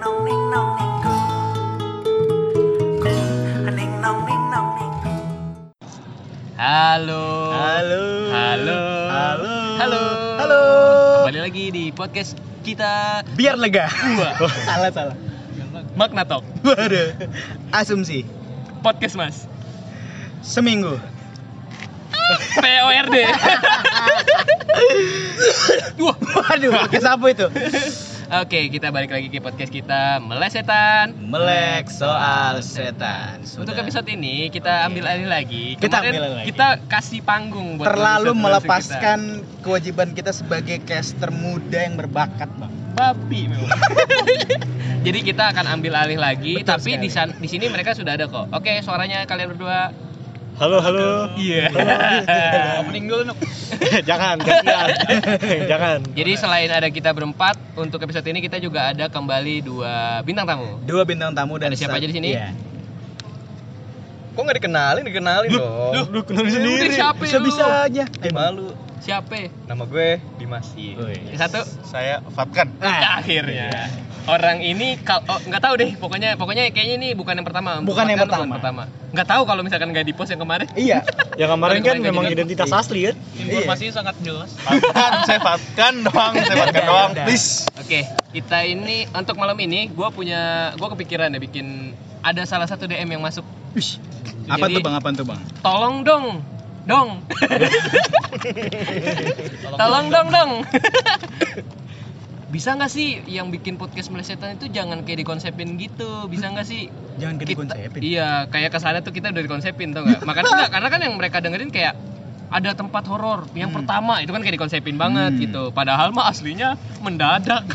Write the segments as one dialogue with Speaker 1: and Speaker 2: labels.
Speaker 1: nong ning nong ning gung. Gung, ning nong ning nong ning gung.
Speaker 2: Halo.
Speaker 3: Halo.
Speaker 2: Halo.
Speaker 3: Halo.
Speaker 2: Halo.
Speaker 3: Halo.
Speaker 2: Kembali lagi di podcast kita
Speaker 3: Biar lega.
Speaker 2: Wah.
Speaker 3: Oh, salah salah.
Speaker 2: Magna Talk.
Speaker 3: Waduh. Asumsi.
Speaker 2: Podcast Mas.
Speaker 3: Seminggu.
Speaker 2: PORD. Wah.
Speaker 3: Waduh, podcast apa itu?
Speaker 2: Oke, kita balik lagi ke podcast kita Melesetan.
Speaker 3: Melek soal setan.
Speaker 2: Untuk
Speaker 3: Sudah.
Speaker 2: episode ini kita ambil alih lagi.
Speaker 3: Kita
Speaker 2: Kemarin
Speaker 3: ambil alih lagi.
Speaker 2: Kita kasih panggung buat
Speaker 3: terlalu
Speaker 2: produser-produser
Speaker 3: melepaskan kewajiban kita sebagai caster muda yang berbakat, Bang.
Speaker 2: kita. babi memang. Jadi kita akan ambil alih lagi,
Speaker 3: Betul
Speaker 2: tapi di, san- di sini mereka sudah ada kok. Oke, suaranya kalian berdua.
Speaker 4: Halo, halo.
Speaker 2: Iya.
Speaker 3: Opening dulu, Nuk.
Speaker 4: jangan, kasihan. jangan.
Speaker 2: Jadi selain ada kita berempat, untuk episode ini kita juga ada kembali dua bintang tamu.
Speaker 3: Dua bintang tamu
Speaker 2: Ada
Speaker 3: dan
Speaker 2: siapa aja
Speaker 3: satu-
Speaker 2: di sini?
Speaker 3: Iya.
Speaker 5: Kok nggak dikenalin? Dikenalin
Speaker 4: Duh,
Speaker 5: dong.
Speaker 4: duh, duh, kenalin
Speaker 2: Eh,
Speaker 4: sendiri.
Speaker 2: udah, siapa lu?
Speaker 3: Bisa-bisanya.
Speaker 5: Eh, malu.
Speaker 2: Siapa?
Speaker 5: Nama gue Dimas.
Speaker 2: Iya.
Speaker 3: Oh, iya.
Speaker 2: Yang satu.
Speaker 4: Saya Fatkan.
Speaker 2: Nah.
Speaker 3: Ah,
Speaker 2: Akhirnya. Orang ini kal- oh, nggak tahu deh, pokoknya pokoknya kayaknya ini bukan yang pertama. Untuk
Speaker 3: Bukan yang
Speaker 2: Fatkan
Speaker 3: pertama.
Speaker 2: Nggak tahu kalau misalkan nggak di post yang kemarin.
Speaker 3: iya.
Speaker 4: Yang kemarin
Speaker 2: Kemarin
Speaker 4: kan
Speaker 2: nggak
Speaker 4: memang
Speaker 2: jadi-
Speaker 4: identitas asli kan?
Speaker 3: Informasinya
Speaker 2: sangat jelas.
Speaker 4: Fatkan, saya Fatkan doang, saya Fatkan
Speaker 3: Udah,
Speaker 4: doang.
Speaker 3: Iya, udah.
Speaker 4: Please.
Speaker 2: Oke, kita ini untuk malam ini gue punya gue kepikiran ya bikin ada salah satu DM yang masuk.
Speaker 3: Wih. Apa
Speaker 2: Jadi-
Speaker 3: tuh, Bang? Apa tuh, Bang?
Speaker 2: Tolong dong, dong. Tolong dong dong. Bisa nggak sih yang bikin podcast melesetan itu jangan kayak dikonsepin gitu? Bisa nggak sih?
Speaker 3: Jangan gede
Speaker 2: Kita-
Speaker 3: konsepin.
Speaker 2: Iya, kayak kesana tuh kita udah dikonsepin tau nggak? Makanya nggak, karena kan yang mereka dengerin kayak ada tempat horor yang
Speaker 3: Hmm.
Speaker 2: pertama itu kan kayak dikonsepin banget
Speaker 3: Hmm.
Speaker 2: gitu. Padahal mah aslinya mendadak.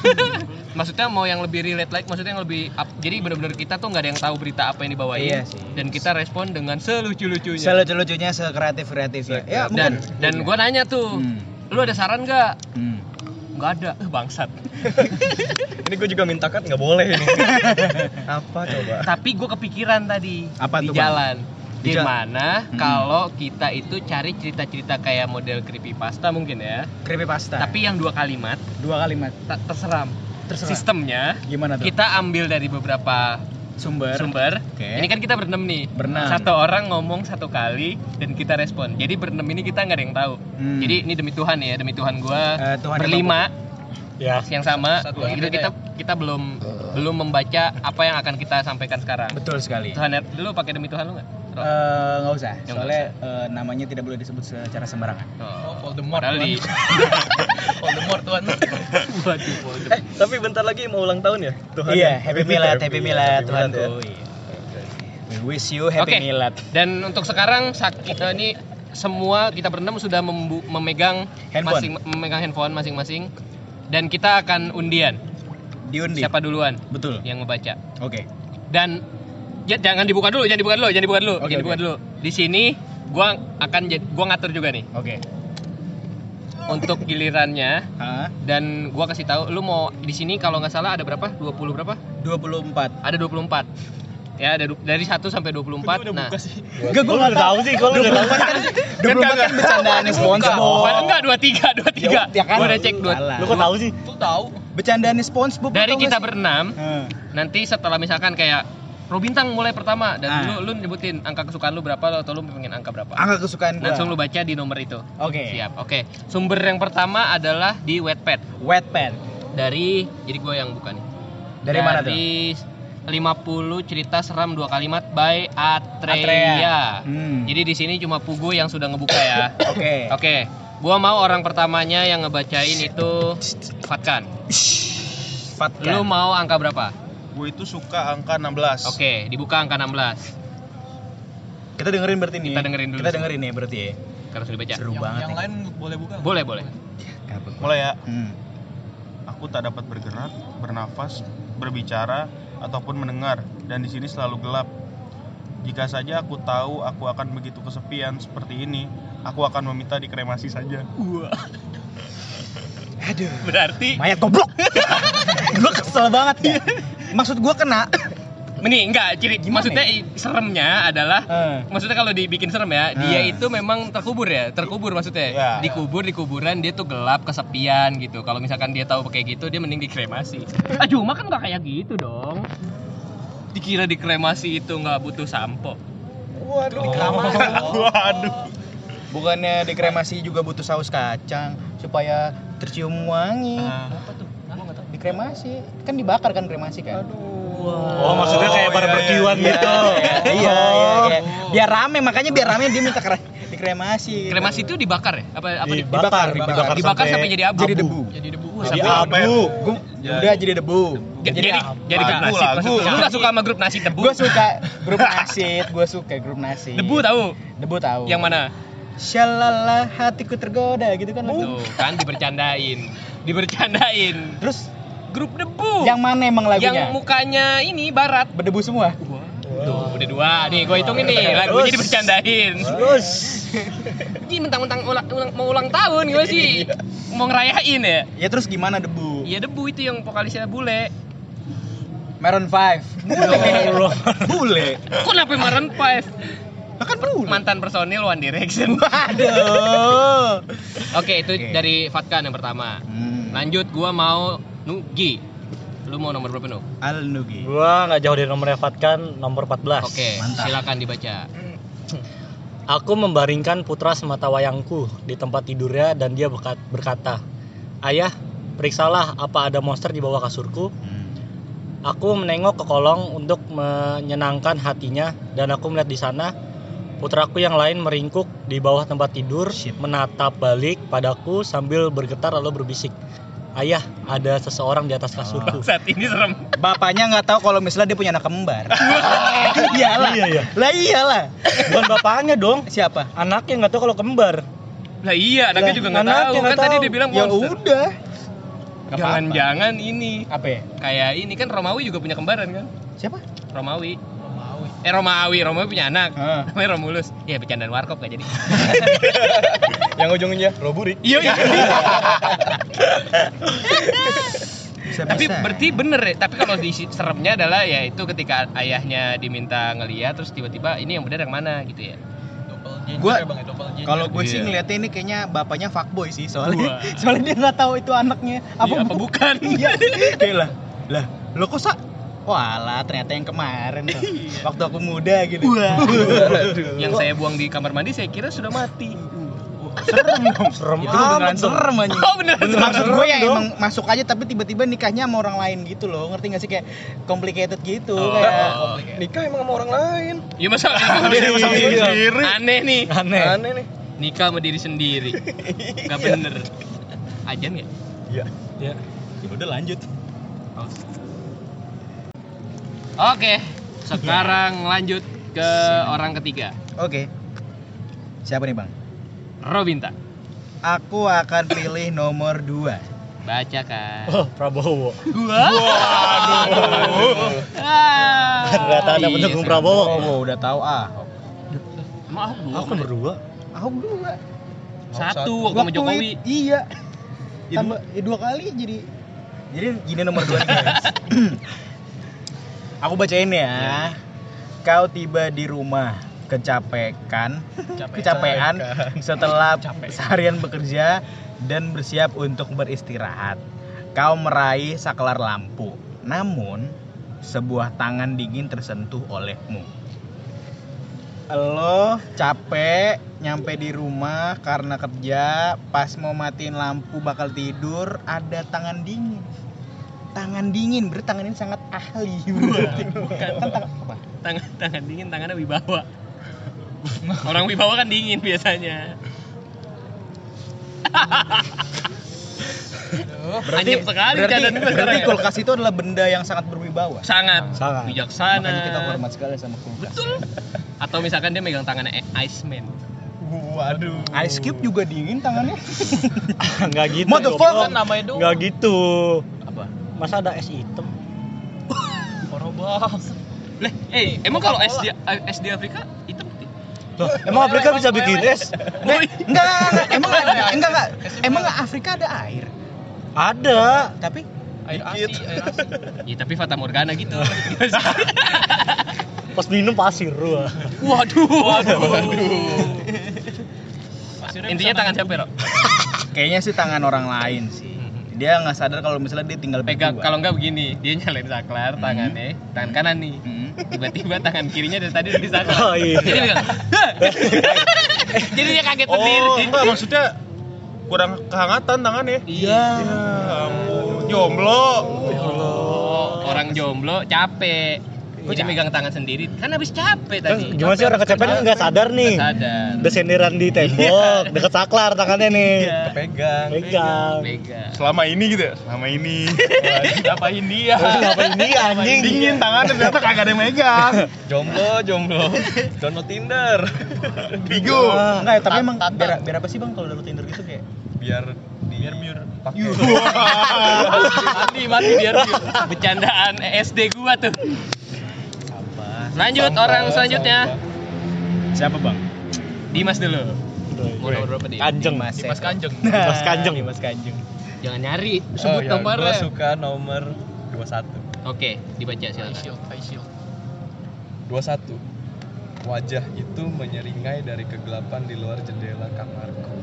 Speaker 2: maksudnya mau yang lebih relate like maksudnya yang lebih up- jadi bener-bener kita tuh nggak ada yang tahu berita apa yang dibawain
Speaker 3: Iya sih.
Speaker 2: dan kita respon dengan selucu-lucunya.
Speaker 3: Selucu-lucunya, sekreatif-kreatifnya. Ya,
Speaker 2: dan
Speaker 3: mungkin.
Speaker 2: dan gue nanya tuh,
Speaker 3: Hmm.
Speaker 2: lu ada saran nggak?
Speaker 3: Hmm.
Speaker 2: Nggak ada, Eh, bangsat.
Speaker 5: Ini gue juga minta kan nggak boleh ini. Apa coba?
Speaker 2: Tapi gue kepikiran tadi
Speaker 3: Apa
Speaker 2: di
Speaker 3: tuh, Bang?
Speaker 2: jalan.
Speaker 3: Di jalan?
Speaker 2: Gimana
Speaker 3: Hmm.
Speaker 2: kalau kita itu cari cerita-cerita kayak model creepypasta mungkin ya,
Speaker 3: Creepypasta.
Speaker 2: tapi yang dua kalimat
Speaker 3: dua kalimat.
Speaker 2: tak terseram.
Speaker 3: Terserah.
Speaker 2: Sistemnya
Speaker 3: Gimana tuh?
Speaker 2: kita ambil dari beberapa
Speaker 3: sumber.
Speaker 2: sumber.
Speaker 3: Oke.
Speaker 2: Ini kan kita berenam nih.
Speaker 3: Berenam.
Speaker 2: Satu orang ngomong satu kali dan kita respon. Jadi berenam ini kita nggak ada yang tahu.
Speaker 3: Hmm.
Speaker 2: Jadi ini demi Tuhan ya, demi Tuhan gua
Speaker 3: Eh, Tuhan yang
Speaker 2: berlima
Speaker 4: Ya,
Speaker 2: yang sama.
Speaker 5: Satu
Speaker 2: Itu
Speaker 5: orang beda ya?
Speaker 2: kita kita belum
Speaker 3: Eh.
Speaker 2: belum membaca apa yang akan kita sampaikan sekarang.
Speaker 3: Betul sekali.
Speaker 2: Tuhan ya, lu pakai demi Tuhan lu nggak?
Speaker 3: Eh, Nggak usah.
Speaker 2: Yang
Speaker 3: Soalnya eh, namanya tidak boleh disebut secara sembarangan.
Speaker 2: Oh,
Speaker 5: Voldemort,
Speaker 2: padahal di-
Speaker 5: Voldemort tuan.
Speaker 2: Waduh, Voldemort.
Speaker 5: eh, tapi bentar lagi mau ulang tahun ya? Tuhan.
Speaker 3: Iya,
Speaker 5: ya?
Speaker 3: happy milad, happy milad
Speaker 5: Milad ya.
Speaker 3: Tuhanku. Iya. We wish you happy
Speaker 2: Oke.
Speaker 3: milad.
Speaker 2: Dan untuk sekarang sakit eh, ini semua kita berenam sudah membu- memegang
Speaker 3: Handphone.
Speaker 2: masing memegang handphone masing-masing dan kita akan undian
Speaker 3: Diundi.
Speaker 2: siapa Iya. duluan
Speaker 3: Betul.
Speaker 2: yang ngebaca.
Speaker 3: Oke.
Speaker 2: Dan ja- jangan dibuka dulu, jangan dibuka dulu, jangan dibuka dulu,
Speaker 3: Oke,
Speaker 2: jangan dibuka
Speaker 3: oke.
Speaker 2: dulu. Di sini gua akan jad- gua ngatur juga nih
Speaker 3: Oke.
Speaker 2: untuk gilirannya
Speaker 3: Hah?
Speaker 2: dan gua kasih tahu lu mau di sini kalau nggak salah ada berapa? 20 berapa?
Speaker 3: 24.
Speaker 2: Ada 24. Ya, ada du- dari 1 sampai 24. Nah,
Speaker 3: Enggak gua enggak tahu sih kalau udah tahu kan. 24 kan bercandaan SpongeBob.
Speaker 2: Bukan, enggak 23, 23.
Speaker 3: Ya, ya kan.
Speaker 2: Gua udah cek dua.
Speaker 3: Salah.
Speaker 4: lu kok tahu sih?
Speaker 5: Tuh tahu.
Speaker 3: Bercandaan SpongeBob.
Speaker 2: Dari
Speaker 3: tau nggak
Speaker 2: kita
Speaker 3: sih? Hmm.
Speaker 2: berenam,
Speaker 3: Heeh.
Speaker 2: nanti setelah misalkan kayak Robintang mulai pertama dan
Speaker 3: Ah.
Speaker 2: lu lu nyebutin angka kesukaan lu berapa atau lu pengen angka berapa.
Speaker 3: Angka kesukaan gua.
Speaker 2: Langsung lu baca di nomor itu.
Speaker 3: Oke.
Speaker 2: Siap. Oke. Sumber yang pertama adalah di Wattpad
Speaker 3: Wet pen.
Speaker 2: dari jadi gue yang buka nih.
Speaker 3: Dari mana tuh?
Speaker 2: Dari 50 cerita seram dua kalimat by Atreya.
Speaker 3: Atreya. Hmm.
Speaker 2: Jadi di sini cuma Pugu yang sudah ngebuka ya.
Speaker 3: Oke.
Speaker 2: Oke, gua mau orang pertamanya yang ngebacain itu Fatkan.
Speaker 3: Fatkan.
Speaker 2: Lu mau angka berapa?
Speaker 4: Gue itu suka angka 16.
Speaker 2: Oke, dibuka angka 16.
Speaker 3: Kita dengerin berarti nih.
Speaker 2: Kita dengerin dulu
Speaker 3: Kita
Speaker 2: semua.
Speaker 3: dengerin nih berarti ya.
Speaker 2: Karena sudah dibaca.
Speaker 3: Seru banget. nih.
Speaker 5: lain boleh buka.
Speaker 2: Boleh, boleh.
Speaker 4: Mulai ya.
Speaker 3: Hmm.
Speaker 4: Aku tak dapat bergerak, bernafas, berbicara ataupun mendengar dan di sini selalu gelap. Jika saja aku tahu aku akan begitu kesepian seperti ini, aku akan meminta dikremasi saja.
Speaker 3: Aduh.
Speaker 2: Berarti Iya.
Speaker 3: Mayat goblok. gua kesel banget ya. Maksud gua kena.
Speaker 2: Ini enggak ciri
Speaker 3: Gimana
Speaker 2: maksudnya
Speaker 3: ya?
Speaker 2: i- seremnya adalah
Speaker 3: Eh.
Speaker 2: maksudnya kalau dibikin serem ya, dia
Speaker 3: Eh.
Speaker 2: itu memang terkubur ya, terkubur maksudnya.
Speaker 4: Iya.
Speaker 2: Dikubur di kuburan dia tuh gelap, kesepian gitu. Kalau misalkan dia tahu kayak gitu, dia mending dikremasi. Ah, cuma kan nggak kayak gitu dong. Dikira dikremasi itu nggak butuh sampo.
Speaker 5: Waduh.
Speaker 4: Waduh.
Speaker 3: Bukannya dikremasi juga butuh saus kacang supaya tercium wangi.
Speaker 2: Ah.
Speaker 3: Dikremasi kan dibakar kan kremasi kan.
Speaker 5: Oh, maksudnya kayak
Speaker 4: Oh,
Speaker 5: pada
Speaker 4: iya,
Speaker 5: berkiwan
Speaker 4: iya,
Speaker 5: gitu.
Speaker 3: Iya, iya, iya,
Speaker 2: Oh.
Speaker 3: iya. Biar rame, makanya biar rame dia minta kre- dikremasi. gitu.
Speaker 2: Kremasi itu dibakar ya? Apa apa di-
Speaker 5: Dibakar,
Speaker 3: dibakar.
Speaker 5: dibakar,
Speaker 2: Dibakar sampai jadi abu.
Speaker 3: Jadi debu.
Speaker 2: Jadi debu.
Speaker 5: Jadi
Speaker 2: Sampai-
Speaker 5: abu.
Speaker 3: Gua- udah jadi debu.
Speaker 2: jadi ya? jadi, jadi
Speaker 4: Lagu,
Speaker 2: nasi
Speaker 4: lagu.
Speaker 2: maksudnya. Lu nggak suka sama grup nasi debu?
Speaker 3: Gue suka grup nasid, gue suka grup nasid.
Speaker 2: Debu tahu
Speaker 3: Debu tahu.
Speaker 2: yang mana?
Speaker 3: Shalala hatiku tergoda gitu kan. lagu.
Speaker 2: Tuh kan dibercandain. Dibercandain.
Speaker 3: Terus
Speaker 2: Grup debu.
Speaker 3: yang mana emang
Speaker 2: yang
Speaker 3: lagunya?
Speaker 2: mukanya ini barat.
Speaker 3: Berdebu semua.
Speaker 2: Tuh, udah dua nih, gue hitungin
Speaker 3: Iya.
Speaker 2: nih, lagunya dibercandain.
Speaker 5: Terus.
Speaker 2: Ini mentang-mentang ulang, ulang- mau ulang tahun gue sih, Iya. mau ngerayain ya.
Speaker 3: Ya terus gimana debu?
Speaker 2: Iya debu itu yang vokalisnya bule.
Speaker 3: Maroon 5.
Speaker 5: Ya Bule.
Speaker 2: Kok kenapa Maroon 5?
Speaker 3: Lah kan bule.
Speaker 2: Mantan personil One Direction.
Speaker 3: Waduh.
Speaker 2: Oke, itu
Speaker 3: Oke.
Speaker 2: dari Fatkan yang pertama.
Speaker 3: Hmm.
Speaker 2: Lanjut, gua mau Nugi. Lu mau nomor berapa, Nuk?
Speaker 3: Al Nugi. Hmm.
Speaker 5: Gua nggak jauh dari nomor Evat kan, nomor 14.
Speaker 2: Oke,
Speaker 3: mantap.
Speaker 2: silakan dibaca.
Speaker 5: Aku membaringkan putra semata wayangku di tempat tidurnya dan dia berkat- berkata, "Ayah, periksalah apa ada monster di bawah kasurku." Aku menengok ke kolong untuk menyenangkan hatinya dan aku melihat di sana putraku yang lain meringkuk di bawah tempat tidur,
Speaker 3: Shit.
Speaker 5: menatap balik padaku sambil bergetar lalu berbisik, "Ayah, ada seseorang di atas
Speaker 3: Oh,
Speaker 5: kasurku."
Speaker 2: Saat ini serem.
Speaker 3: Bapaknya nggak tahu kalau misalnya dia punya anak kembar. iyalah.
Speaker 5: Iya, iya.
Speaker 3: Lah iyalah.
Speaker 5: Bukan bapaknya dong,
Speaker 3: Siapa?
Speaker 5: anaknya nggak tahu kalau kembar.
Speaker 2: Lah iya, anaknya
Speaker 5: Lah,
Speaker 2: juga nggak
Speaker 5: anaknya
Speaker 2: tahu.
Speaker 5: nggak
Speaker 2: Kan tadi
Speaker 5: tahu.
Speaker 2: dia bilang
Speaker 3: Ya
Speaker 2: monster.
Speaker 3: udah. nggak
Speaker 2: Jangan-jangan ini
Speaker 3: Apa ya?
Speaker 2: kayak ini kan Romawi juga punya kembaran kan?
Speaker 3: Siapa?
Speaker 2: Romawi. Eh Romawi, Romawi punya anak.
Speaker 3: Ah.
Speaker 2: Namanya Romulus. Ya bercandaan warkop gak jadi.
Speaker 5: Yang ujungnya Roburi.
Speaker 2: Iya iya.
Speaker 3: Bisa,
Speaker 2: Tapi berarti bener ya. Tapi kalau di seremnya adalah ya itu ketika ayahnya diminta ngeliat terus tiba-tiba ini yang bener yang mana gitu ya.
Speaker 3: Gua-
Speaker 5: ya,
Speaker 3: kalau gue sih
Speaker 4: Iya.
Speaker 3: ngeliatnya ini kayaknya bapaknya fuckboy sih
Speaker 2: Wah.
Speaker 3: soalnya soalnya dia nggak tahu itu anaknya apa,
Speaker 2: Iya, apa
Speaker 3: bu-
Speaker 2: bukan?
Speaker 3: iya kayak lah lah lo kok sa Iya. Walah, ternyata yang kemarin tuh. Waktu aku muda gitu. Waduh.
Speaker 2: yang saya buang di kamar mandi saya kira sudah mati.
Speaker 3: serem dong.
Speaker 5: Serem
Speaker 3: Itu beneran
Speaker 5: amat dong.
Speaker 3: serem anjing.
Speaker 2: Oh bener.
Speaker 3: Maksud
Speaker 5: serem
Speaker 3: gue ya
Speaker 5: dong.
Speaker 3: emang masuk aja tapi tiba-tiba nikahnya sama orang lain gitu loh. Ngerti gak sih kayak complicated gitu
Speaker 2: Oh.
Speaker 3: kayak.
Speaker 5: Nikah emang sama orang lain.
Speaker 2: Ya masa aneh,
Speaker 5: Iya.
Speaker 2: aneh nih.
Speaker 3: iya.
Speaker 5: Aneh. Aneh nih.
Speaker 2: Nikah sama diri sendiri. Gak bener. Ajan ya?
Speaker 5: Iya. Iya.
Speaker 3: Ya udah lanjut.
Speaker 2: Oke, sekarang lanjut ke orang ketiga,
Speaker 3: Oke. Siapa nih, Bang?
Speaker 2: Robinta.
Speaker 3: Aku akan pilih nomor 2.
Speaker 2: Bacakan.
Speaker 5: Oh, Prabowo.
Speaker 2: Gua. Waduh. Ah.
Speaker 5: Ternyata ada pendukung Prabowo.
Speaker 3: Oh, udah tahu ah.
Speaker 2: Emang Ahok dua?
Speaker 5: Aku
Speaker 3: kan
Speaker 5: nomor dua.
Speaker 3: Ahok dua.
Speaker 2: Satu waktu sama Jokowi.
Speaker 3: i- Iya. Tambah ya dua kali jadi. Jadi gini nomor dua nih, guys. Aku bacain ya. Kau tiba di rumah kecapekan, kecapean setelah seharian bekerja dan bersiap untuk beristirahat. Kau meraih saklar lampu, namun sebuah tangan dingin tersentuh olehmu. Lo capek nyampe di rumah karena kerja, pas mau matiin lampu bakal tidur, ada tangan dingin. Tangan dingin, berarti tangan ini sangat ahli. berarti. Kan tangan- apa?
Speaker 2: Tangan tangan dingin, tangannya wibawa. Orang wibawa kan dingin biasanya.
Speaker 3: Berarti,
Speaker 2: Anjir sekali
Speaker 3: berarti,
Speaker 2: keadaan gue
Speaker 3: berarti
Speaker 2: sekarang ya.
Speaker 3: kulkas itu adalah benda yang sangat berwibawa.
Speaker 2: Sangat,
Speaker 5: Sangat.
Speaker 2: bijaksana.
Speaker 3: Makanya kita hormat sekali sama kulkas.
Speaker 2: Betul. Atau misalkan dia megang tangannya eh, Iceman.
Speaker 5: Waduh.
Speaker 3: Ice Cube juga dingin tangannya.
Speaker 5: Enggak gitu.
Speaker 3: Motherfucker.
Speaker 5: goblok.
Speaker 2: namanya
Speaker 5: Nggak gitu.
Speaker 3: Apa?
Speaker 5: Masa ada es hitam?
Speaker 2: Leh, eh, emang kalau SD SD Afrika hitam putih?
Speaker 5: Loh, emang Afrika bisa bikin es?
Speaker 2: Boy,
Speaker 3: Enggak, enggak, enggak. emang ada, enggak, enggak. Emang Afrika ada air,
Speaker 5: Ada.
Speaker 3: tapi
Speaker 2: air asi,
Speaker 4: Dikit.
Speaker 2: air asi. Ya, tapi Fata Morgana gitu.
Speaker 5: Pas minum pasir gua.
Speaker 2: Waduh. Intinya tangan siapa, Rok?
Speaker 3: Kayaknya sih tangan orang lain sih.
Speaker 4: Mm-hmm.
Speaker 3: Dia nggak sadar kalau misalnya dia tinggal
Speaker 2: Pegang
Speaker 3: berdua.
Speaker 2: kalau enggak begini, dia nyalain saklar
Speaker 3: Hmm.
Speaker 2: tangannya, tangan kanan nih.
Speaker 3: Hmm.
Speaker 2: Tiba-tiba tangan kirinya dari tadi udah di saklar.
Speaker 5: Oh, iya.
Speaker 2: Jadi dia bilang, "Hah!" Jadi dia kaget sendiri.
Speaker 4: Oh, enggak maksudnya kurang kehangatan tangannya.
Speaker 2: Iya.
Speaker 4: Ya ampun, jomblo.
Speaker 2: Oh, orang jomblo capek.
Speaker 4: Iya.
Speaker 2: Jadi megang tangan sendiri. Kan habis capek tadi.
Speaker 5: Gimana sih orang kecapean nggak sadar nih?
Speaker 2: Sadar.
Speaker 5: Udah senderan di
Speaker 6: Iya.
Speaker 5: tembok, deket saklar tangannya nih.
Speaker 4: Pegang.
Speaker 5: Pegang.
Speaker 2: Mega.
Speaker 4: Selama ini gitu ya? Selama ini.
Speaker 2: Ngapain dia?
Speaker 5: Terus ngapain ini anjing?
Speaker 4: Dingin tangannya ternyata kagak ada yang megang.
Speaker 2: Jomblo, jomblo.
Speaker 6: Download Tinder
Speaker 4: Bigo.
Speaker 3: Enggak, tapi emang
Speaker 5: Tatan.
Speaker 3: biar, biar apa sih bang kalau dapat Tinder gitu kayak?
Speaker 6: biar biar biar pakai
Speaker 2: mati, mati biar bercandaan SD gua tuh. Lanjut orang selanjutnya.
Speaker 3: Siapa bang?
Speaker 2: Dimas dulu. Mau nomor berapa dia?
Speaker 5: Kanjeng.
Speaker 3: Dimas ya.
Speaker 6: Dimas Kanjeng
Speaker 5: Dimas Kanjeng.
Speaker 3: Dimas Kanjeng.
Speaker 2: Jangan nyari, sebut
Speaker 6: yang gua
Speaker 2: nomornya.
Speaker 6: suka kan nomor 21
Speaker 2: Oke, dibaca silakan.
Speaker 6: 21 Wajah itu menyeringai dari kegelapan di luar jendela kamarku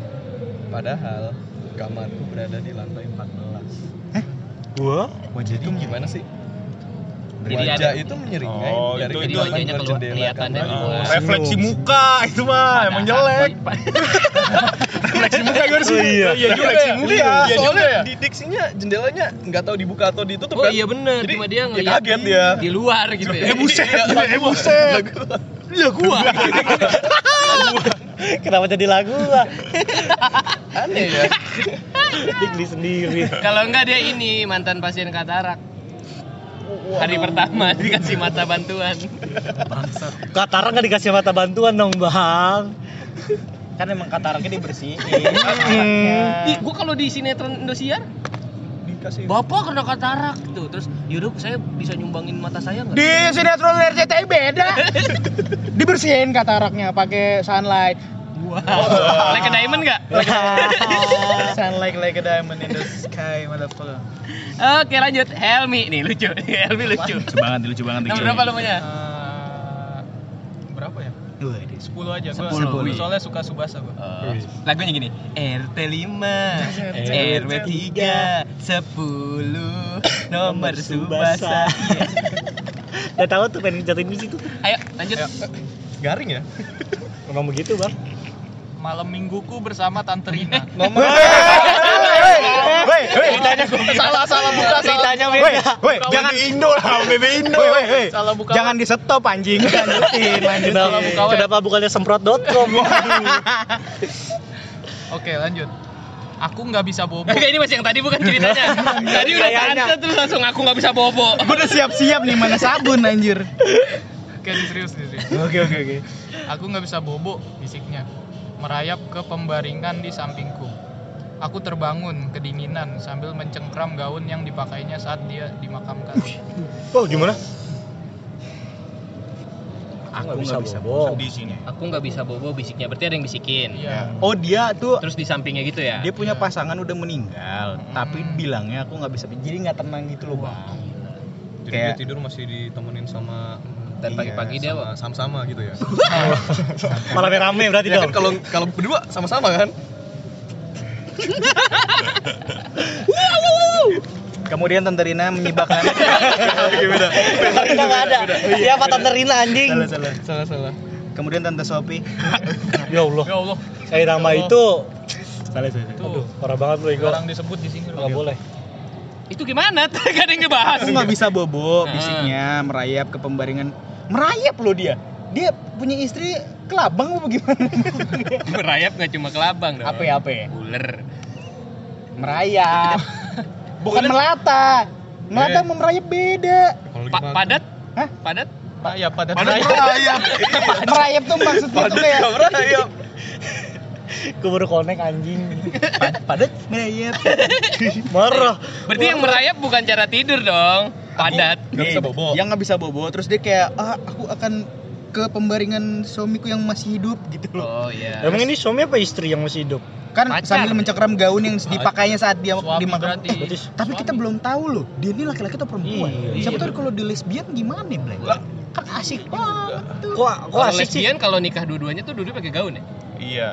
Speaker 6: Padahal kamarku berada di lantai 14
Speaker 5: Gua?
Speaker 6: Wajah itu gimana sih?
Speaker 2: Jadi
Speaker 6: Wajah
Speaker 2: ada- Nah,
Speaker 6: itu menyeringai
Speaker 4: Oh,
Speaker 6: dari
Speaker 4: itu- itu
Speaker 6: kegelapan di
Speaker 2: wajahnya
Speaker 6: luar
Speaker 2: keluar-
Speaker 6: jendela
Speaker 2: kelihatan dari
Speaker 6: kamarku
Speaker 2: luar.
Speaker 4: Refleksi muka itu mah emang jelek. Refleksi muka gue harus.
Speaker 5: Oh, iya.
Speaker 4: Iya juga refleksi muka.
Speaker 6: Iya,
Speaker 4: Iya juga
Speaker 6: soalnya
Speaker 4: ya.
Speaker 6: di diksinya jendelanya nggak tahu dibuka atau ditutup
Speaker 2: Oh
Speaker 6: kan?
Speaker 2: iya bener,
Speaker 6: Jadi,
Speaker 2: cuma dia
Speaker 6: ya
Speaker 2: ngeliat
Speaker 6: kaget dia.
Speaker 2: di luar gitu ya.
Speaker 4: Eh
Speaker 6: Iya,
Speaker 4: buset, eh buset.
Speaker 2: ya gua.
Speaker 5: Kenapa jadi lagu lah?
Speaker 6: Aneh ya.
Speaker 5: Dikli sendiri.
Speaker 2: Kalau enggak dia ini mantan pasien katarak. Hari pertama dikasih mata bantuan.
Speaker 5: Katara nggak dikasih mata bantuan dong bang.
Speaker 3: Kan emang kataraknya dibersihin.
Speaker 2: Ih, gua kalau di sinetron Indosiar,
Speaker 6: Dikasih
Speaker 2: bapak kena katarak tuh. Terus, yaudah saya bisa nyumbangin mata saya nggak?
Speaker 3: Di sinetron RCTI beda. Dibersihin kataraknya pakai sunlight.
Speaker 2: Wah. Like a diamond nggak?
Speaker 3: sunlight like a diamond in the sky, motherfucker.
Speaker 2: Oke lanjut, Helmi nih lucu, Helmi lucu.
Speaker 3: Lucu banget, lucu banget.
Speaker 2: Nomor berapa lu punya?
Speaker 6: Eh, berapa ya? 10 aja gua.
Speaker 2: Sepuluh.
Speaker 6: Sepuluh. Soalnya suka Subasa gua.
Speaker 2: Lagunya gini, RT 5, RW 3, 10, nomor subasa.
Speaker 5: Gak tahu tuh pengen jatuhin di situ.
Speaker 2: Ayo lanjut.
Speaker 6: Garing ya?
Speaker 5: Emang begitu bang?
Speaker 6: Malam mingguku bersama Tante Rina.
Speaker 3: Woi, woi,
Speaker 6: salah salah buka salah.
Speaker 5: Ceritanya
Speaker 3: woi,
Speaker 5: beda.
Speaker 3: woi, jangan
Speaker 4: Jangan Indo lah, BB Indo.
Speaker 3: Woi, woi, woi.
Speaker 6: Salah buka.
Speaker 3: Jangan di stop anjing. Lanjutin,
Speaker 5: Kenapa,
Speaker 3: lanjutin.
Speaker 6: buka web.
Speaker 5: kenapa bukannya semprot.com?
Speaker 6: Oke, lanjut. Aku nggak bisa bobo.
Speaker 2: Oke ini masih yang tadi bukan ceritanya. tadi udah
Speaker 5: Kayaknya.
Speaker 2: tante terus langsung aku nggak bisa bobo.
Speaker 3: Gue udah siap-siap nih mana sabun anjir.
Speaker 6: Oke, ini serius ini serius.
Speaker 3: Oke, oke, oke.
Speaker 6: Aku nggak bisa bobo, bisiknya. Merayap ke pembaringan di sampingku. Aku terbangun kedinginan sambil mencengkram gaun yang dipakainya saat dia dimakamkan.
Speaker 5: Oh gimana?
Speaker 3: Aku
Speaker 5: nggak
Speaker 3: nggak
Speaker 5: bisa
Speaker 3: bisa
Speaker 5: bohong.
Speaker 4: Di sini.
Speaker 2: Aku nggak bisa bobo bisiknya, berarti ada yang bisikin.
Speaker 6: Iya.
Speaker 3: Oh, dia tuh
Speaker 2: Terus di sampingnya gitu ya.
Speaker 3: dia punya pasangan udah meninggal, tapi bilangnya aku nggak bisa. Jadi nggak tenang gitu loh, Bang.
Speaker 6: Jadi
Speaker 3: Kayak-
Speaker 6: dia tidur masih ditemenin sama
Speaker 2: Dan pagi-pagi dia
Speaker 6: sama- sama-sama gitu ya.
Speaker 5: Malah rame berarti
Speaker 6: Iya kan
Speaker 5: dong.
Speaker 6: kalau kalau berdua sama-sama kan?
Speaker 3: Kemudian Tante Rina menyibakkan
Speaker 5: Tante Rina nggak ada. Siapa Iya, Tante Rina anjing?
Speaker 3: salah, salah.
Speaker 6: Salah salah.
Speaker 3: Kemudian Tante Sophie
Speaker 5: Ya Allah.
Speaker 6: Ya Allah,
Speaker 5: Eh nama
Speaker 6: Ya Allah.
Speaker 5: itu.
Speaker 3: salah, salah.
Speaker 6: tuh
Speaker 5: Parah banget lu Igo.
Speaker 6: orang disebut di sini
Speaker 5: Gak Ya. boleh.
Speaker 2: Itu gimana? Gak ada yang ngebahas.
Speaker 3: Aku nggak bisa bobo
Speaker 2: Nah.
Speaker 3: bisiknya merayap ke pembaringan. Merayap loh dia. Dia punya istri kelabang apa gimana?
Speaker 2: Merayap nggak cuma ke Labang dong.
Speaker 3: Apa ya, apa ya?
Speaker 2: Uler.
Speaker 3: Merayap. Bukan Eh. melata. Melata sama merayap beda.
Speaker 2: Pa- padat?
Speaker 3: Hah?
Speaker 2: Padat?
Speaker 6: Rayap pada
Speaker 4: Padahal merayap.
Speaker 3: merayap tuh maksudnya tuh kayak
Speaker 6: merayap.
Speaker 5: Gue baru connect anjing.
Speaker 3: Pad- padat merayap.
Speaker 5: Marah.
Speaker 2: Berarti yang merayap bukan cara tidur dong. Padat.
Speaker 6: Nggak bisa
Speaker 3: Nih,
Speaker 6: bobo.
Speaker 3: Dia nggak bisa bobo. Terus dia kayak ah aku akan ke pembaringan suamiku yang masih hidup gitu
Speaker 2: Oh
Speaker 3: loh.
Speaker 2: iya.
Speaker 6: Ya.
Speaker 5: Emang ini suami apa istri yang masih hidup?
Speaker 3: kan
Speaker 2: Pacar.
Speaker 3: sambil mencengkram gaun yang dipakainya saat dia
Speaker 6: Suami
Speaker 3: dimakan
Speaker 6: berarti.
Speaker 5: Berarti s-
Speaker 3: tapi kita
Speaker 6: Suami.
Speaker 3: belum tahu loh dia ini laki-laki atau perempuan
Speaker 5: Iya,
Speaker 3: siapa
Speaker 2: iya,
Speaker 3: tahu kalau dia lesbian gimana Blay?
Speaker 4: Lah.
Speaker 3: kan asik banget tuh
Speaker 5: kok kok
Speaker 2: Kalau
Speaker 5: asik sih
Speaker 2: lesbian kalau nikah dua-duanya tuh dua-duanya pakai gaun ya?
Speaker 4: Iya.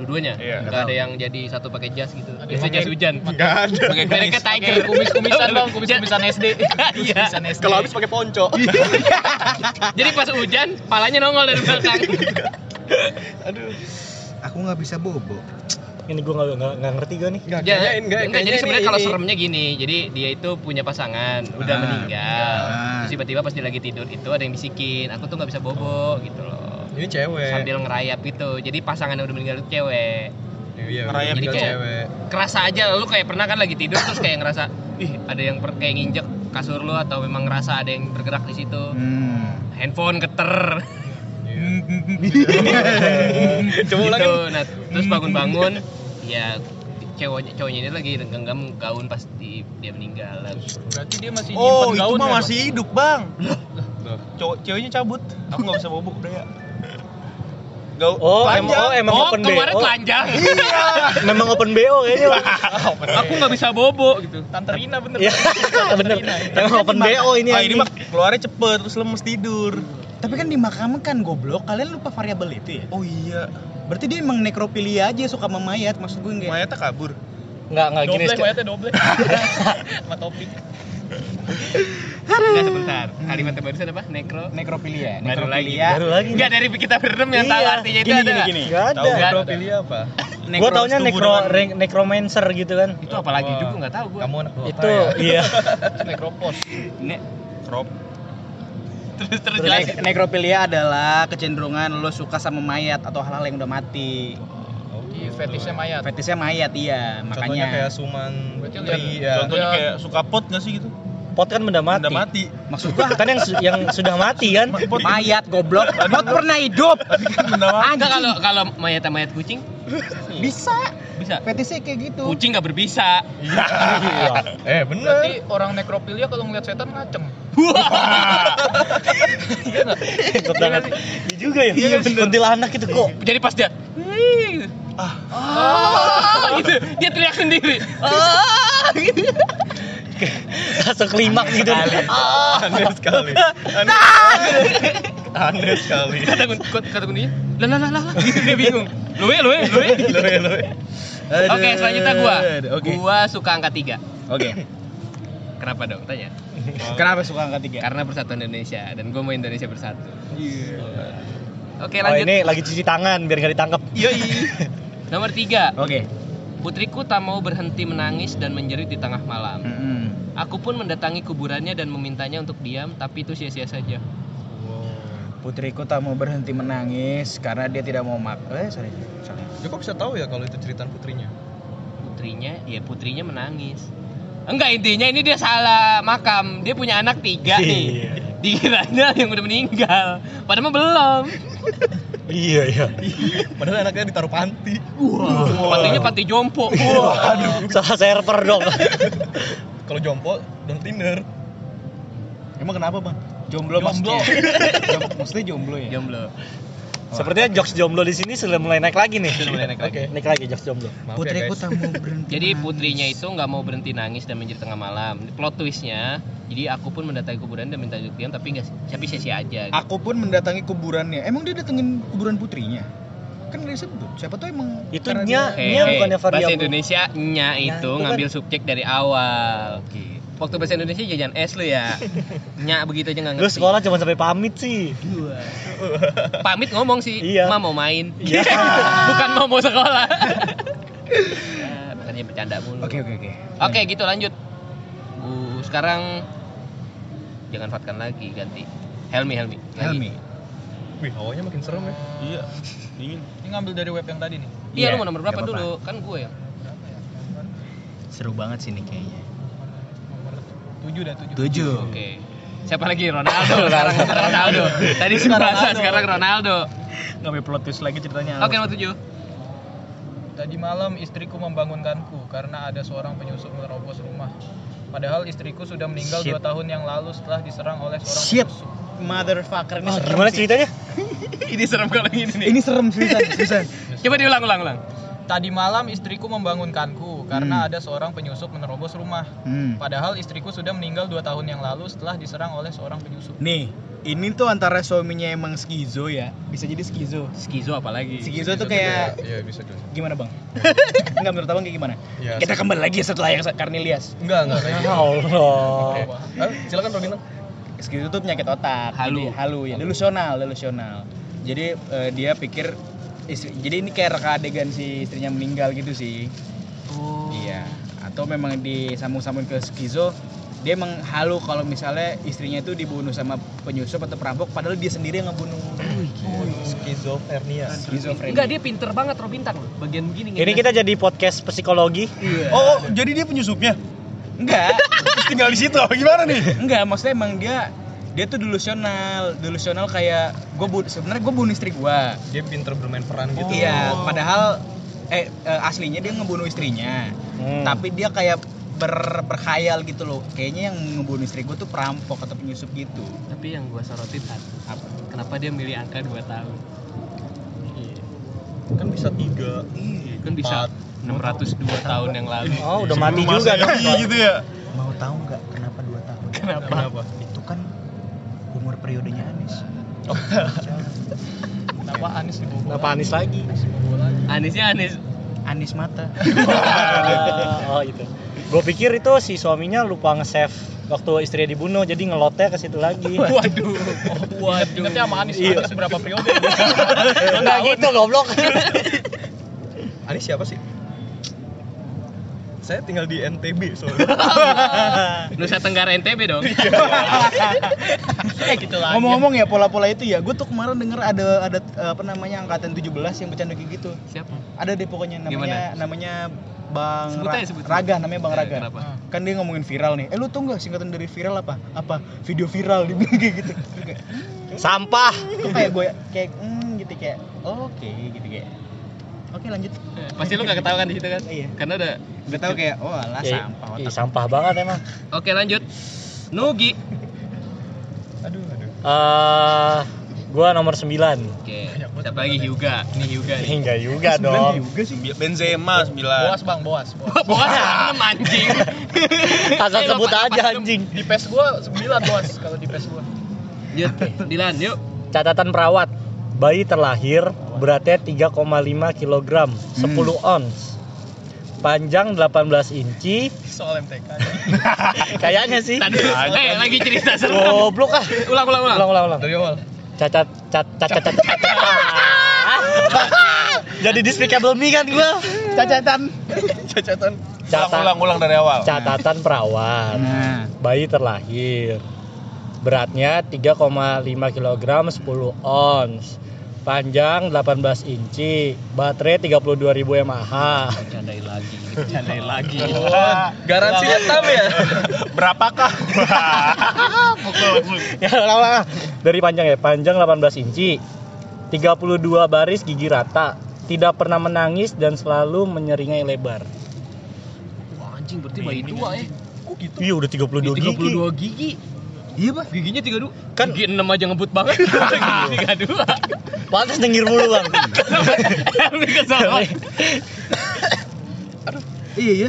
Speaker 2: Dua-duanya?
Speaker 4: Iya.
Speaker 2: Nggak ada yang jadi satu pakai jas gitu. Biasanya
Speaker 6: Ada yang
Speaker 2: jas
Speaker 6: pakai-
Speaker 2: hujan.
Speaker 4: Enggak ada.
Speaker 2: Pakai mereka tiger.
Speaker 6: Kayak kumis-kumisan dong, kumis-kumisan SD.
Speaker 2: Iya.
Speaker 6: Kumis-kumisan SD.
Speaker 7: Kalau habis pakai ponco.
Speaker 2: Jadi pas hujan, palanya nongol dari belakang.
Speaker 3: aku nggak bisa bobo
Speaker 5: ini gue nggak nggak ngerti gue nih
Speaker 7: Enggak
Speaker 2: Ya,
Speaker 7: kayaknya enggak.
Speaker 2: enggak, jadi sebenarnya kalau seremnya gini, jadi dia itu punya pasangan, udah
Speaker 3: Ah,
Speaker 2: meninggal.
Speaker 3: ah.
Speaker 2: Terus tiba-tiba pas dia lagi tidur itu ada yang bisikin, aku tuh nggak bisa bobo gitu loh.
Speaker 7: ini cewek.
Speaker 2: Sambil ngerayap gitu. Jadi pasangan yang udah meninggal itu cewek.
Speaker 7: Iya,
Speaker 4: Ngerayap
Speaker 7: ini
Speaker 2: gitu.
Speaker 7: cewek.
Speaker 2: kerasa aja lu kayak pernah kan lagi tidur terus kayak ngerasa ih ada yang per- kayak nginjek kasur lu atau memang ngerasa ada yang bergerak di situ
Speaker 3: hmm.
Speaker 2: handphone geter
Speaker 7: Coba
Speaker 2: Iya. gitu
Speaker 7: ulangin.
Speaker 2: nah terus bangun-bangun ya cowoknya cowoknya ini lagi genggam gaun pas di- dia meninggal
Speaker 6: Berarti dia masih nyimpen
Speaker 4: Oh, itu
Speaker 6: gaun.
Speaker 4: mah
Speaker 6: ya,
Speaker 4: masih hidup, Bang.
Speaker 7: Loh.
Speaker 4: Cowok ceweknya cabut. Aku enggak bisa bobok udah ya.
Speaker 5: oh emang oh Iya. emang
Speaker 2: oh
Speaker 5: open bo
Speaker 2: kemarin telanjang
Speaker 5: memang open bo kayaknya Bang.
Speaker 2: aku nggak bisa bobo gitu
Speaker 6: Bang? Tante Rina bener.
Speaker 5: Iya, bener emang open bo ini
Speaker 4: Ah, ini
Speaker 5: anjing.
Speaker 4: mah keluarnya cepet terus lemes tidur.
Speaker 3: tapi kan dimakamkan goblok kalian lupa variabel itu ya
Speaker 4: Oh iya,
Speaker 3: berarti dia emang nekrofilia aja suka sama mayat maksud gue nggak ya?
Speaker 4: mayatnya kabur.
Speaker 5: nggak nggak gini
Speaker 6: Doble,
Speaker 5: Ske.
Speaker 2: ya,
Speaker 6: mayatnya doble. Sama topi.
Speaker 2: nggak sebentar kalimat barusan apa nekro
Speaker 3: nekrofilia
Speaker 2: Baru lagi.
Speaker 3: nekrofilia
Speaker 5: baru lagi
Speaker 2: nggak dari kita berenam yang tahu
Speaker 5: Iya,
Speaker 2: artinya itu
Speaker 4: Gini
Speaker 2: ada
Speaker 4: gini gini.
Speaker 5: Nggak ada.
Speaker 4: Tahu nggak?
Speaker 7: Nekrofilia apa?
Speaker 5: gue taunya necro
Speaker 4: setuburan.
Speaker 5: re- necromancer gitu kan
Speaker 2: itu apalagi juga nggak tahu gua
Speaker 7: Kamu anak dua
Speaker 5: itu iya
Speaker 6: Nekropos.
Speaker 4: Crop.
Speaker 2: terus terus
Speaker 3: Terus
Speaker 2: jelas
Speaker 3: ne- nekrofilia adalah kecenderungan lo suka sama mayat atau hal-hal yang udah mati.
Speaker 6: Iya, fetishnya mayat.
Speaker 3: Fetisnya mayat iya,
Speaker 7: Contohnya kayak
Speaker 3: makanya
Speaker 7: suman
Speaker 6: Berarti
Speaker 7: tri
Speaker 6: lihat-
Speaker 7: ya.
Speaker 4: Contohnya
Speaker 6: Iya.
Speaker 4: kayak suka pot nggak sih gitu?
Speaker 5: pot kan benda mati
Speaker 4: Udah mati.
Speaker 3: maksud gua
Speaker 5: kan yang su- yang sudah mati kan
Speaker 4: Pot
Speaker 3: mayat goblok, pot pernah hidup.
Speaker 4: benda mati.
Speaker 2: Enggak kalau kalau mayat mayat kucing
Speaker 3: Bisa,
Speaker 2: bisa.
Speaker 3: fetisnya kayak gitu.
Speaker 2: Kucing nggak berbisa.
Speaker 5: Iya.
Speaker 7: Eh, bener.
Speaker 6: Berarti orang nekrofilia kalau ngeliat setan ngaceng.
Speaker 5: Cepet banget. Iya juga ya. Iya Kuntilanak gitu kok.
Speaker 2: Jadi pas dia "Wih," gitu. ah gitu dia teriak sendiri.
Speaker 3: Oh,
Speaker 2: Ah gitu.
Speaker 5: Langsung klimak gitu.
Speaker 7: Aneh sekali. Aneh. Aneh sekali.
Speaker 3: iya.
Speaker 2: Kata kun- kut- kata kuncinya lah lah lah lah. lah." Gitu dia bingung. Luwe luwe luwe.
Speaker 7: Loe, loe.
Speaker 2: ya, Oke, selanjutnya gua.
Speaker 3: ya, Oke.
Speaker 2: Gua suka angka tiga.
Speaker 3: Oke.
Speaker 2: Kenapa dong? Tanya.
Speaker 3: Kenapa suka angka tiga?
Speaker 2: Karena persatuan Indonesia dan gua mau Indonesia bersatu.
Speaker 3: Iya.
Speaker 2: Oke,
Speaker 5: Oh
Speaker 2: lanjut.
Speaker 5: ini lagi cuci tangan biar nggak ditangkap.
Speaker 2: Nomor tiga,
Speaker 3: Oke.
Speaker 2: putriku tak mau berhenti menangis dan menjerit di tengah malam. Aku pun mendatangi kuburannya dan memintanya untuk diam, tapi itu sia-sia saja.
Speaker 3: Putriku tak mau berhenti menangis karena dia tidak mau mak. Eh, sorry, sorry.
Speaker 7: Dia kok bisa tahu ya kalau itu cerita putrinya?
Speaker 2: Putrinya, ya putrinya menangis. Enggak intinya ini dia salah makam. Dia punya anak tiga
Speaker 5: Iya.
Speaker 2: nih. Dikiranya yang udah meninggal. Padahal mah belum.
Speaker 5: Iya iya.
Speaker 7: Padahal anaknya ditaruh panti.
Speaker 2: Patinya pati jompo.
Speaker 5: Salah server dong.
Speaker 7: Kalau jompo, don't Tinder.
Speaker 3: Emang kenapa bang? Jomblo,
Speaker 7: Jomblo.
Speaker 3: maksudnya. Jom- maksudnya jomblo ya.
Speaker 2: Jomblo.
Speaker 5: Sepertinya jokes jomblo di sini sudah mulai naik lagi nih.
Speaker 2: Sudah mulai naik lagi.
Speaker 5: Naik lagi jokes jomblo.
Speaker 7: Maaf ya,
Speaker 3: Putriku
Speaker 7: guys.
Speaker 3: tak mau berhenti.
Speaker 2: Jadi
Speaker 3: menangis.
Speaker 2: putrinya itu nggak mau berhenti nangis dan menjerit tengah malam. Plot twistnya, jadi aku pun mendatangi kuburan dan minta untuk diam, tapi nggak, tapi sia-sia aja.
Speaker 3: Aku pun mendatangi kuburannya. Emang dia datengin kuburan putrinya? Kan dia sebut. Siapa tuh emang?
Speaker 5: Itu
Speaker 3: karena
Speaker 5: nya-
Speaker 3: dia-
Speaker 2: Hei,
Speaker 5: Nya
Speaker 2: hei,
Speaker 5: bukannya variabel.
Speaker 2: Bahasa Indonesia nya itu
Speaker 5: itu kan.
Speaker 2: ngambil subjek dari awal. Waktu bahasa Indonesia jajan es lu ya. nya begitu aja nggak
Speaker 5: Lu
Speaker 2: ngerti.
Speaker 5: sekolah cuma sampai pamit sih.
Speaker 2: Pamit ngomong sih,
Speaker 5: Iya.
Speaker 2: "Ma, mau main."
Speaker 5: Iya.
Speaker 2: Bukan mau mau sekolah. Ya, Makanya bercanda mulu.
Speaker 3: Oke oke oke.
Speaker 2: Oke, gitu lanjut. Bu, sekarang jangan fatkan lagi ganti. Helmi, Helmi. lagi.
Speaker 3: Helmi.
Speaker 7: Wih, awalnya makin serem ya.
Speaker 4: Iya. Dingin.
Speaker 6: Ini ngambil dari web yang tadi nih.
Speaker 2: Iya,
Speaker 3: Iya,
Speaker 2: lu mau nomor berapa
Speaker 3: nggak apa-apa.
Speaker 2: dulu? Kan gue ya.
Speaker 3: Seru banget sih ini kayaknya.
Speaker 6: Tujuh dah, tujuh.
Speaker 3: Tujuh.
Speaker 2: Oke. Siapa lagi Ronaldo? sekarang Ronaldo. Tadi Subasa, sekarang Ronaldo.
Speaker 3: Ngambil plot twist lagi ceritanya.
Speaker 2: Oke, nomor tujuh.
Speaker 6: Tadi malam istriku membangunkanku karena ada seorang penyusup merobos rumah. Padahal istriku sudah meninggal
Speaker 3: Shit.
Speaker 6: dua tahun yang lalu setelah diserang oleh seorang
Speaker 3: Shit.
Speaker 6: penyusup.
Speaker 3: Motherfucker ini
Speaker 5: Wah,
Speaker 3: serem
Speaker 5: gimana
Speaker 3: sih.
Speaker 5: ceritanya?
Speaker 2: Ini serem kalau gini nih.
Speaker 3: Ini serem seriusan, seriusan.
Speaker 2: Coba diulang ulang ulang.
Speaker 6: Tadi malam istriku membangunkanku
Speaker 3: Hmm.
Speaker 6: karena ada seorang penyusup menerobos rumah.
Speaker 3: Hmm.
Speaker 6: Padahal istriku sudah meninggal dua tahun yang lalu setelah diserang oleh seorang penyusup.
Speaker 3: Nih, ini tuh antara suaminya emang skizo ya. Bisa jadi skizo.
Speaker 2: Skizo apalagi?
Speaker 3: Skizo ya. tuh kayak
Speaker 7: Iya bisa juga.
Speaker 3: gimana, Bang? Enggak menurut Abang kayak gimana?
Speaker 6: Ya.
Speaker 7: Iya.
Speaker 3: Kita kembali lagi setelah yang Karnelias.
Speaker 7: Enggak enggak. kayak
Speaker 5: Ya Allah.
Speaker 6: Wah,
Speaker 7: Eh, silakan Robin.
Speaker 3: Skizo tuh penyakit otak.
Speaker 2: Halu.
Speaker 3: Jadi halu ya, delusional, delusional. Jadi eh, dia pikir istri- jadi ini kayak reka adegan si istrinya meninggal gitu sih.
Speaker 2: Oh.
Speaker 3: Iya. Atau memang disambung-sambung ke skizo dia emang halu kalau misalnya istrinya itu dibunuh sama penyusup atau perampok padahal dia sendiri yang ngebunuh
Speaker 7: Skizofrenia.
Speaker 3: skizofrenia
Speaker 2: Enggak, dia pinter banget Robintang loh. Bagian begini.
Speaker 5: Ini kita jadi podcast psikologi.
Speaker 3: oh, oh,
Speaker 4: jadi dia penyusupnya?
Speaker 3: enggak
Speaker 4: Tinggal di situ apa gimana nih?
Speaker 3: enggak maksudnya emang dia dia tuh delusional delusional kayak gue bu sebenarnya gue bunuh istri gue
Speaker 7: Dia pinter bermain peran gitu.
Speaker 3: iya padahal eh, eh, aslinya dia ngebunuh istrinya
Speaker 5: Hmm.
Speaker 3: tapi dia kayak ber- berkhayal gitu loh kayaknya yang ngebunuh istri gue tuh perampok atau penyusup gitu
Speaker 2: Tapi yang gua sorotin satu.
Speaker 3: Apa?
Speaker 2: Kenapa dia milih angka 2 tahun?
Speaker 7: Kan bisa tiga.
Speaker 2: Iya, kan bisa 602 tahun yang lalu.
Speaker 5: Oh, udah mati
Speaker 4: Sebelum
Speaker 5: juga dong.
Speaker 4: Masehi gitu ya.
Speaker 3: mau tahu nggak kenapa dua tahun
Speaker 2: Kenapa?
Speaker 7: Kenapa?
Speaker 3: itu kan umur periodenya Anies
Speaker 6: Kenapa Anies dibobol?
Speaker 5: Kenapa Anis lagi?
Speaker 6: Dibobol lagi.
Speaker 2: Anisnya Anis.
Speaker 3: Anies mata
Speaker 5: oh itu. Gue pikir itu si suaminya lupa nge-save waktu istrinya dibunuh jadi ngelotnya ke situ lagi.
Speaker 2: Waduh. waduh.
Speaker 6: Ingatnya sama Anies,
Speaker 5: Iya.
Speaker 6: Anies berapa periode?
Speaker 5: Enggak gitu goblok.
Speaker 7: Anies siapa sih? Saya tinggal di NTB soalnya.
Speaker 2: Nusa Tenggara NTB dong.
Speaker 6: Kayak gitu lagi.
Speaker 3: Ngomong-ngomong ya pola-pola itu ya, gue tuh kemarin denger ada ada eh, apa namanya angkatan 17 yang bercanda kayak gitu.
Speaker 2: Siapa?
Speaker 3: Ada deh pokoknya namanya namanya Bang
Speaker 2: Sebut
Speaker 3: Ra-
Speaker 2: aja, sebut.
Speaker 3: Raga namanya Bang
Speaker 2: Eh,
Speaker 3: Raga.
Speaker 2: kenapa?
Speaker 3: Kan dia ngomongin viral nih. Eh lu tau gak singkatan dari viral apa? Apa? Video viral dibilang kayak gitu. Kayak,
Speaker 5: Sampah.
Speaker 3: Kok kayak gue kayak hmm gitu kayak oke gitu kayak. Oke lanjut.
Speaker 2: Eh, Pasti lu gak ketahuan kan di situ kan?
Speaker 3: Iya.
Speaker 2: Karena udah
Speaker 3: Udah tau kayak oh alah
Speaker 5: Ya,
Speaker 3: sampah
Speaker 5: ih,
Speaker 3: otak.
Speaker 5: sampah banget emang.
Speaker 2: Oke, lanjut. Nugi.
Speaker 7: aduh, aduh.
Speaker 5: Eh, gua nomor 9.
Speaker 2: Oke. Siapa lagi Hyuga? Nih Hyuga nih.
Speaker 5: Enggak juga dong.
Speaker 3: juga sih.
Speaker 4: Benzema 9.
Speaker 6: Boas bang, boas. boas.
Speaker 2: Boas enam anjing.
Speaker 5: Asal
Speaker 2: Eh,
Speaker 5: sebut
Speaker 2: bapak-
Speaker 5: aja
Speaker 2: bapak-
Speaker 5: anjing.
Speaker 6: Di pes gua 9 boas kalau di pes gua.
Speaker 2: Yuk, Dilan, yuk.
Speaker 5: Catatan perawat. Bayi terlahir beratnya 3,5 kg, 10
Speaker 4: Hmm.
Speaker 5: ons. Panjang 18 inci,
Speaker 6: Soal MTK.
Speaker 5: kayaknya sih.
Speaker 2: Tadi Oh. eh lagi cerita seru.
Speaker 5: Goblok ah.
Speaker 2: Ulang, ulang, ulang.
Speaker 5: Ulang ulang ulang.
Speaker 7: Dari awal.
Speaker 5: Cacat cat cat cat cat. cat- cat. Jadi despicable me kan gua.
Speaker 3: Cacatan.
Speaker 7: Cacatan.
Speaker 5: Catatan
Speaker 4: Ulang-ulang dari awal.
Speaker 5: catatan perawat.
Speaker 3: Nah,
Speaker 5: Bayi terlahir. Beratnya 3,5 kg 10 ons. Panjang 18 inci, baterai 32.000 mAh.
Speaker 2: Candain lagi. Candain lagi.
Speaker 7: Garansinya tam ya.
Speaker 4: Berapakah? Pukul langsung.
Speaker 5: ya ulang, ulang, ulang. dari panjang ya panjang 18 inci 32 baris gigi rata tidak pernah menangis dan selalu menyeringai lebar
Speaker 2: Wah, anjing berarti bayi tua ya.
Speaker 5: iya udah 32 gigi
Speaker 2: 32 gigi. Iya, Pak. Giginya 32. Kan gigi 6 aja ngebut banget. Gigi 32.
Speaker 5: pantas dengir mulu bang
Speaker 2: Ini kesel banget.
Speaker 3: iya ya.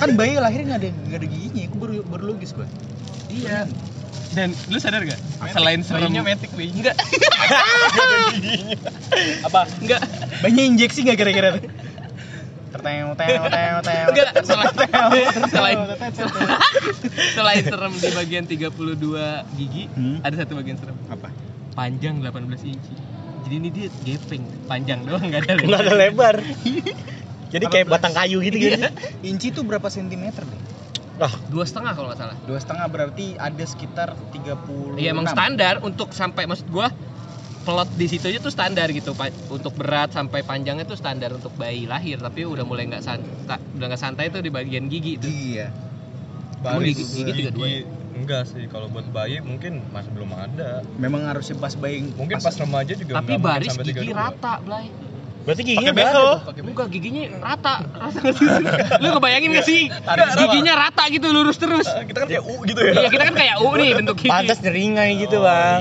Speaker 3: Kan bayi lahir nggak ada nggak ada giginya, gue baru baru logis gue.
Speaker 2: Iya. Dan lu sadar gak? Selain serem
Speaker 6: Bayinya metik, bayinya.
Speaker 2: Enggak.
Speaker 3: Apa?
Speaker 2: Enggak.
Speaker 3: Banyak injeksi nggak kira-kira tuh? Terteo, teo, teo, teo.
Speaker 2: Enggak, selain selain
Speaker 3: Terteo.
Speaker 2: selain serem di bagian 32 gigi,
Speaker 3: Hmm.
Speaker 2: ada satu bagian serem.
Speaker 3: Apa?
Speaker 2: Panjang 18 inci. Jadi ini dia gepeng, panjang doang enggak ada.
Speaker 5: nggak ada lebar jadi kayak batang kayu gitu gitu
Speaker 3: Inci tuh berapa sentimeter deh?
Speaker 2: Dua setengah kalau nggak salah.
Speaker 3: Dua setengah berarti ada sekitar 30
Speaker 2: Iya emang standar untuk sampai maksud gua plot di situ aja tuh standar gitu Pa- untuk berat sampai panjangnya tuh standar untuk bayi lahir tapi udah mulai nggak santai udah nggak santai tuh di bagian gigi itu
Speaker 3: Iya.
Speaker 2: Emang gigi-
Speaker 6: eh,
Speaker 2: gigi 32 ya?
Speaker 7: Enggak sih, kalau buat bayi mungkin masih belum ada.
Speaker 3: Memang harusnya pas bayi
Speaker 7: Mungkin pas remaja juga
Speaker 2: tapi
Speaker 7: nggak mungkin
Speaker 2: baris
Speaker 7: sampai
Speaker 2: gigi
Speaker 7: 32.
Speaker 2: rata Blay
Speaker 5: berarti giginya
Speaker 4: Pakai
Speaker 5: berapa
Speaker 4: bengkel.
Speaker 5: tuh?
Speaker 2: enggak giginya rata rata nggak sih lu kebayangin nggak sih giginya rata gitu lurus terus
Speaker 7: Ah, Kita kan kayak U gitu ya.
Speaker 2: iya kita kan kayak U nih bentuk gigi
Speaker 5: pantas nyeringai
Speaker 2: Oh,
Speaker 5: gitu bang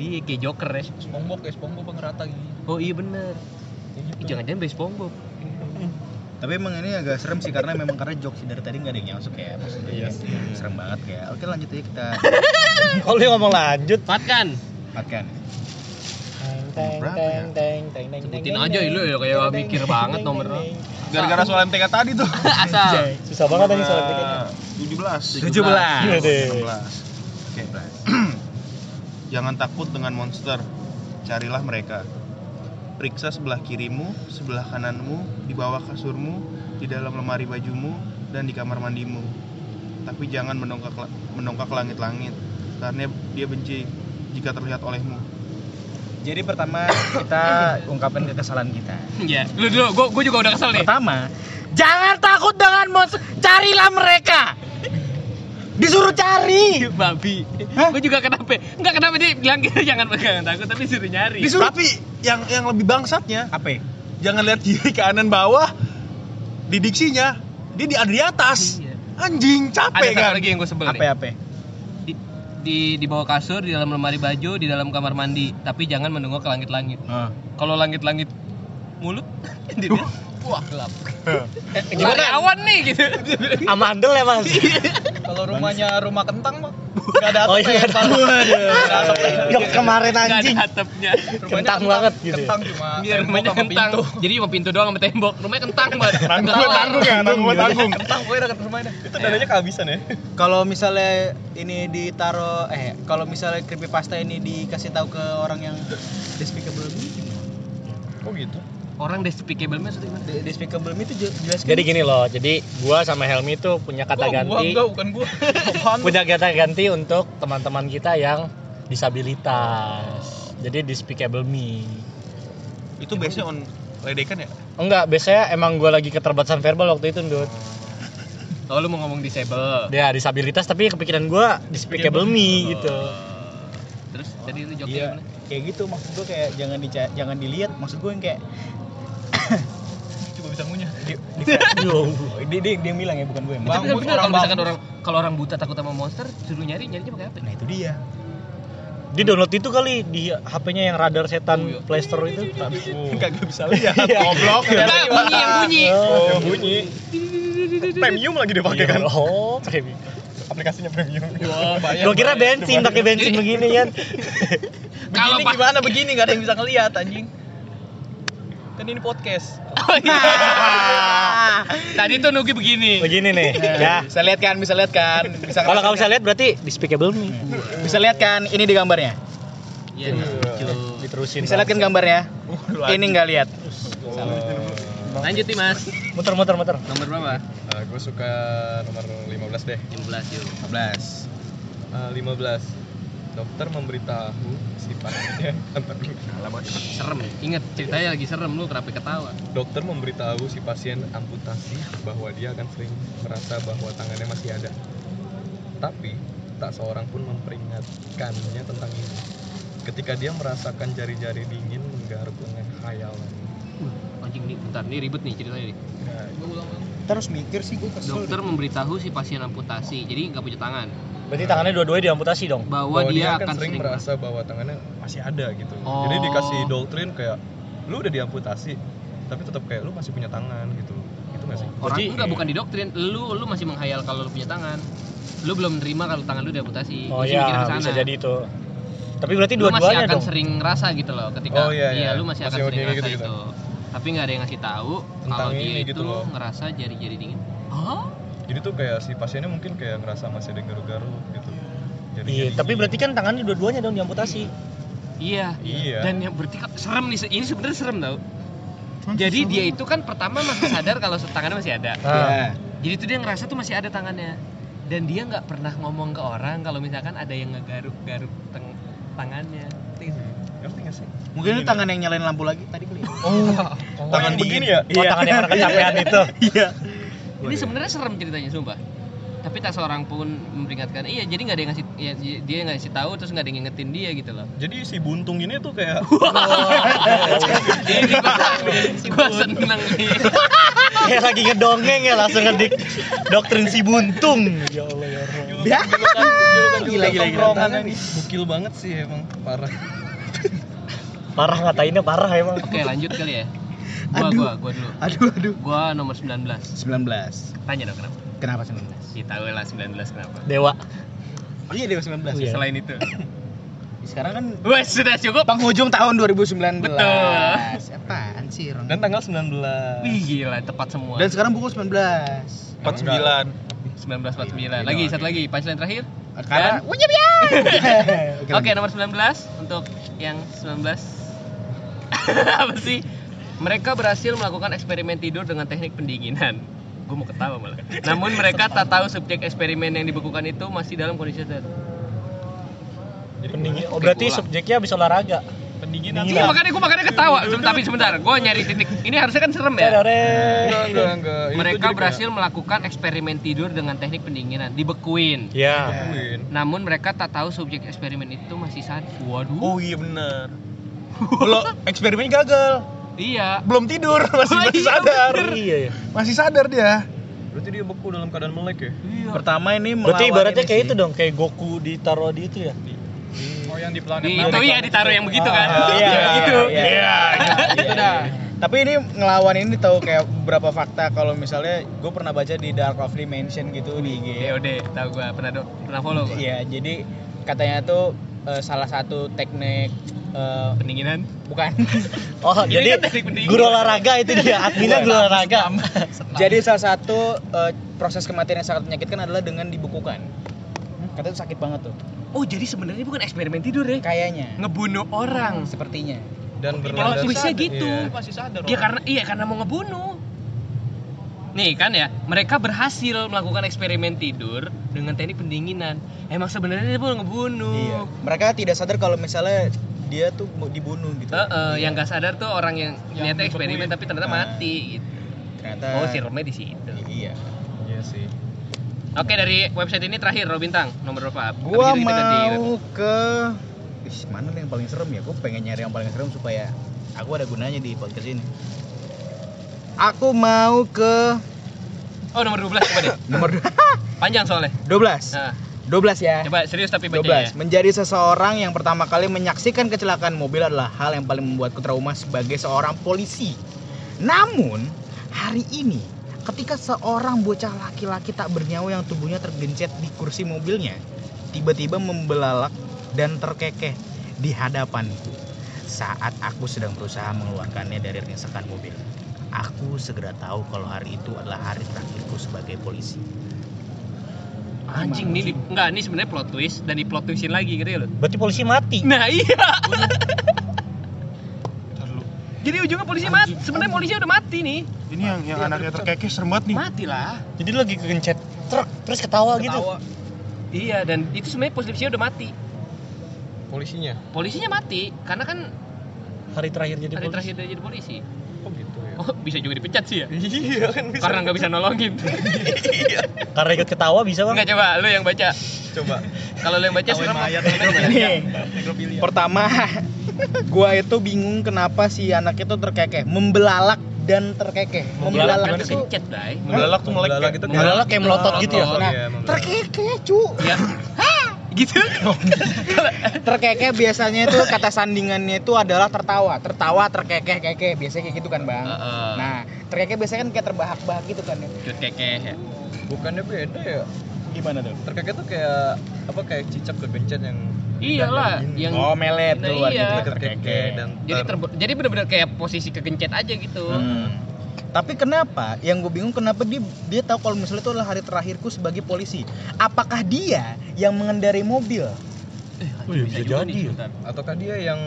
Speaker 2: iya kayak joker ya
Speaker 6: "Uh, Spongbok ya, Spongbok bang rata gini.
Speaker 2: oh iya bener Ih, Jangan-jangan base SpongeBob.
Speaker 3: Tapi emang ini agak serem sih karena memang karena jokes dari tadi nggak ada yang masuk ya. Maksudnya
Speaker 2: Iya
Speaker 3: serem banget kayak. Oke lanjut aja kita
Speaker 5: Kalau dia ngomong lanjut.
Speaker 2: Pat kan?
Speaker 3: makan.
Speaker 4: Berapa ya?
Speaker 2: Sebutin aja lu ya kayak mikir banget nomornya.
Speaker 4: Gara-gara soal MTK tadi tuh.
Speaker 2: Asal.
Speaker 5: Susah banget tadi soal pikirnya.
Speaker 4: tujuh belas.
Speaker 3: 17.
Speaker 5: Yaudah.
Speaker 2: Iya,
Speaker 4: Oke. Jangan takut dengan monster. Carilah mereka. Periksa sebelah kirimu, sebelah kananmu, di bawah kasurmu, di dalam lemari bajumu, dan di kamar mandimu. Tapi jangan mendongkak la- mendongkak ke langit-langit, karena dia benci jika terlihat olehmu.
Speaker 3: Jadi pertama kita ungkapin kekesalan kita.
Speaker 2: Iya. Lu dulu, gua, gua juga udah kesel nih.
Speaker 3: Pertama, jangan takut dengan monster, carilah mereka. Disuruh cari,
Speaker 2: Babi.
Speaker 3: Hah?
Speaker 2: Gua juga kenapa? Enggak kenapa dia bilang kita jangan pegangan takut tapi suruh nyari.
Speaker 3: disuruh
Speaker 4: Tapi yang yang lebih bangsatnya,
Speaker 3: apa? ya?
Speaker 4: jangan lihat kiri kanan bawah. Di diksinya, dia di, ada di atas.
Speaker 2: Iya.
Speaker 4: Anjing,
Speaker 2: Ada
Speaker 4: capek
Speaker 2: satu
Speaker 4: kan?
Speaker 2: lagi yang gua sebel
Speaker 3: Apa ya?
Speaker 2: nih.
Speaker 3: apa?
Speaker 2: Di, di di bawah kasur, di dalam lemari baju, di dalam kamar mandi, tapi jangan menengok ke langit-langit.
Speaker 3: Ah.
Speaker 2: Kalau langit-langit mulut, dia bilang, wah gelap. Gimana awan nih gitu.
Speaker 5: Amandel ya mas.
Speaker 2: Iya,
Speaker 6: Kalau rumahnya rumah kentang mah nggak ada
Speaker 5: Oh
Speaker 6: atap ya.
Speaker 5: iya.
Speaker 2: Iya,
Speaker 6: Waduh.
Speaker 5: Yang kemarin
Speaker 2: Nggak
Speaker 5: anjing.
Speaker 2: ada atapnya.
Speaker 6: Rumahnya
Speaker 5: Kentang banget gitu.
Speaker 6: Kentang cuma
Speaker 2: Dia
Speaker 6: tembok
Speaker 2: rumahnya
Speaker 6: sama
Speaker 2: kentang.
Speaker 6: pintu.
Speaker 2: Jadi cuma pintu doang sama tembok. Rumahnya kentang banget.
Speaker 4: Tanggung, tanggung ya, tanggung, tanggung.
Speaker 6: Kentang gue dekat rumahnya.
Speaker 7: Itu dananya kehabisan ya.
Speaker 3: Kalau misalnya ini ditaro eh kalau misalnya creepypasta ini dikasih tahu ke orang yang despicable me, gimana?
Speaker 7: Oh gitu.
Speaker 2: Orang despicable maksudnya gimana?
Speaker 3: De- despicable me itu je- jelas
Speaker 5: Jadi gini loh, jadi gua sama Helmi tuh punya kata
Speaker 6: Gua- Gua
Speaker 5: ganti,
Speaker 6: enggak bukan gua. Apaan tuh?
Speaker 5: punya kata ganti untuk teman-teman kita yang disabilitas. Jadi despicable me.
Speaker 4: Itu biasanya on ledekan ya?
Speaker 5: Enggak, biasanya emang gua lagi keterbatasan verbal waktu itu, Ndut.
Speaker 2: Oh lu mau ngomong disable.
Speaker 5: Ya, disabilitas tapi kepikiran gua despicable me gitu.
Speaker 2: Eh, Terus tadi lu joknya
Speaker 3: Iya,
Speaker 2: gimana?
Speaker 3: kayak gitu maksud gue kayak jangan dica- jangan dilihat, maksud gue yang kayak
Speaker 6: Coba bisa ngunyah.
Speaker 5: Yo.
Speaker 3: dia, dia, dia yang bilang ya bukan gue. yang bilang.
Speaker 2: Tapi
Speaker 6: Bangun,
Speaker 2: bener kalau
Speaker 6: orang
Speaker 2: misalkan
Speaker 6: bangun.
Speaker 2: orang kalau orang buta takut sama monster, suruh nyari nyarinya pakai apa?
Speaker 3: Nah itu dia.
Speaker 5: Di download itu kali di HP-nya yang radar
Speaker 2: Oh,
Speaker 5: setan
Speaker 2: iya.
Speaker 5: Play Store itu. Oh,
Speaker 3: Kagak bisa lihat.
Speaker 7: Goblok.
Speaker 4: Iya.
Speaker 2: Nah, bunyi yang bunyi.
Speaker 7: Oh, bunyi. Premium lagi dipakai kan.
Speaker 5: Oh,
Speaker 7: Aplikasinya premium.
Speaker 6: Wah,
Speaker 4: Iya.
Speaker 2: Iya,
Speaker 6: bayar.
Speaker 5: Gua kira bensin pakai bensin begini kan.
Speaker 2: Kalau
Speaker 6: Begini
Speaker 2: Pak-
Speaker 6: gimana begini nggak ada yang bisa ngelihat anjing. Kan ini podcast.
Speaker 2: Oh, iya. Tadi tuh Nugi begini.
Speaker 5: Begini nih. Ya.
Speaker 3: Bisa lihat kan, bisa lihat kan. Bisa
Speaker 5: Kalau kamu bisa lihat berarti despicable me.
Speaker 3: bisa lihat kan ini di gambarnya.
Speaker 2: Iya.
Speaker 5: Diterusin.
Speaker 3: Bisa lihat kan gambarnya?
Speaker 5: Uh,
Speaker 3: Ini nggak lihat.
Speaker 2: Lanjut nih Mas.
Speaker 5: muter-muter muter.
Speaker 2: Nomor berapa?
Speaker 7: gue Eh, suka nomor 15 deh.
Speaker 2: 15 yuk.
Speaker 3: 15.
Speaker 7: Eh, 15. Dokter memberitahu si pasiennya
Speaker 2: Serem. Ingat ceritanya lagi serem lu kenapa ketawa?
Speaker 7: Dokter memberitahu si pasien amputasi bahwa dia akan sering merasa bahwa tangannya masih ada. Tapi tak seorang pun memperingatkannya tentang ini. Ketika dia merasakan jari-jari dingin menggaruk lengan khayalan.
Speaker 2: Uh, anjing nih, bentar nih ribet nih ceritanya nih.
Speaker 7: Nah,
Speaker 3: Terus mikir sih gue kesel.
Speaker 2: Dokter memberitahu si pasien amputasi, jadi nggak punya tangan,
Speaker 5: Berarti tangannya dua-duanya diamputasi dong.
Speaker 2: bahwa, dia, akan sering merasa.
Speaker 7: merasa bahwa tangannya masih ada gitu.
Speaker 2: Oh.
Speaker 7: Jadi dikasih doktrin kayak lu udah diamputasi tapi tetap kayak lu masih punya tangan gitu. Itu nggak sih?
Speaker 2: Orang
Speaker 5: Jadi-
Speaker 2: enggak bukan didoktrin, lu lu masih menghayal kalau lu punya tangan. Lu belum nerima kalau tangan lu diamputasi.
Speaker 5: Oh
Speaker 2: Masih mikirin
Speaker 5: iya,
Speaker 2: kesana.
Speaker 5: bisa jadi itu. Tapi berarti
Speaker 2: lu masih
Speaker 5: dua-duanya
Speaker 2: akan
Speaker 5: dong.
Speaker 2: sering ngerasa gitu loh ketika
Speaker 7: Oh, iya, iya.
Speaker 2: lu masih,
Speaker 7: Masih
Speaker 2: akan sering
Speaker 7: kayak
Speaker 2: ngerasa
Speaker 7: gitu-gitu.
Speaker 2: itu tapi nggak ada yang ngasih tahu
Speaker 7: Tentang
Speaker 2: kalau
Speaker 7: ini
Speaker 2: dia itu
Speaker 7: gitu loh.
Speaker 2: ngerasa jari-jari dingin
Speaker 5: Oh?
Speaker 2: Hah?
Speaker 7: Jadi tuh kayak si pasiennya mungkin kayak ngerasa masih ada garuk-garuk gitu. Jadi
Speaker 5: Iya, tapi berarti kan tangannya dua-duanya dong diamputasi.
Speaker 2: iya
Speaker 7: Iya.
Speaker 2: dan yang berarti kan serem nih ini sebenarnya serem tau jadi dia itu kan pertama masih sadar kalau tangannya masih ada
Speaker 5: Ah.
Speaker 2: jadi itu dia ngerasa tuh masih ada tangannya dan dia nggak pernah ngomong ke orang kalau misalkan ada yang ngegaruk-garuk teng- tangannya
Speaker 7: Ngerti nggak sih?
Speaker 3: Mungkin itu tangan yang nyalain lampu lagi tadi kali. ya.
Speaker 7: Tangan begini
Speaker 3: Iya.
Speaker 7: ya?
Speaker 5: Oh, tangan yang orang kecapean itu.
Speaker 2: ini sebenarnya serem ceritanya sumpah tapi tak seorang pun memperingatkan iya jadi nggak ada yang ngasih ya, dia nggak ngasih tahu terus nggak ada yang ngingetin dia gitu loh
Speaker 7: Jadi si buntung ini tuh kayak
Speaker 2: ini gua, gua seneng nih
Speaker 5: Kayak lagi ngedongeng ya langsung ngedik doktrin si buntung. Ya Allah ya Allah.
Speaker 3: Iya. Gila gila gila.
Speaker 7: tongkrongan ini. Bukil banget sih emang parah.
Speaker 5: Parah ngatainnya parah emang.
Speaker 2: oke lanjut kali ya Gua,
Speaker 3: Aduh.
Speaker 2: gua, gua dulu.
Speaker 3: Aduh, aduh.
Speaker 2: Gua nomor 19.
Speaker 3: 19.
Speaker 2: Tanya dong kenapa?
Speaker 3: Kenapa 19?
Speaker 2: Kita tahu lah 19 kenapa.
Speaker 5: Dewa.
Speaker 3: Oh iya, Dewa 19.
Speaker 5: Iya.
Speaker 2: Selain itu.
Speaker 3: Sekarang kan
Speaker 2: Wes, sudah cukup.
Speaker 3: penghujung tahun 2019.
Speaker 2: Betul.
Speaker 3: Apaan sih, Ron?
Speaker 7: Dan tanggal 19.
Speaker 2: Wih, gila, tepat semua.
Speaker 3: Dan sekarang pukul 19.
Speaker 4: 49
Speaker 2: 1949. Lagi, satu lagi, punchline terakhir. Dan-
Speaker 3: Karena Wujub ya.
Speaker 2: Oke, nomor 19 untuk yang 19. Apa sih? Mereka berhasil melakukan eksperimen tidur dengan teknik pendinginan. Gue mau ketawa malah. Namun mereka tak tahu subjek eksperimen yang dibekukan itu masih dalam kondisi sehat.
Speaker 5: Pendingin. Oh, berarti
Speaker 2: Pulang.
Speaker 5: subjeknya habis olahraga.
Speaker 7: Pendinginan.
Speaker 6: Iya.
Speaker 2: Ini Iya, makanya gue makanya ketawa. Sebentar, tapi sebentar, gue nyari titik. Ini harusnya kan serem ya.
Speaker 5: Tadare.
Speaker 7: Enggak, enggak, enggak. Ini tuh jadi
Speaker 2: Mereka
Speaker 7: kayak
Speaker 2: berhasil melakukan eksperimen tidur dengan teknik pendinginan, dibekuin.
Speaker 5: Ya.
Speaker 7: Queen.
Speaker 2: Namun mereka tak tahu subjek eksperimen itu masih sadar. Waduh.
Speaker 4: Oh iya bener
Speaker 3: Belum eksperimen gagal.
Speaker 2: Iya.
Speaker 3: Belum tidur, masih
Speaker 2: Oh,
Speaker 3: masih
Speaker 2: iya,
Speaker 3: sadar.
Speaker 5: Iya ya.
Speaker 3: Masih sadar dia.
Speaker 7: Berarti dia beku dalam keadaan melek ya?
Speaker 2: Iya.
Speaker 3: Pertama ini melawan
Speaker 5: Berarti ibaratnya
Speaker 3: ini
Speaker 5: kayak
Speaker 3: sih.
Speaker 5: itu dong, kayak Goku ditaruh di itu ya.
Speaker 3: Hmm.
Speaker 7: Oh yang di planet
Speaker 2: Di- Itu ya ditaruh yang begitu kan.
Speaker 3: Ah, iya,
Speaker 2: Yang
Speaker 3: iya,
Speaker 2: gitu.
Speaker 3: iya, iya, iya, iya. Tapi ini ngelawan ini tahu kayak beberapa fakta kalau misalnya gue pernah baca di Dark of Dimension gitu di IG.
Speaker 2: DOD, Ya tahu gua pernah do, pernah follow Iya, gua.
Speaker 3: Iya, jadi katanya tuh eh, salah satu teknik eh,
Speaker 2: Pendinginan.
Speaker 3: bukan.
Speaker 5: Oh,
Speaker 2: Ini
Speaker 5: jadi
Speaker 2: kan teknik pendinginan.
Speaker 5: guru olahraga itu dia, adminnya guru olahraga.
Speaker 3: jadi salah satu eh, proses kematian yang sangat menyakitkan adalah dengan dibekukan. Katanya tuh sakit banget tuh.
Speaker 2: Oh, jadi sebenarnya bukan eksperimen tidur ya.
Speaker 3: Kayaknya,
Speaker 2: Ngebunuh orang.
Speaker 3: sepertinya.
Speaker 7: dan
Speaker 2: Plot
Speaker 7: berlandas
Speaker 2: twistnya gitu.
Speaker 6: masih sadar
Speaker 2: Iya karena iya karena mau ngebunuh. Nih kan ya, mereka berhasil melakukan eksperimen tidur dengan teknik pendinginan. Emang sebenarnya dia mau ngebunuh.
Speaker 3: Iya. Mereka tidak sadar kalau misalnya dia tuh mau dibunuh gitu.
Speaker 2: Eh, eh, yang gak sadar tuh orang yang,
Speaker 6: Yang
Speaker 2: niatnya eksperimen tapi ternyata
Speaker 3: Ah.
Speaker 2: mati gitu.
Speaker 3: Ternyata
Speaker 2: Oh, sirumnya di situ.
Speaker 3: Iya.
Speaker 7: Iya sih.
Speaker 2: Oke, dari website ini terakhir Robintang, nomor berapa? Habis
Speaker 3: Gua
Speaker 2: gitu, itu kita ganti website.
Speaker 3: mau ke Ih, mana nih yang paling serem ya? Gua pengen nyari yang paling serem supaya aku ada gunanya di podcast ini. Aku mau ke
Speaker 2: Oh, nomor 12 coba deh.
Speaker 3: nomor
Speaker 2: Panjang soalnya.
Speaker 3: 12.
Speaker 2: Nah,
Speaker 3: 12 ya.
Speaker 2: coba serius tapi baca ya.
Speaker 3: 12. Menjadi seseorang yang pertama kali menyaksikan kecelakaan mobil adalah hal yang paling membuatku trauma sebagai seorang polisi. Namun, hari ini ketika seorang bocah laki-laki tak bernyawa yang tubuhnya tergencet di kursi mobilnya, tiba-tiba membelalak dan terkekeh di hadapanku saat aku sedang berusaha mengeluarkannya dari ringsakan mobil. Aku segera tahu kalau hari itu adalah hari terakhirku sebagai polisi.
Speaker 2: Anjing ini di, enggak, ini sebenarnya plot twist dan di plot twistin lagi gitu ya loh.
Speaker 5: Berarti polisi mati.
Speaker 2: Nah, iya. Jadi ujungnya polisi mati. Sebenarnya polisi udah mati nih.
Speaker 4: Ini yang yang anaknya terkekeh serem banget nih
Speaker 2: Mati lah.
Speaker 5: Jadi lu lagi kegencet truk terus ketawa, gitu.
Speaker 2: Iya, dan itu sebenarnya polisinya udah mati.
Speaker 7: Polisinya.
Speaker 2: Polisinya mati karena kan
Speaker 5: Hari terakhir jadi
Speaker 2: hari
Speaker 5: polisi.
Speaker 2: terakhir dia jadi polisi.
Speaker 7: Oh gitu ya.
Speaker 2: Oh, bisa juga dipecat sih ya.
Speaker 7: Iya kan bisa.
Speaker 2: Karena nggak bisa nolongin.
Speaker 5: Karena ikut ketawa bisa, Bang.
Speaker 2: Enggak coba lu yang baca.
Speaker 7: Coba.
Speaker 2: Kalau lu yang baca serem.
Speaker 5: Iya.
Speaker 3: Nih,
Speaker 7: Nekrophilia.
Speaker 3: Pertama, gua itu bingung kenapa si anak itu terkekeh, membelalak dan terkekeh.
Speaker 2: Membelalak
Speaker 3: Membelalak
Speaker 2: kan
Speaker 3: itu
Speaker 2: kencet, Bay.
Speaker 7: Membelalak tuh melek.
Speaker 5: Membelalak
Speaker 7: gitu
Speaker 5: itu Membelalak kayak melotot gitu ya?
Speaker 7: Nah,
Speaker 3: Iya, terkekeh, cu.
Speaker 2: Iya. gitu.
Speaker 3: Terkekeh biasanya itu kata sandingannya itu adalah tertawa, tertawa terkekeh kekeh, biasanya kayak gitu kan, Bang.
Speaker 2: Heeh.
Speaker 3: Nah, terkekeh biasanya kan kayak terbahak-bahak gitu kan. ya.
Speaker 2: Cut eh, kekeh ya.
Speaker 7: Bukannya beda ya?
Speaker 3: Gimana tuh?
Speaker 7: Terkekeh tuh kayak apa kayak cicak kegencet yang Iya
Speaker 2: Iyalah,
Speaker 6: iya.
Speaker 2: yang
Speaker 3: Oh, melet
Speaker 2: Nah,
Speaker 3: keluar
Speaker 2: iya.
Speaker 3: gitu
Speaker 7: terkekeh dan
Speaker 2: jadi ter jadi benar-benar kayak posisi kegencet aja gitu.
Speaker 3: Hmm. Tapi kenapa? Yang gue bingung kenapa dia dia tahu kalau misalnya itu adalah hari terakhirku sebagai polisi. Apakah dia yang mengendarai mobil?
Speaker 5: Oh iya, bisa
Speaker 2: juga
Speaker 5: jadi
Speaker 2: nih,
Speaker 5: ya.
Speaker 2: sebentar.
Speaker 7: ataukah dia yang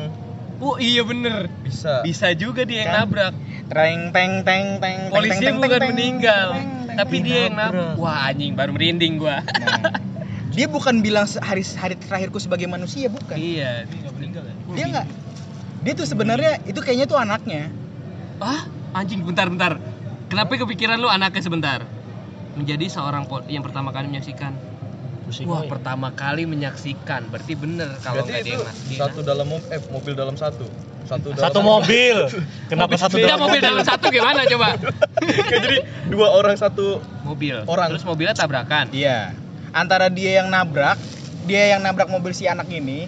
Speaker 2: Oh iya bener.
Speaker 7: bisa
Speaker 2: Bisa juga dia yang
Speaker 3: Kan?
Speaker 2: nabrak.
Speaker 3: Treng teng teng teng. teng,
Speaker 2: Polisinya
Speaker 3: teng, teng,
Speaker 2: bukan
Speaker 3: teng,
Speaker 2: meninggal,
Speaker 3: teng, teng,
Speaker 2: tapi
Speaker 3: teng.
Speaker 2: dia yang nabrak. Wah anjing baru merinding gua.
Speaker 3: Nah, dia bukan bilang se- hari hari terakhirku sebagai manusia bukan.
Speaker 2: Iya, dia nggak meninggal ya.
Speaker 3: Dia nggak. Dia tuh sebenarnya itu kayaknya tuh anaknya.
Speaker 2: Ah, anjing bentar-bentar. Kenapa kepikiran lu anaknya sebentar? Menjadi seorang pol- yang pertama kali menyaksikan.
Speaker 5: Pusing
Speaker 2: Wah,
Speaker 5: gue.
Speaker 2: pertama kali menyaksikan. Berarti bener kalau
Speaker 7: berarti
Speaker 2: nggak dia
Speaker 7: itu
Speaker 2: yang nabrak.
Speaker 7: satu dalam mobil eh mobil dalam satu. Satu dalam
Speaker 5: Satu mobil. Kenapa satu
Speaker 2: Iya,
Speaker 5: dalam
Speaker 2: mobil dalam satu gimana coba?
Speaker 7: Kayak jadi dua orang satu
Speaker 2: Mobil.
Speaker 7: Orang.
Speaker 2: Terus mobilnya tabrakan.
Speaker 3: Iya. Antara dia yang nabrak, dia yang nabrak mobil si anak ini,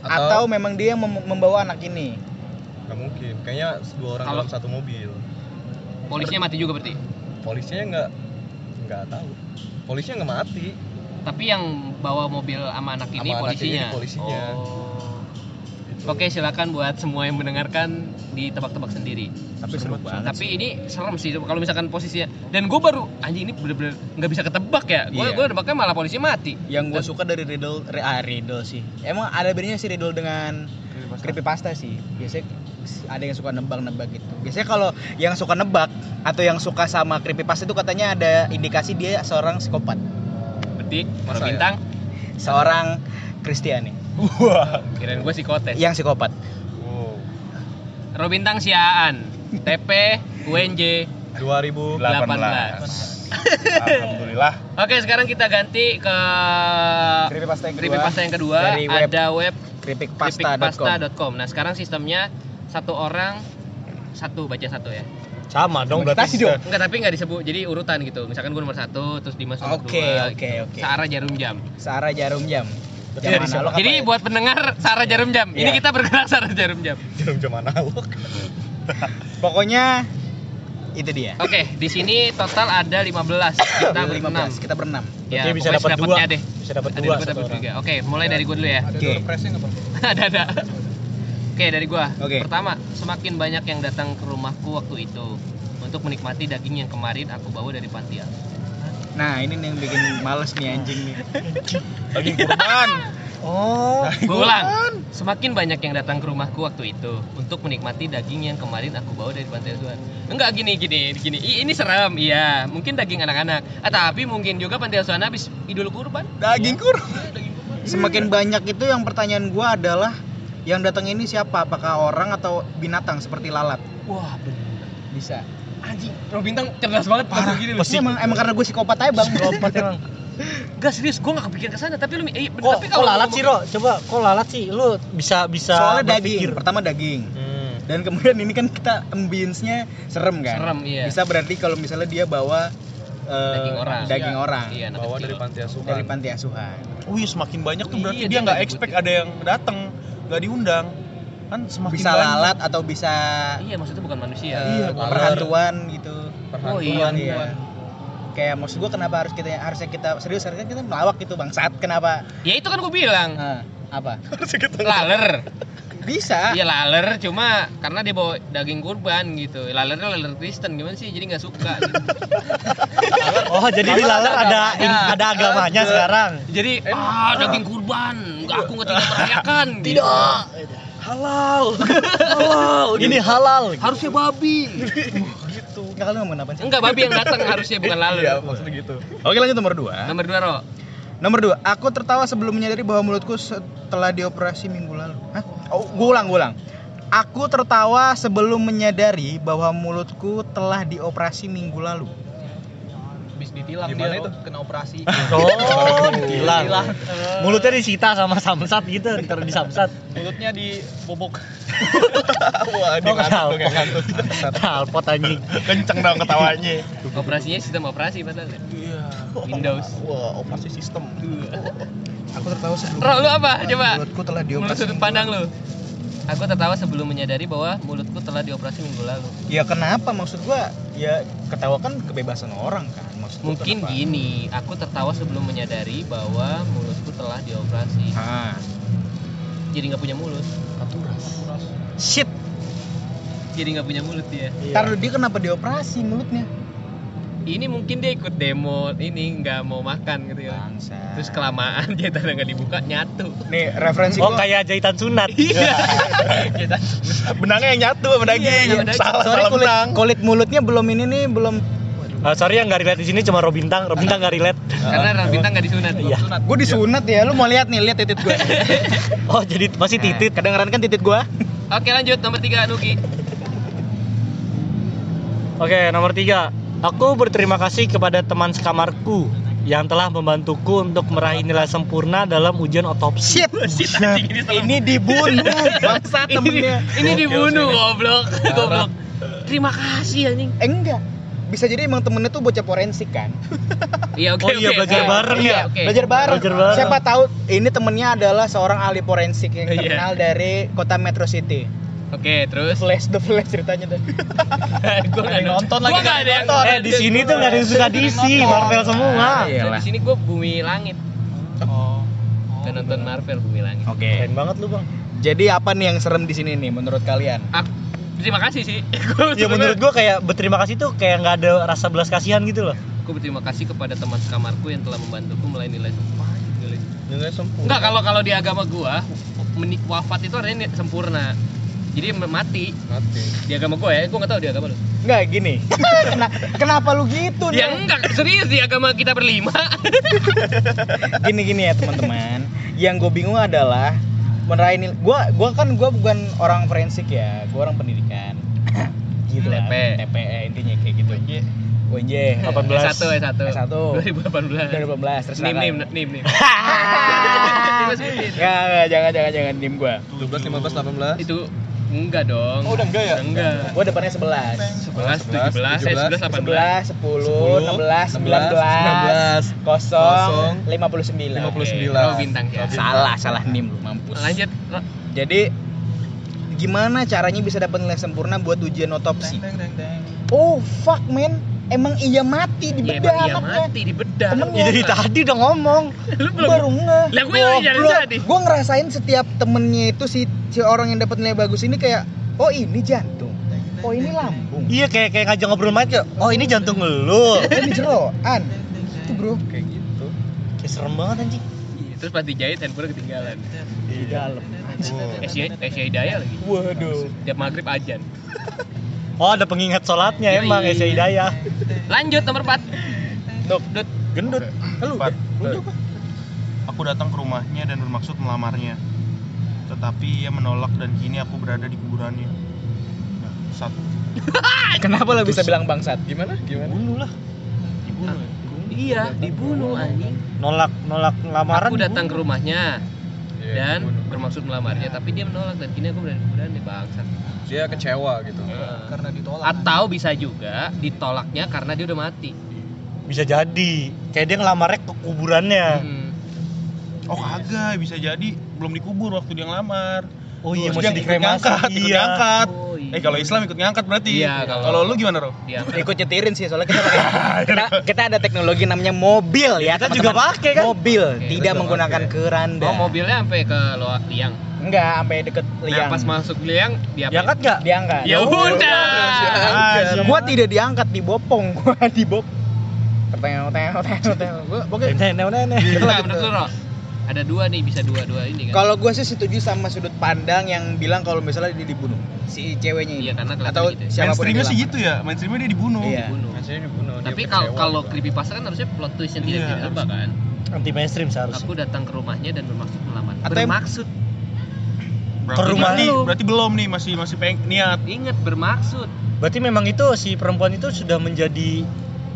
Speaker 3: atau, memang dia yang mem- membawa anak ini.
Speaker 7: nggak mungkin kayaknya dua orang
Speaker 2: Kalau-
Speaker 7: dalam satu mobil
Speaker 2: Polisnya mati juga berarti.
Speaker 7: polisinya nggak nggak tahu polisinya nggak mati
Speaker 2: Tapi yang bawa mobil sama anak ini
Speaker 7: Sama anak
Speaker 2: polisinya.
Speaker 7: ini polisinya.
Speaker 2: Oh.
Speaker 7: Gitu.
Speaker 2: Oke, silakan buat semua yang mendengarkan ditebak-tebak sendiri.
Speaker 3: tapi seru banget
Speaker 2: Tapi ini serem sih kalau misalkan posisinya. Dan gue baru anjing ini bener-bener nggak bisa ketebak ya. Gue
Speaker 3: Iya.
Speaker 2: gue nebaknya malah polisi mati.
Speaker 3: yang gue suka dari riddle ri- ah, riddle sih emang ada bedanya sih riddle dengan creepypasta sih biasanya s- ada yang suka nebak-nebak gitu biasanya kalau yang suka nebak atau yang suka sama creepypasta itu katanya ada indikasi dia seorang psikopat
Speaker 2: Berarti kalau
Speaker 7: Masa ya?
Speaker 2: bintang
Speaker 3: seorang Kristiani
Speaker 2: kirain gue psikotes.
Speaker 3: yang psikopat
Speaker 7: wow
Speaker 2: Robintang Siaan, TP UNJ
Speaker 7: 2000
Speaker 2: 18.
Speaker 4: Alhamdulillah.
Speaker 2: Oke, sekarang kita ganti ke
Speaker 3: creepypasta yang kedua
Speaker 2: creepypasta yang kedua
Speaker 3: dari web
Speaker 2: ada web
Speaker 3: creepypasta.com
Speaker 2: creepypasta.com. Nah, sekarang sistemnya satu orang satu baca satu ya.
Speaker 5: Sama dong berarti.
Speaker 3: Tadi dong.
Speaker 2: Enggak, tapi enggak disebut. Jadi urutan gitu. Misalkan gue nomor satu, terus Dimas nomor
Speaker 3: Oke,
Speaker 2: dua.
Speaker 3: oke,
Speaker 2: gitu.
Speaker 3: oke.
Speaker 2: Sarah jarum jam.
Speaker 3: Sarah Jarum Jam
Speaker 2: Jadi,
Speaker 3: Jam analog apa
Speaker 2: jadi
Speaker 3: ya?
Speaker 2: buat pendengar Sarah jarum jam. Ini
Speaker 3: Iya.
Speaker 2: kita bergerak Sarah jarum jam.
Speaker 7: jam analog
Speaker 3: pokoknya itu dia
Speaker 2: Oke, di sini total ada 15. Kita berenam.
Speaker 3: 15 kita berenam
Speaker 2: Ya,
Speaker 5: Iya, Berarti bisa
Speaker 2: pokoknya
Speaker 5: dapat
Speaker 2: sedapatnya
Speaker 5: dua.
Speaker 2: deh.
Speaker 5: Bisa dapat
Speaker 2: Ada
Speaker 5: dua
Speaker 2: dapat
Speaker 5: satu
Speaker 2: dapat
Speaker 5: orang.
Speaker 2: tiga. Oke, mulai dari gue dulu ya.
Speaker 3: oke
Speaker 2: ada ada. Oke, dari gua.
Speaker 3: Oke.
Speaker 2: Pertama, semakin banyak yang datang ke rumahku waktu itu untuk menikmati daging yang kemarin aku bawa dari panti asuhan.
Speaker 3: nah ini nih yang bikin males nih anjing nih
Speaker 7: lagi kurban
Speaker 3: oh
Speaker 2: Gua ulang. Semakin banyak yang datang ke rumahku waktu itu untuk menikmati daging yang kemarin aku bawa dari panti asuhan. Enggak gini gini gini. I- ini seram. Iya, mungkin daging anak-anak. Ah, tapi mungkin juga panti asuhan habis Idul Kurban.
Speaker 3: daging kurban semakin banyak itu yang pertanyaan gua adalah yang datang ini siapa apakah orang atau binatang seperti lalat
Speaker 2: Wah, bener.
Speaker 3: bisa
Speaker 2: Anjing, Robintang cerdas banget parah. Gini loh.
Speaker 3: Ini emang, emang karena gue psikopat aja bang
Speaker 5: Psikopat emang.
Speaker 2: Enggak serius, gua enggak kepikiran ke sana, tapi lu eh,
Speaker 5: Kok,
Speaker 4: Oh,
Speaker 2: tapi
Speaker 5: kok
Speaker 2: kalau
Speaker 5: lalat
Speaker 2: ngomong-
Speaker 5: sih, Ro? Coba kok lalat sih? Lu bisa bisa
Speaker 3: soalnya
Speaker 5: berpikir.
Speaker 3: daging pertama daging
Speaker 5: Hmm.
Speaker 3: dan kemudian ini kan kita ambience-nya serem kan
Speaker 2: Serem, iya.
Speaker 3: bisa berarti kalau misalnya dia bawa eh,
Speaker 2: daging orang.
Speaker 3: daging orang
Speaker 2: Iya, anak
Speaker 7: bawa
Speaker 2: kecil.
Speaker 7: dari panti
Speaker 3: dari
Speaker 7: asuhan
Speaker 3: panti asuhan
Speaker 4: Wih, semakin banyak tuh berarti
Speaker 2: Iya,
Speaker 4: dia
Speaker 2: dia
Speaker 4: nggak
Speaker 2: nggak
Speaker 4: expect
Speaker 2: nyebutin.
Speaker 4: ada yang datang, nggak diundang. Kan semakin
Speaker 3: bisa
Speaker 4: banyak.
Speaker 3: lalat atau bisa
Speaker 2: Iya, maksudnya bukan manusia.
Speaker 3: eh,
Speaker 7: Iya, lalat.
Speaker 3: perhantuan gitu
Speaker 2: Oh
Speaker 7: perhantuan
Speaker 2: iya.
Speaker 3: Iya. kayak maksud gua kenapa harus kita harusnya kita serius harusnya kita melawak gitu bangsat kenapa
Speaker 2: Ya itu kan gua bilang,
Speaker 3: Eh, apa
Speaker 4: Nah.
Speaker 2: laler.
Speaker 7: Ah.
Speaker 3: bisa
Speaker 2: Iya laler, cuma karena dia bawa daging kurban gitu. Lalernya laler Kristen gimana sih? Jadi nggak suka. Gitu.
Speaker 5: Oh, jadi di lalat ada ada agamanya sekarang.
Speaker 2: Jadi ah daging kurban, nggak aku nggak tidak merayakan. Gitu. Tidak.
Speaker 5: Oh, ini halal.
Speaker 2: Harusnya babi.
Speaker 3: nggak kalau ngomongin apa sih
Speaker 2: Enggak babi yang datang harusnya bukan laler.
Speaker 7: iya maksudnya gitu
Speaker 3: oke lanjut nomor dua
Speaker 2: Nomor dua Ro.
Speaker 3: Nomor dua, aku tertawa sebelum menyadari bahwa mulutku setelah dioperasi minggu lalu. Hah? Oh, gue ulang, gue ulang. Aku tertawa sebelum menyadari bahwa mulutku telah dioperasi minggu lalu.
Speaker 6: Bis ditilang
Speaker 7: Gimana
Speaker 6: dia
Speaker 7: itu?
Speaker 6: Ro, kena operasi.
Speaker 5: Oh, gila. Mulutnya disita sama samsat gitu, ntar di samsat.
Speaker 6: Mulutnya di bobok.
Speaker 7: wah dia
Speaker 5: Oh,
Speaker 7: ngantuk
Speaker 5: kenapa?
Speaker 4: ya?
Speaker 7: tuh kayak ngantuk
Speaker 5: Alpot anjing.
Speaker 4: Kenceng dong ketawanya.
Speaker 2: Operasinya sistem operasi padahal. ya. Windows.
Speaker 4: Wah, operasi sistem.
Speaker 3: Aku tertawa sebelum
Speaker 2: Ro lu apa? Coba.
Speaker 3: mulutku telah
Speaker 2: Menurut
Speaker 3: dioperasi.
Speaker 2: sudut
Speaker 3: minggu
Speaker 2: pandang lu.
Speaker 3: lalu.
Speaker 2: Aku tertawa sebelum menyadari bahwa mulutku telah dioperasi minggu lalu.
Speaker 3: Ya kenapa maksud gua? Ya ketawa kan kebebasan orang kan. Maksud gua
Speaker 2: Mungkin
Speaker 3: kenapa?
Speaker 2: gini, aku tertawa sebelum menyadari bahwa mulutku telah dioperasi.
Speaker 3: Ah,
Speaker 2: Jadi nggak punya mulut.
Speaker 3: shit.
Speaker 2: Jadi nggak punya mulut dia.
Speaker 3: Iya. Ntar lu dia kenapa dioperasi mulutnya?
Speaker 2: Ini mungkin dia ikut demo ini nggak mau makan gitu ya.
Speaker 3: Bangsa.
Speaker 2: Terus kelamaan dia tanda nggak dibuka nyatu.
Speaker 3: Nih referensi
Speaker 5: Oh,
Speaker 3: gua-
Speaker 5: kayak jahitan sunat.
Speaker 2: Kita
Speaker 4: Benangnya yang nyatu sama daging.
Speaker 2: Iya, sama daging.
Speaker 4: salah,
Speaker 3: Sorry
Speaker 4: salah
Speaker 3: kulit,
Speaker 4: benang.
Speaker 3: kulit mulutnya belum ini nih belum.
Speaker 5: Ah, sorry yang nggak relate di sini cuma Robintang. Robintang nggak relate.
Speaker 2: karena Rabintang nggak disunat.
Speaker 5: Oh, Iya.
Speaker 3: Gue disunat ya, lu mau lihat nih lihat titik gue.
Speaker 5: Oh, jadi masih titit.
Speaker 3: Kedengeran kan titik gua?
Speaker 2: Oke lanjut nomor tiga Nugi.
Speaker 5: Oke, nomor tiga. Aku berterima kasih kepada teman sekamarku yang telah membantuku untuk meraih nilai sempurna dalam ujian otopsi.
Speaker 3: Shit. Nah, Ini dibunuh bangsa temennya.
Speaker 2: Ini dibunuh goblok. Goblok. Terima kasih anjing.
Speaker 3: Eh, enggak. Bisa jadi emang temennya tuh bocah forensik kan?
Speaker 2: Iya oke
Speaker 5: Oh iya,
Speaker 2: oke,
Speaker 5: belajar
Speaker 2: oke.
Speaker 5: bareng ya?
Speaker 2: Iya, oke.
Speaker 3: Belajar bareng.
Speaker 5: Belajar bareng.
Speaker 3: Siapa tahu ini temennya adalah seorang ahli forensik yang
Speaker 2: Iya.
Speaker 3: terkenal dari kota Metro City.
Speaker 2: Oke, terus
Speaker 3: Flash the Flash ceritanya dah.
Speaker 2: gue
Speaker 3: Ada yang nonton lagi,
Speaker 2: Gue nggak ada yang nonton. Iya,
Speaker 5: Eh di sini tuh nggak ada yang suka DC, Marvel semua.
Speaker 3: Ah,
Speaker 2: Dan
Speaker 3: iyalah.
Speaker 2: Di sini gue bumi langit.
Speaker 6: Oh.
Speaker 2: Gak nonton Marvel bumi langit.
Speaker 3: Oke.
Speaker 5: Keren banget lu bang.
Speaker 3: Jadi apa nih yang serem di sini nih menurut kalian?
Speaker 2: Ak- Ah, terima kasih sih.
Speaker 5: Ya menurut gua kayak berterima kasih tuh kayak nggak ada rasa belas kasihan gitu loh.
Speaker 2: Aku berterima kasih kepada teman sekamarku yang telah membantuku mulai nilai sumpah. Nilai-
Speaker 7: nilai sempurna
Speaker 2: Enggak, kalau kalau di agama gua meni- wafat itu artinya ni- sempurna. Jadi me- mati
Speaker 7: mati
Speaker 2: di agama gua ya, gua nggak tahu di agama lu.
Speaker 3: Enggak gini. Kena- kenapa lu gitu
Speaker 2: Ya
Speaker 3: nih?
Speaker 2: enggak, serius di agama kita berlima.
Speaker 3: Gini gini ya teman-teman. Yang gue bingung adalah meraih nil- gua gua kan gua bukan orang forensik ya, gua orang pendidikan. gitu lah.
Speaker 2: TP.
Speaker 3: TP eh, intinya kayak gitu. UNJ.
Speaker 2: S1, S1.
Speaker 3: S1.
Speaker 2: 2018.
Speaker 3: 2018 terus
Speaker 2: Nim nim nim nim. Tiba sebutin.
Speaker 3: Enggak, enggak, jangan jangan jangan nim gua.
Speaker 7: 12 15 18
Speaker 2: Itu enggak dong.
Speaker 7: Oh, udah enggak ya?
Speaker 2: Enggak.
Speaker 3: Gua depannya 11.
Speaker 2: 11, 17, eh, 11, 18.
Speaker 3: 11, 10, 16, 19,
Speaker 7: 0,
Speaker 3: 0, 59.
Speaker 7: 59.
Speaker 2: Oke, Kau bintang ya.
Speaker 3: Salah, salah nim lu mampus.
Speaker 2: Lanjut. Ro.
Speaker 3: Jadi gimana caranya bisa dapat nilai sempurna buat ujian otopsi? Oh fuck man, emang iya mati di
Speaker 2: Ya,
Speaker 3: bedah
Speaker 2: emang iya
Speaker 3: anaknya.
Speaker 2: mati di bedah. Iya,
Speaker 3: Emang
Speaker 5: Ya dari tadi udah ngomong.
Speaker 2: Lu belum.
Speaker 3: Baru nggak.
Speaker 2: Lah, gue yang jadi.
Speaker 3: Gue ngerasain setiap temennya itu si, si orang yang dapat nilai bagus ini kayak, oh ini jantung, oh ini lambung,
Speaker 5: Iya kayak kayak ngajak ngobrol aja. Oh ini jantung
Speaker 3: oh
Speaker 5: lu.
Speaker 3: ini jeroan. Itu bro.
Speaker 7: kayak gitu
Speaker 5: Kayak serem banget anjing.
Speaker 2: Terus pas dijahit handphone ketinggalan.
Speaker 3: Di dalam.
Speaker 2: Asia Asia Hidayah lagi.
Speaker 3: Waduh.
Speaker 2: Tiap maghrib ajan.
Speaker 5: Oh ada pengingat sholatnya
Speaker 2: Yoi.
Speaker 5: emang Esa Hidayah.
Speaker 2: Lanjut nomor 4.
Speaker 3: Dok,
Speaker 2: Dut.
Speaker 3: gendut. Lu
Speaker 4: Empat. Aku datang ke rumahnya dan bermaksud melamarnya. Tetapi ia menolak dan kini aku berada di kuburannya. Nah, Satu.
Speaker 3: Kenapa lo bisa bilang bangsat?
Speaker 7: gimana gimana
Speaker 5: Bunuh lah.
Speaker 2: Ah, Iya, dibunuh anjing.
Speaker 5: Nolak nolak lamaran.
Speaker 2: Aku datang ke rumahnya
Speaker 7: Iya,
Speaker 2: dan
Speaker 7: dibunuh.
Speaker 2: bermaksud melamarnya, tapi dia menolak dan kini aku berada di kuburan di bangsat.
Speaker 7: dia kecewa gitu
Speaker 2: Karena ditolak. Atau bisa juga ditolaknya karena dia udah mati.
Speaker 5: Bisa jadi. Kayak dia ngelamarnya ke kuburannya.
Speaker 2: Hmm.
Speaker 4: Oh kagak, bisa jadi belum dikubur waktu dia ngelamar.
Speaker 5: Oh iya
Speaker 4: Terus dia
Speaker 5: masih
Speaker 4: ikut
Speaker 5: dikremasi.
Speaker 4: ngangkat, ikut
Speaker 5: Iya.
Speaker 4: diangkat.
Speaker 2: Oh, iya.
Speaker 4: Eh kalau Islam ikut ngangkat berarti.
Speaker 2: Iya, kalau-
Speaker 4: Kalau lu gimana, Ro?
Speaker 2: Dia
Speaker 3: ikut nyetirin sih soalnya kita pakai kita, kita ada teknologi namanya mobil ya
Speaker 5: Kita
Speaker 3: teman-teman.
Speaker 5: juga pakai kan?
Speaker 3: mobil
Speaker 2: Oke,
Speaker 3: tidak
Speaker 7: kita
Speaker 3: menggunakan
Speaker 7: pakai.
Speaker 3: keranda
Speaker 2: Iya, Oh, mobilnya sampai ke loa liang.
Speaker 3: enggak sampai deket
Speaker 2: Nah,
Speaker 3: liang
Speaker 2: pas masuk liang dia
Speaker 5: Diangkat nggak?
Speaker 3: diangkat
Speaker 2: Ya udah.
Speaker 3: gua tidak diangkat dibopong gua dibop tertengok tengok tengok tengok gua oke
Speaker 5: Nenek nenek.
Speaker 2: Nah, menurut lu, Ro? Ada dua nih, bisa dua-dua ini kan?
Speaker 3: kalau gua sih setuju sama sudut pandang yang bilang kalau misalnya dia dibunuh si ceweknya ini
Speaker 2: Iya, karena kelihatannya
Speaker 3: atau
Speaker 2: gitu ya.
Speaker 3: siapapun yang
Speaker 4: Mainstreamnya sih
Speaker 3: dilamar.
Speaker 4: gitu ya, mainstreamnya dia dibunuh.
Speaker 3: Iya.
Speaker 2: Dibunuh.
Speaker 7: Maksudnya dibunuh dia
Speaker 2: Tapi kalau
Speaker 7: kecewa
Speaker 2: kalau
Speaker 7: gitu.
Speaker 2: creepypasta kan harusnya plot twist yang tidak
Speaker 4: Iya,
Speaker 2: diraba kan.
Speaker 5: Anti mainstream seharusnya.
Speaker 2: Aku datang ke rumahnya dan bermaksud melamar.
Speaker 3: Atau yang-
Speaker 2: bermaksud.
Speaker 4: Berarti,
Speaker 5: Ke rumah
Speaker 4: berarti,
Speaker 5: lu.
Speaker 4: berarti belum nih, masih masih peng niat.
Speaker 2: Ingat bermaksud.
Speaker 5: Berarti memang itu si perempuan itu sudah menjadi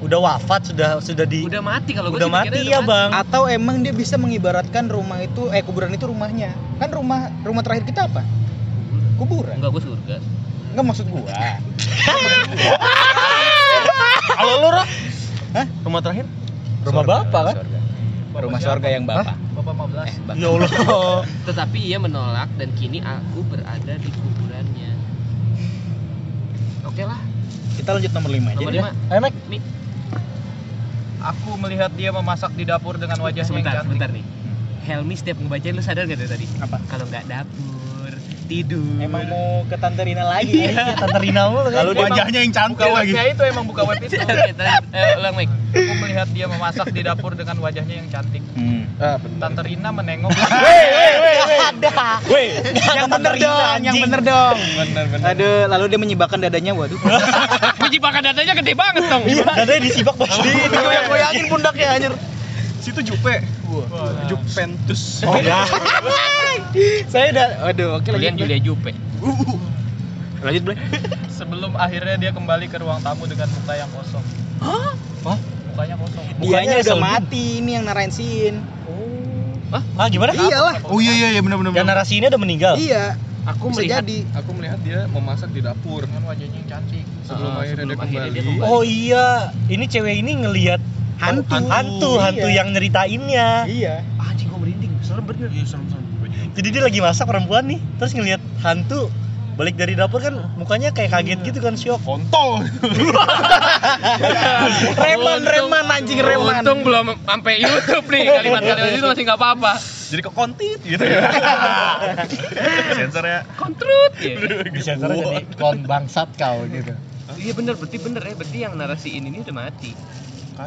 Speaker 5: udah wafat sudah sudah di
Speaker 2: Udah mati kalau gue
Speaker 5: udah mati ya bang.
Speaker 3: atau emang dia bisa mengibaratkan rumah itu eh kuburan itu rumahnya kan rumah rumah terakhir kita apa kuburan
Speaker 2: Enggak gue surga.
Speaker 3: Enggak maksud gua.
Speaker 4: Kalau lu, Ro? Hah? Rumah terakhir?
Speaker 5: Rumah bapak kan?
Speaker 3: Rumah sorga yang bapak.
Speaker 6: Bapak 15.
Speaker 3: Eh,
Speaker 5: Ya Allah.
Speaker 2: Tetapi ia menolak dan kini aku berada di kuburannya. Oke lah.
Speaker 3: Kita lanjut nomor 5
Speaker 2: Nomor lima.
Speaker 5: Ayo Mac.
Speaker 6: Aku melihat dia memasak di dapur dengan wajahnya
Speaker 2: Sebentar,
Speaker 6: yang cantik.
Speaker 2: sebentar nih. Helmi setiap ngebacain lu sadar gak dari tadi?
Speaker 3: Apa?
Speaker 2: Kalau nggak dapur, tidur.
Speaker 3: Emang mau ke Tante Rina lagi ya?
Speaker 5: Tante Rina mulu kan. Iya.
Speaker 4: Lalu
Speaker 6: dia-
Speaker 4: wajahnya yang
Speaker 6: Buka
Speaker 4: cantik lagi.
Speaker 6: webnya itu emang buka web itu.
Speaker 2: Oke, tadi- eh, ulang Mike.
Speaker 6: Aku melihat dia memasak di dapur dengan wajahnya yang cantik.
Speaker 3: Hmm.
Speaker 7: ah benar
Speaker 6: Tante Rina menengok.
Speaker 5: ada. Weh,
Speaker 3: Yang bener dong, yang bener dong.
Speaker 7: benar benar
Speaker 3: Aduh, lalu dia menyibakkan dadanya waduh.
Speaker 2: Menjibakan datanya gede banget dong.
Speaker 5: Iya, dadanya disibak pas di itu goyang-goyangin pundaknya anjir.
Speaker 7: situ jupe
Speaker 6: Wah.
Speaker 7: juventus
Speaker 5: Oh enggak.
Speaker 3: Saya udah waduh, oke
Speaker 2: Kalian
Speaker 3: lanjut.
Speaker 2: Julia Jupe.
Speaker 3: Blay. Lanjut, Blay.
Speaker 6: Sebelum akhirnya dia kembali ke ruang tamu dengan muka yang kosong.
Speaker 5: Hah?
Speaker 6: Mukanya kosong.
Speaker 5: Mukanya
Speaker 3: Dianya udah
Speaker 5: asal
Speaker 3: mati, ini yang narainsiin.
Speaker 5: Ah, gimana?
Speaker 3: Iyalah.
Speaker 4: Oh iya iya iya benar benar.
Speaker 5: Yang narasi ini udah meninggal.
Speaker 3: Iya,
Speaker 2: Aku
Speaker 3: bisa
Speaker 2: melihat
Speaker 3: jadi.
Speaker 7: aku melihat dia memasak di dapur
Speaker 6: Dengan wajahnya yang cantik.
Speaker 7: sebelum
Speaker 2: Ah,
Speaker 7: akhirnya dia
Speaker 2: sebelum akhirnya
Speaker 7: kembali
Speaker 2: dia kembali.
Speaker 5: Oh iya, ini cewek ini ngelihat
Speaker 3: Hantu.
Speaker 5: hantu,
Speaker 3: Iya.
Speaker 5: hantu yang nyeritainnya.
Speaker 3: Iya.
Speaker 2: anjing kok merinding, serem bener.
Speaker 4: Iya serem serem.
Speaker 5: Jadi dia lagi masak perempuan nih, terus ngelihat hantu balik dari dapur kan mukanya kayak kaget gitu kan syok
Speaker 4: kontol
Speaker 3: reman reman anjing reman
Speaker 2: Untung belum sampai YouTube nih kalimat-kalimat itu masih nggak apa-apa.
Speaker 4: jadi kok kontit gitu ya
Speaker 5: Iya.
Speaker 4: sensor ya
Speaker 2: Kontrut. ya.
Speaker 5: bisa jadi kon bangsat kau gitu
Speaker 2: Iya bener, berarti bener ya, berarti yang narasiin ini udah mati.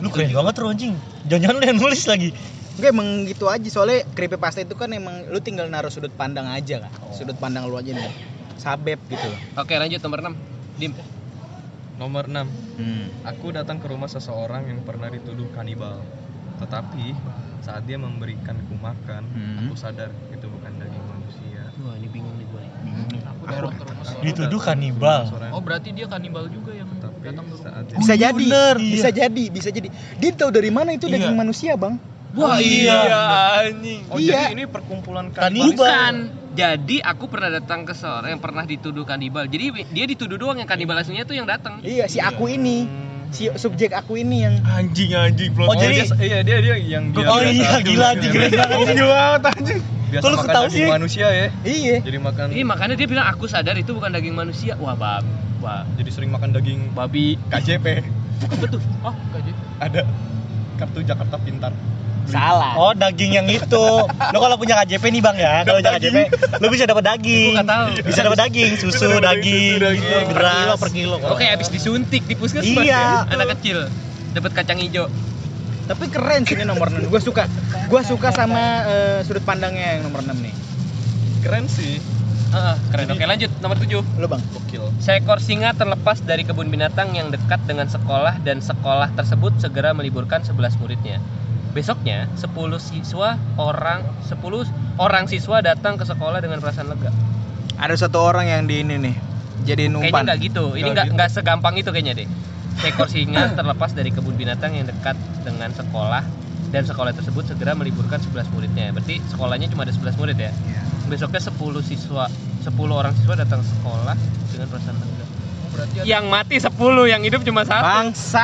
Speaker 5: lu keren banget tuh anjing jangan-jangan lu yang nulis lagi
Speaker 3: Enggak emang gitu aja soalnya creepypasta itu kan emang lu tinggal naruh sudut pandang aja kan. Sudut pandang lu aja nih. Sabep gitu loh.
Speaker 2: Oke lanjut nomor 6 Dim.
Speaker 7: Nomor 6.
Speaker 3: Hmm.
Speaker 7: Aku datang ke rumah seseorang yang pernah dituduh kanibal. Tetapi saat dia memberikanku makan,
Speaker 3: Hmm.
Speaker 7: aku sadar itu bukan daging manusia.
Speaker 2: Wah ini bingung nih gue.
Speaker 6: Aku dorong ke rumah seorang.
Speaker 5: Dituduh kanibal.
Speaker 6: Oh berarti dia kanibal juga yang
Speaker 7: Tapi
Speaker 6: datang ke rumah.
Speaker 7: saat dia
Speaker 3: Bisa
Speaker 5: Oh, iya
Speaker 3: jadi,
Speaker 5: bener,
Speaker 3: bisa
Speaker 5: iya.
Speaker 3: jadi, bisa jadi. Dia tahu dari mana itu
Speaker 5: Iya.
Speaker 3: daging manusia, Bang?
Speaker 5: wah
Speaker 2: anjing.
Speaker 4: oh
Speaker 3: Iya.
Speaker 4: jadi ini perkumpulan
Speaker 5: kanibal
Speaker 2: iya. Bukan. Jadi aku pernah datang ke seorang yang pernah dituduh kanibal. Jadi dia dituduh doang yang kanibal aslinya tuh yang datang.
Speaker 3: Iya, si aku ini, si subjek aku ini yang
Speaker 4: anjing anjing plot
Speaker 5: Oh, jadi-
Speaker 7: dia- iya dia dia yang dia
Speaker 5: Oh,
Speaker 7: biasa
Speaker 5: iya,
Speaker 7: dulu,
Speaker 5: gila,
Speaker 7: dia
Speaker 5: anjing, keren
Speaker 7: biasa- biasa
Speaker 5: Kok lu
Speaker 7: makan
Speaker 5: ketawa
Speaker 7: daging
Speaker 5: sih?
Speaker 7: manusia ya
Speaker 3: Iya.
Speaker 7: jadi makan
Speaker 2: Ini makanya dia bilang aku sadar itu bukan daging manusia. Wah bab, wah
Speaker 7: jadi sering makan daging
Speaker 2: babi.
Speaker 7: KJP
Speaker 2: Betul.
Speaker 6: Oh enggak jadi.
Speaker 7: ada kartu Jakarta Pintar
Speaker 3: salah.
Speaker 5: Oh daging yang itu. Lo kalau punya KJP nih bang ya, kalau punya KJP, lo bisa dapat daging.
Speaker 2: Gua nggak tahu.
Speaker 3: Iya.
Speaker 5: Bisa dapat daging, susu,
Speaker 7: Bisa dapat
Speaker 5: daging,
Speaker 7: susu, daging.
Speaker 5: gitu,
Speaker 7: Per
Speaker 5: beras.
Speaker 7: kilo, per kilo kalau.
Speaker 2: Oke, habis disuntik di puskesmas ya.
Speaker 5: Iya.
Speaker 2: Anak kecil dapat kacang hijau.
Speaker 3: Tapi keren sih ini nomor 6. Gua suka. Gua suka sama eh, sudut pandangnya yang nomor 6 nih.
Speaker 7: keren sih
Speaker 2: Ah, keren. Oke, lanjut nomor 7.
Speaker 3: Lu, Bang.
Speaker 7: gokil
Speaker 2: Seekor singa terlepas dari kebun binatang yang dekat dengan sekolah dan sekolah tersebut segera meliburkan 11 muridnya. Besoknya, 10 siswa orang 10 orang siswa datang ke sekolah dengan perasaan lega.
Speaker 3: Ada satu orang yang di ini nih. Jadi
Speaker 2: Kayaknya
Speaker 3: numpan.
Speaker 2: nggak gitu. Ini
Speaker 7: Nggak
Speaker 2: nggak
Speaker 7: gitu.
Speaker 2: nggak segampang itu kayaknya deh. Seekor singa terlepas dari kebun binatang yang dekat dengan sekolah dan sekolah tersebut segera meliburkan 11 muridnya. Berarti sekolahnya cuma ada 11 murid ya.
Speaker 3: Iya.
Speaker 2: Besoknya 10 siswa, 10 orang siswa datang ke sekolah dengan perasaan lega.
Speaker 6: Oh berarti ada.
Speaker 2: Yang mati 10, yang hidup cuma satu.
Speaker 3: Bangsa.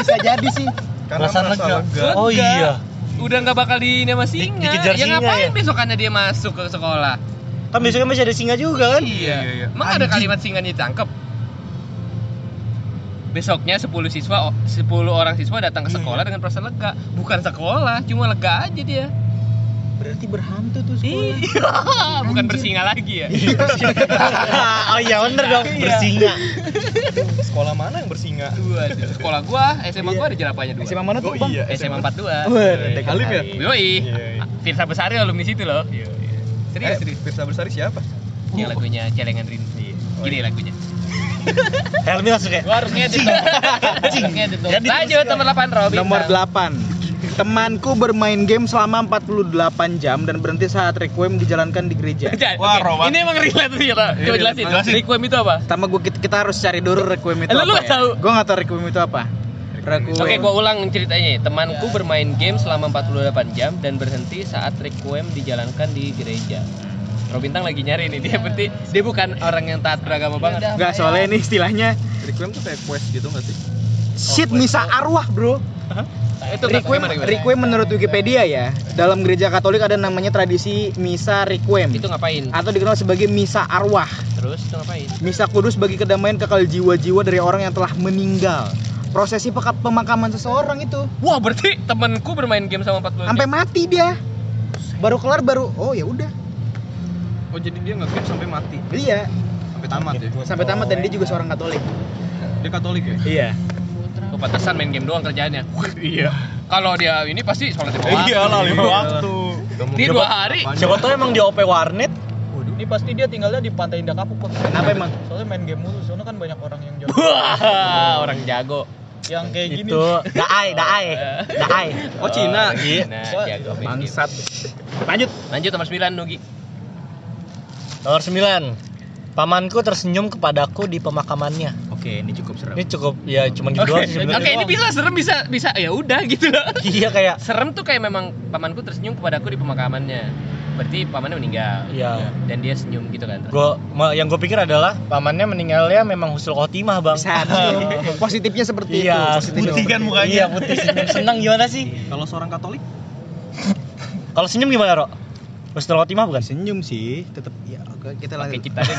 Speaker 3: bisa jadi sih.
Speaker 7: karena
Speaker 5: Perasaan
Speaker 7: merasa
Speaker 5: lega.
Speaker 7: lega
Speaker 5: Oh
Speaker 2: Lega.
Speaker 5: iya.
Speaker 2: udah nggak bakal di ini sama
Speaker 5: Di-
Speaker 2: singa.
Speaker 5: dikejar
Speaker 2: ya
Speaker 5: singa
Speaker 2: ngapain
Speaker 5: ya?
Speaker 2: besokannya dia masuk ke sekolah?
Speaker 5: Kan besoknya masih ada singa juga kan?
Speaker 2: Iya.
Speaker 7: iya, iya.
Speaker 2: Emang ada kalimat singa ditangkap? Besoknya 10 siswa 10 orang siswa datang
Speaker 3: Iya.
Speaker 2: ke sekolah dengan perasaan lega. Bukan sekolah, cuma lega aja dia.
Speaker 3: Berarti berhantu tuh sekolah. Iya.
Speaker 2: Iya, bukan bersinga lagi ya.
Speaker 5: oh iya bener dong, bersinga.
Speaker 7: sekolah mana yang bersinga
Speaker 2: Waduh, sekolah gua, SMA
Speaker 3: Iya.
Speaker 2: gua ada jerapahnya dua.
Speaker 3: SMA mana tuh,
Speaker 7: Oh,
Speaker 3: Bang?
Speaker 7: iya.
Speaker 2: SMA 42.
Speaker 3: Waduh,
Speaker 2: Yoi.
Speaker 3: dekat
Speaker 7: Alif ya?
Speaker 3: kali.
Speaker 2: Yoi.
Speaker 7: Iya, iya.
Speaker 2: Firsa Besari alumni situ loh. Serius,
Speaker 7: eh,
Speaker 2: serius.
Speaker 7: Pirsa Bersari siapa? Iya. Oh,
Speaker 2: Yang lagunya Celengan Rindu. Gini lagunya.
Speaker 5: Helmi langsung kayak.
Speaker 2: Gua harus ngedit dong. Harus ngedit dong.
Speaker 5: Jadi
Speaker 2: Lanjut nomor 8 Robin. Nah.
Speaker 3: Nomor 8. Temanku bermain game selama 48 jam dan berhenti saat requiem dijalankan di gereja.
Speaker 4: Wah,
Speaker 2: Wah,
Speaker 4: Roman.
Speaker 2: Ini emang relate sih, Ra. Coba
Speaker 4: Iya,
Speaker 2: jelasin.
Speaker 4: jelasin.
Speaker 2: Requiem itu apa?
Speaker 3: Pertama gua kita, kita harus cari dulu requiem
Speaker 2: Eh,
Speaker 3: itu
Speaker 2: lu
Speaker 3: apa.
Speaker 2: nggak
Speaker 3: ya?
Speaker 2: tahu?
Speaker 3: Gua nggak tahu requiem itu apa. Requiem.
Speaker 2: Oke, gua ulang ceritanya. Temanku bermain game selama 48 jam dan berhenti saat requiem dijalankan di gereja. Robintang lagi nyari nih dia berarti dia bukan orang yang taat beragama banget.
Speaker 3: Nggak, soalnya ini istilahnya
Speaker 7: Requiem tuh kayak quest gitu nggak sih?
Speaker 3: shit misa arwah, Bro.
Speaker 2: Itu nggak
Speaker 3: Requiem,
Speaker 7: Iya.
Speaker 2: gimana, gimana?
Speaker 3: requiem menurut Wikipedia ya, dalam gereja Katolik ada namanya tradisi misa requiem
Speaker 2: Itu ngapain?
Speaker 3: atau dikenal sebagai misa arwah.
Speaker 2: Terus itu ngapain?
Speaker 3: Misa kudus bagi kedamaian kekal jiwa-jiwa dari orang yang telah meninggal. Prosesi peka- pemakaman seseorang itu
Speaker 2: Wah, berarti temanku bermain game sama 48
Speaker 3: sampai mati dia. Baru kelar baru oh ya udah.
Speaker 7: Oh jadi dia nge-game sampai mati,
Speaker 3: Iya,
Speaker 7: sampai tamat ya?
Speaker 3: sampai tamat dan dia juga seorang Katolik.
Speaker 7: Dia Katolik ya?
Speaker 3: Iya.
Speaker 2: Oh, pantesan main game doang kerjaannya. iya. Kalau dia ini pasti sholat lima waktu.
Speaker 4: lah lima waktu
Speaker 2: Dia dua hari.
Speaker 5: Siapa tau emang di OP warnet?
Speaker 6: Waduh. Ini pasti dia tinggalnya di Pantai Indah Kapuk. Pak.
Speaker 3: Kenapa emang?
Speaker 6: Soalnya main game mulu, soalnya kan banyak orang yang jago.
Speaker 2: Wah, orang jago.
Speaker 6: yang kayak gini.
Speaker 5: Itu daai, daai, daai.
Speaker 7: Oh, Cina.
Speaker 2: Cina, jago main game.
Speaker 3: Bangsat. Lanjut.
Speaker 2: Lanjut nomor 9 Nugi.
Speaker 5: Nomor 9. Pamanku tersenyum kepadaku di pemakamannya.
Speaker 3: Oke, ini cukup seru.
Speaker 5: Ini cukup ya cuman gitu doang sih
Speaker 2: Oke,
Speaker 5: sebenarnya.
Speaker 2: ini bisa serem bisa bisa ya udah gitu loh.
Speaker 5: Iya kayak
Speaker 2: Serem tuh kayak memang pamanku tersenyum kepadaku di pemakamannya. Berarti pamannya meninggal.
Speaker 5: Iya.
Speaker 2: Dan dia senyum gitu kan. terus.
Speaker 5: Gua, ma- yang gue pikir adalah pamannya meninggalnya memang husnul khotimah bang.
Speaker 3: Bisa. Iya. Positifnya seperti itu.
Speaker 5: Iya,
Speaker 3: Positifnya
Speaker 4: putih kan
Speaker 3: seperti
Speaker 4: mukanya.
Speaker 5: Iya putih senyum senang gimana sih?
Speaker 7: Kalau seorang Katolik?
Speaker 5: Kalau senyum gimana Rok? Husnul Khotimah bukan?
Speaker 3: senyum sih tetap ya oke, kita
Speaker 2: Pakai
Speaker 3: lanjut
Speaker 2: cipta den.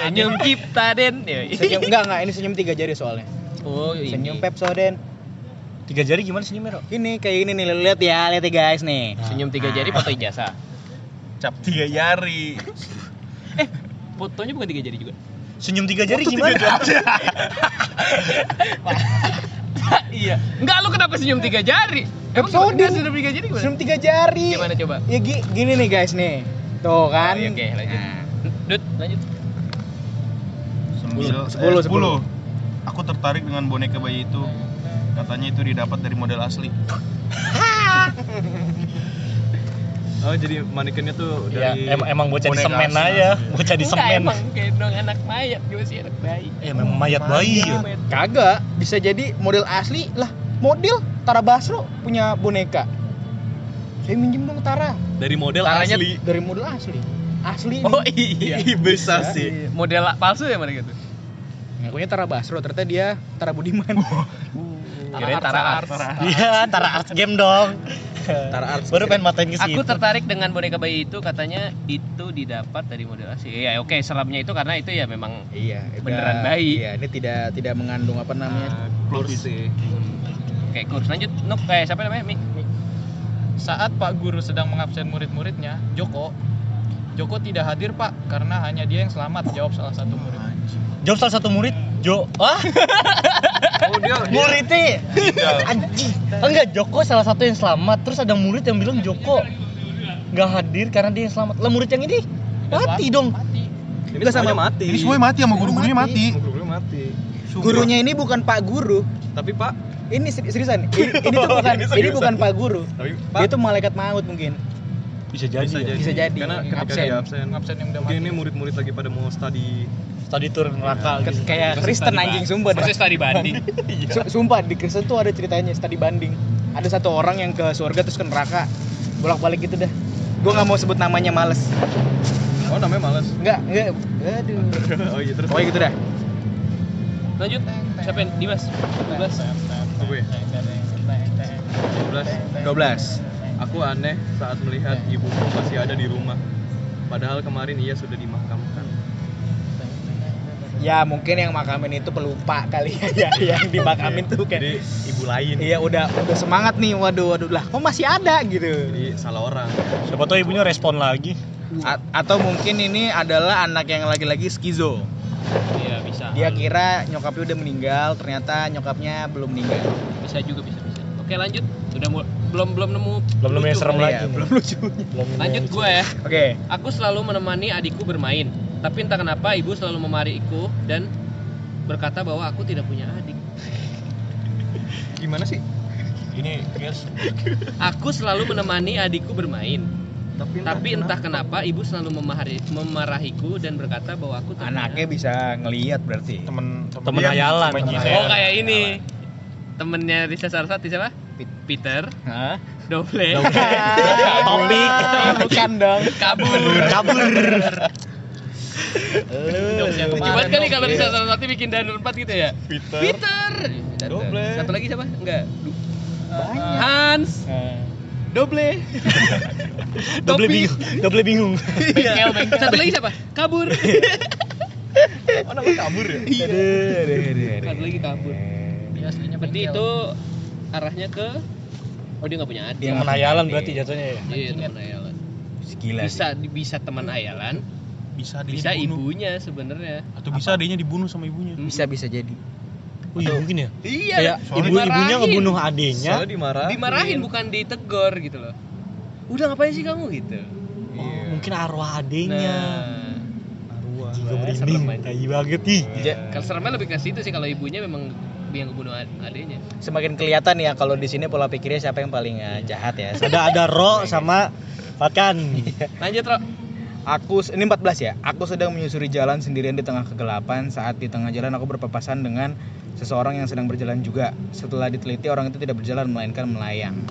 Speaker 2: Senyum cipta den. Yoi.
Speaker 3: senyum enggak enggak ini senyum tiga jari soalnya
Speaker 2: Oh, ini.
Speaker 3: senyum pepsoden
Speaker 5: Tiga jari gimana senyumnya, Rok?
Speaker 3: ini kayak gini nih lu lihat ya lihat ya guys nih
Speaker 2: Senyum tiga jari foto ijazah.
Speaker 4: cap tiga jari
Speaker 2: Fotonya bukan tiga jari juga.
Speaker 5: Senyum tiga jari gimana?
Speaker 2: iya. Enggak lu kenapa senyum tiga jari? Emang
Speaker 3: Episode.
Speaker 2: enggak senyum tiga jari gimana?
Speaker 3: senyum tiga jari
Speaker 2: Gimana coba?
Speaker 3: ya gi- gini nih guys nih tuh kan
Speaker 2: Oh, iya, oke, lanjut.
Speaker 3: Nah.
Speaker 2: Dut, lanjut.
Speaker 4: Sembil- eh,
Speaker 3: Sepuluh, sepuluh.
Speaker 4: aku tertarik dengan boneka bayi itu katanya itu didapat dari model asli
Speaker 7: Oh jadi manekinnya tuh
Speaker 4: Iya,
Speaker 5: Ya,
Speaker 7: dari
Speaker 5: em- emang bocah di
Speaker 7: boneka
Speaker 5: semen
Speaker 7: asli.
Speaker 5: aja, bocah di semen.
Speaker 2: emang kayak dong anak mayat gimana sih anak bayi.
Speaker 5: Ya memang mayat bayi. ya.
Speaker 3: kagak bisa jadi model asli lah model Tara Basro punya boneka saya minjem dong Tara
Speaker 7: dari model
Speaker 2: Caranya-
Speaker 7: asli.
Speaker 3: dari model asli asli
Speaker 2: Oh
Speaker 3: nih.
Speaker 2: iya.
Speaker 7: Bisa
Speaker 3: Iya.
Speaker 7: sih.
Speaker 2: Model palsu ya mereka tuh.
Speaker 3: ngakunya Tara Basro ternyata dia Tara Budiman
Speaker 2: Kirain Tara Arts.
Speaker 5: Iya, antara art game dong.
Speaker 3: Tara Arts
Speaker 5: Baru pengen matain ke
Speaker 2: Aku
Speaker 5: situ.
Speaker 2: tertarik dengan boneka bayi itu katanya itu didapat dari model asli. Ya oke, seramnya itu karena itu ya memang
Speaker 3: iya
Speaker 2: Beneran
Speaker 3: iya.
Speaker 2: bayi.
Speaker 3: iya ini tidak tidak mengandung apa namanya
Speaker 7: Ah,
Speaker 2: Oke, kurs lanjut. Nuk kayak siapa namanya? Mi.
Speaker 6: Saat Pak Guru sedang mengabsen murid-muridnya, Joko Joko tidak hadir Pak karena hanya dia yang selamat jawab salah satu murid.
Speaker 5: Jawab salah satu murid, Jo. Ah,
Speaker 7: Oh dia
Speaker 5: muridnya. Anjing. Enggak, Joko salah satu yang selamat. Terus ada murid yang bilang Joko nggak hadir karena dia yang selamat. Lah murid yang ini mati dong.
Speaker 6: Mati.
Speaker 7: ini sama mati.
Speaker 4: ini semuanya mati sama guru-gurunya mati
Speaker 7: Guru mati.
Speaker 4: Sumpah.
Speaker 3: gurunya ini bukan Pak Guru
Speaker 7: Tapi Pak, Oh,
Speaker 3: ini seri- seriusan ini, ini tuh bukan
Speaker 7: Ini
Speaker 3: ini
Speaker 7: seriusan.
Speaker 3: bukan Pak Guru
Speaker 7: tapi Pak
Speaker 3: dia tuh malaikat maut mungkin
Speaker 5: Bisa jadi.
Speaker 7: bisa jadi.
Speaker 3: Bisa jadi.
Speaker 7: Karena ketika
Speaker 3: Absen.
Speaker 7: dia absen.
Speaker 6: Absen yang udah
Speaker 7: Mungkin ini
Speaker 6: mati.
Speaker 7: murid-murid lagi pada mau study Iya,
Speaker 5: Tadi turun neraka
Speaker 3: Ke-
Speaker 5: gitu.
Speaker 3: kayak Kristen anjing sumpah dah.
Speaker 2: Proses tadi banding.
Speaker 3: Su- Sumpah di Kristen tuh ada ceritanya tadi banding. Ada satu orang yang ke surga terus ke neraka bolak-balik gitu dah. Gue nggak mau sebut namanya males.
Speaker 7: Oh namanya males.
Speaker 3: Enggak, enggak. Aduh.
Speaker 7: oh iya terus.
Speaker 3: Pokoknya gitu dah.
Speaker 2: Lanjut. Siapa yang Dimas? Dimas.
Speaker 7: Gue. 12.
Speaker 3: 12.
Speaker 7: Aku aneh saat melihat ibuku masih ada di rumah. Padahal kemarin ia sudah dimakamkan.
Speaker 3: Ya mungkin yang makamin itu pelupa kali ya yang dimakamin tuh kayak
Speaker 7: Jadi ibu lain.
Speaker 3: Iya udah udah semangat nih waduh waduh lah kok masih ada gitu
Speaker 7: Jadi salah orang.
Speaker 5: Siapa tahu ibunya respon lagi.
Speaker 3: A- atau mungkin ini adalah anak yang lagi-lagi skizo
Speaker 2: Iya, bisa.
Speaker 3: dia kira nyokapnya udah meninggal ternyata nyokapnya belum meninggal
Speaker 2: bisa juga bisa bisa. Oke, lanjut. Udah mu- belum belum nemu
Speaker 5: Belum nemu yang
Speaker 2: lucu. ya.
Speaker 5: serem
Speaker 3: Iya,
Speaker 5: lagi.
Speaker 3: belum lucu
Speaker 5: Belum nemu
Speaker 2: Lanjut
Speaker 5: yang-
Speaker 2: gue ya.
Speaker 3: oke
Speaker 2: Aku selalu menemani adikku bermain, tapi entah kenapa ibu selalu memarahiku dan berkata bahwa aku tidak punya adik.
Speaker 7: Gimana sih?
Speaker 4: ini guys
Speaker 2: Aku selalu menemani adikku bermain,
Speaker 7: Tapi
Speaker 2: tapi entah kenapa ibu selalu memahari- memarahiku dan berkata bahwa aku tidak
Speaker 3: anaknya
Speaker 2: punya
Speaker 3: bisa ngelihat berarti
Speaker 4: temen
Speaker 5: Temen
Speaker 4: dia-
Speaker 5: hayalan. Iya.
Speaker 4: temen
Speaker 5: Temen
Speaker 2: adik. Oh,
Speaker 4: hayalan.
Speaker 2: kayak ini. Temennya Risa Saraswati siapa? Peter,
Speaker 3: Hah?
Speaker 2: Doble,
Speaker 5: Topik.
Speaker 3: bukan dong
Speaker 2: kabur.
Speaker 5: Kabur.
Speaker 2: Lucu banget kali
Speaker 3: Iya.
Speaker 2: kalau Risa Saraswati bikin danur 4 gitu ya.
Speaker 7: Peter.
Speaker 2: Peter. Dan-
Speaker 7: Doble.
Speaker 2: Satu lagi siapa? Enggak. Du-
Speaker 3: banyak
Speaker 2: Hans. Doble. Topi.
Speaker 5: Double bingung. Double bingung.
Speaker 2: Bengkel, bengkel. Satu lagi siapa? Kabur. Iya.
Speaker 7: Oh namanya kabur ya?
Speaker 2: Satu lagi kabur.
Speaker 6: Dia aslinya
Speaker 2: Berarti
Speaker 6: bengkel.
Speaker 2: itu arahnya ke Oh dia nggak punya adik.
Speaker 5: Yang menayalan berarti jatuhnya ya.
Speaker 2: Iya teman Ayalan.
Speaker 3: gila sih.
Speaker 2: Bisa bisa teman Ayalan,
Speaker 4: bisa adiknya
Speaker 2: bisa
Speaker 4: dibunuh.
Speaker 2: ibunya sebenarnya.
Speaker 4: atau bisa adiknya dibunuh sama ibunya
Speaker 3: bisa bisa jadi
Speaker 5: Oh iya mungkin ya.
Speaker 2: Iya.
Speaker 5: Kayak
Speaker 4: Soalnya
Speaker 5: ibu-ibunya
Speaker 2: dimarahin.
Speaker 5: ngebunuh
Speaker 3: Ya.
Speaker 5: Iya. adiknya.
Speaker 7: Soalnya dimarahin.
Speaker 2: dimarahin bukan ditegor gitu loh. Udah ngapain sih kamu gitu?
Speaker 5: Oh, mungkin arwah adiknya.
Speaker 2: Nah,
Speaker 7: Arwah.
Speaker 5: Juga
Speaker 2: Wah,
Speaker 5: merinding.
Speaker 2: serem aja.
Speaker 5: Tai banget ih.
Speaker 2: kalau seremnya lebih ke situ sih kalau ibunya memang yang ngebunuh ad- adiknya.
Speaker 3: semakin kelihatan ya kalau di sini pola pikirnya siapa yang paling eh, jahat ya
Speaker 5: Ada ada Ro sama Fatkan.
Speaker 2: Lanjut, Ro.
Speaker 3: aku ini 14 ya aku sedang menyusuri jalan sendirian di tengah kegelapan saat di tengah jalan aku berpapasan dengan seseorang yang sedang berjalan juga setelah diteliti orang itu tidak berjalan melainkan melayang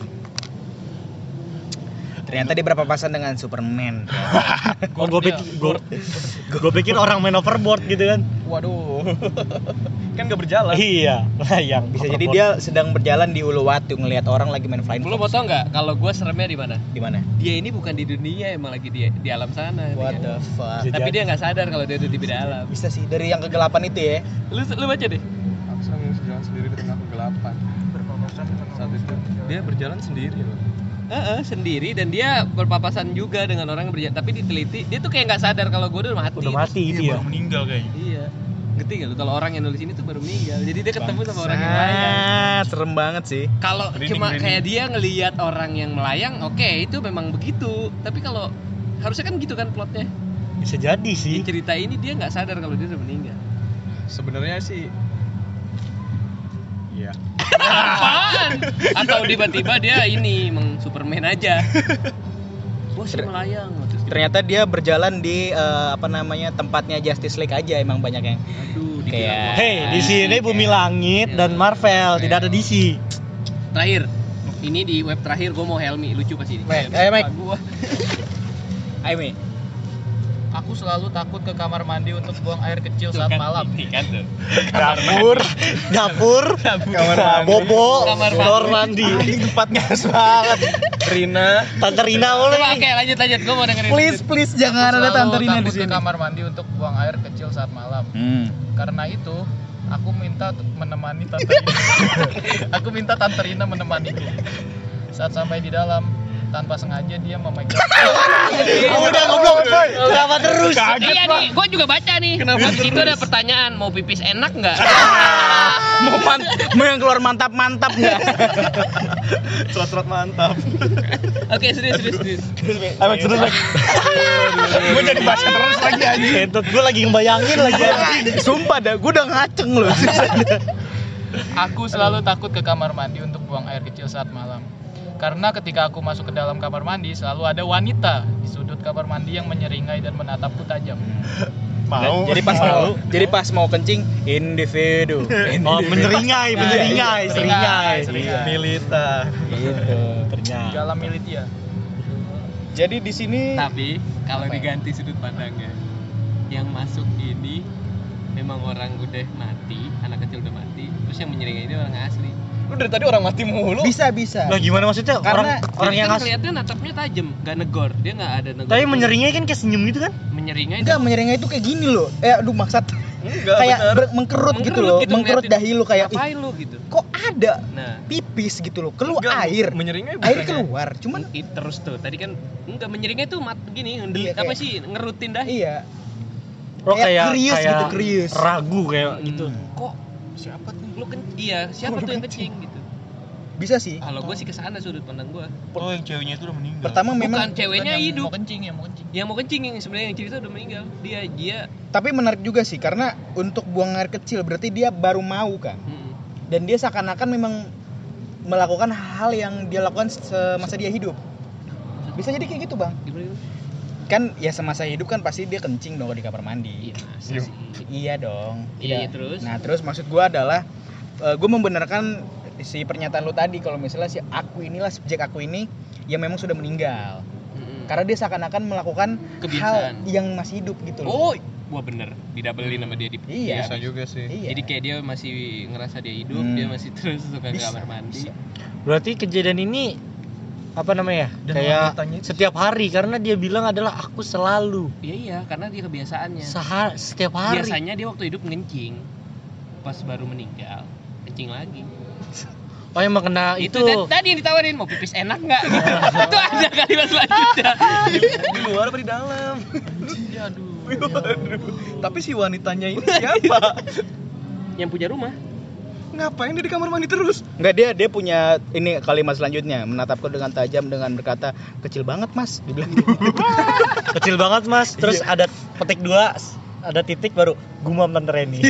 Speaker 3: ternyata dia berpapasan dengan Superman
Speaker 5: Oh, gue pikir, gue pikir orang main overboard gitu kan.
Speaker 3: waduh
Speaker 7: kan gak berjalan
Speaker 5: Iya, layang.
Speaker 3: Bisa jadi dia sedang berjalan di Uluwatu ngelihat orang lagi main flying
Speaker 2: Lu mau
Speaker 3: fox.
Speaker 2: tau nggak kalau gue seremnya di mana?
Speaker 3: Di mana?
Speaker 2: Dia ini bukan di dunia emang lagi di di alam sana. ngerti nggak?
Speaker 3: fuck?
Speaker 5: Bisa
Speaker 2: Tapi
Speaker 5: jadi.
Speaker 2: dia nggak sadar kalau dia udah di beda alam.
Speaker 3: Bisa sih dari yang kegelapan itu ya.
Speaker 2: Lu lu baca deh.
Speaker 7: aku sedang berjalan sendiri di tengah kegelapan saat itu dia berjalan sendiri loh
Speaker 2: Heeh, sendiri dan dia berpapasan juga dengan orang yang berjalan tapi diteliti dia tuh kayak nggak sadar kalau gue udah mati gitu.
Speaker 5: udah mati dia.
Speaker 4: baru meninggal kayaknya
Speaker 2: iya ngerti nggak lu kalau orang yang nulis ini tuh baru meninggal jadi dia ketemu sama orang yang melayang
Speaker 3: Ah, serem banget sih.
Speaker 2: kalau
Speaker 4: Merinding,
Speaker 2: cuma
Speaker 4: merinding.
Speaker 2: kayak dia ngelihat orang yang melayang oke itu memang begitu tapi kalau harusnya kan gitu kan plotnya
Speaker 5: Bisa jadi
Speaker 2: di
Speaker 7: Iya.
Speaker 5: sih.
Speaker 2: cerita ini dia nggak sadar kalau dia udah meninggal
Speaker 7: sebenarnya sih iya
Speaker 2: Apaan? atau tiba-tiba dia ini emang Superman aja Wah sih melayang terus dia,
Speaker 3: Ternyata dia berjalan di eh, apa namanya tempatnya Justice League aja emang banyak yang
Speaker 2: Aduh dibilang
Speaker 3: kayak.
Speaker 5: Hei, di sini bumi langit dan Marvel, tidak ada DC.
Speaker 2: Terakhir, ini di web terakhir gue mau Helmi lucu pasti ini.
Speaker 3: Mike, ayo, Mike.
Speaker 2: Gua.
Speaker 3: Iya, Ayo, Mi.
Speaker 6: Aku selalu takut ke kamar mandi untuk buang air kecil saat malam.
Speaker 7: kan
Speaker 5: Dapur, dapur,
Speaker 7: Kamar mandi.
Speaker 5: bobo,
Speaker 2: Kamar mandi.
Speaker 5: kamar mandi.
Speaker 3: Anjing tempat ngas banget.
Speaker 7: Rina
Speaker 5: Tante Rina boleh.
Speaker 2: Coba, Oke lanjut lanjut gue mau dengerin.
Speaker 3: Please please jangan ada
Speaker 6: Selalu
Speaker 3: Tante Rina di
Speaker 6: takut ke
Speaker 3: sini.
Speaker 6: kamar mandi untuk buang air kecil saat malam.
Speaker 3: Hmm.
Speaker 6: Karena itu, aku minta t- menemani Tante Rina. aku minta Tante Rina menemaniku. Saat sampai di dalam, tanpa sengaja dia memegang.
Speaker 5: Udah goblok, coy. Kenapa terus?
Speaker 2: Iya nih, gue juga baca nih. Kenapa? Di situ ada pertanyaan, mau pipis enak nggak?
Speaker 3: Mau pan mau yang keluar mantap-mantap enggak?
Speaker 7: Trot-trot mantap
Speaker 2: Oke serius serius serius.
Speaker 5: Emang seru lagi.
Speaker 7: Gue jadi bahasa terus lagi aja
Speaker 5: Kentut gue lagi ngebayangin lagi.
Speaker 3: Sumpah dah, gue udah ngaceng loh.
Speaker 6: Aku selalu takut ke kamar mandi untuk buang air kecil saat malam. Karena ketika aku masuk ke dalam kamar mandi, selalu ada wanita di sudut kamar mandi yang menyeringai dan menatapku tajam.
Speaker 7: Mau
Speaker 3: jadi pas mau, jadi pas mau kencing Iya, individu.
Speaker 5: Oh, menyeringai, menyeringai, seringai.
Speaker 3: Iya,
Speaker 6: Seringai.
Speaker 7: Milita
Speaker 5: Iya.
Speaker 3: Gitu.
Speaker 5: Eh, Ternyata.
Speaker 6: Dalam militia.
Speaker 7: Jadi di sini
Speaker 3: Nah,
Speaker 2: Tapi kalau
Speaker 6: Apa ya?
Speaker 2: diganti sudut pandangnya, yang masuk ini memang orang udah mati, anak kecil udah mati, terus yang menyeringai ini orang asli.
Speaker 7: Lu dari tadi orang mati mulu
Speaker 3: Bisa bisa.
Speaker 5: Lah gimana maksudnya?
Speaker 3: Karena-
Speaker 5: Orang orang
Speaker 2: Jadi
Speaker 5: yang
Speaker 2: kan
Speaker 5: ngas
Speaker 2: kelihatan natapnya tajam, nggak negor, dia nggak ada negor.
Speaker 5: tapi menyeringai kan kayak senyum gitu kan?
Speaker 2: menyeringai
Speaker 3: Enggak menyeringai itu kayak gini loh. Eh aduh maksud
Speaker 7: Enggak
Speaker 3: kayak
Speaker 7: bener
Speaker 3: ber- mengkerut, gitu loh, mengkerut dahi lu kayak ih,
Speaker 2: apa lu gitu.
Speaker 3: kok ada
Speaker 2: Nah,
Speaker 3: pipis gitu loh, keluar
Speaker 7: Enggak,
Speaker 3: air.
Speaker 7: Menyeringai
Speaker 3: Air
Speaker 7: bukannya.
Speaker 3: keluar, cuman
Speaker 2: mungkin terus tuh. Tadi kan enggak menyeringai tuh mat gini, ngendel,
Speaker 3: Iya, kayak-
Speaker 2: apa sih ngerutin dahi.
Speaker 3: iya.
Speaker 5: Lo
Speaker 3: Kayak
Speaker 5: kayak
Speaker 3: krius
Speaker 5: kayak
Speaker 3: gitu, krius.
Speaker 5: Ragu
Speaker 3: Iya.
Speaker 5: kayak
Speaker 2: Hmm,
Speaker 5: gitu.
Speaker 2: Kok siapa tuh? Lu kan iya, siapa tuh yang kencing gitu.
Speaker 3: Bisa sih.
Speaker 2: Kalau gua sih ke sana sudut pandang gua.
Speaker 4: oh yang ceweknya itu udah meninggal
Speaker 3: Pertama
Speaker 2: Bukan
Speaker 3: memang
Speaker 2: ceweknya
Speaker 6: Bukan yang
Speaker 2: hidup.
Speaker 6: Mau kencing ya, mau kencing.
Speaker 2: Yang mau kencing yang sebenarnya yang cerita udah meninggal. Dia dia
Speaker 3: tapi menarik juga sih karena untuk buang air kecil berarti dia baru mau kan.
Speaker 2: mm,
Speaker 3: Dan dia seakan-akan memang melakukan hal yang dia lakukan semasa dia hidup. Bisa jadi kayak gitu, Bang.
Speaker 2: gimana gitu?
Speaker 3: Kan ya semasa hidup kan pasti dia kencing dong di kamar
Speaker 2: Iya,
Speaker 3: mandi.
Speaker 2: masa sih.
Speaker 3: Iya dong.
Speaker 2: Iya,
Speaker 3: Tidak.
Speaker 2: terus.
Speaker 3: Nah terus maksud gua adalah gue membenarkan si pernyataan lu tadi kalau misalnya si aku inilah subjek aku ini yang memang sudah meninggal
Speaker 2: Mm-mm.
Speaker 3: karena dia seakan-akan melakukan
Speaker 2: Hmm. Kebiasaan.
Speaker 3: hal yang masih hidup gitu
Speaker 2: Oh,
Speaker 3: loh.
Speaker 2: gua bener. Didabelin sama dia di
Speaker 3: Iya.
Speaker 7: Bisa juga sih
Speaker 3: Iya.
Speaker 2: Jadi kayak dia masih ngerasa dia hidup,
Speaker 3: Hmm.
Speaker 2: dia masih terus suka ke
Speaker 3: Bisa,
Speaker 2: kamar mandi.
Speaker 3: bisa.
Speaker 5: Berarti kejadian ini apa namanya ya?
Speaker 7: Dan
Speaker 5: kayak
Speaker 7: wanitanya itu-
Speaker 5: setiap hari karena dia bilang adalah aku selalu
Speaker 2: Iya iya, karena dia kebiasaannya.
Speaker 5: Seha- setiap hari.
Speaker 2: Biasanya dia waktu hidup ngencing. Pas baru meninggal, kencing lagi.
Speaker 5: Oh yang
Speaker 3: Ah,
Speaker 5: mengena itu.
Speaker 2: itu tadi, tadi yang ditawarin mau pipis enak nggak? Gitu. itu ada kalimat selanjutnya.
Speaker 7: Di luar apa di dalam
Speaker 2: Ya, aduh.
Speaker 7: Tapi si wanitanya ini siapa?
Speaker 2: Yang punya rumah.
Speaker 7: Ngapain dia di kamar mandi terus?
Speaker 3: Enggak dia dia punya ini kalimat selanjutnya menatapku dengan tajam dengan berkata kecil banget mas dibilang gitu.
Speaker 5: Kecil banget mas. Terus ada petik dua, s- ada titik baru gumam Tante Reni.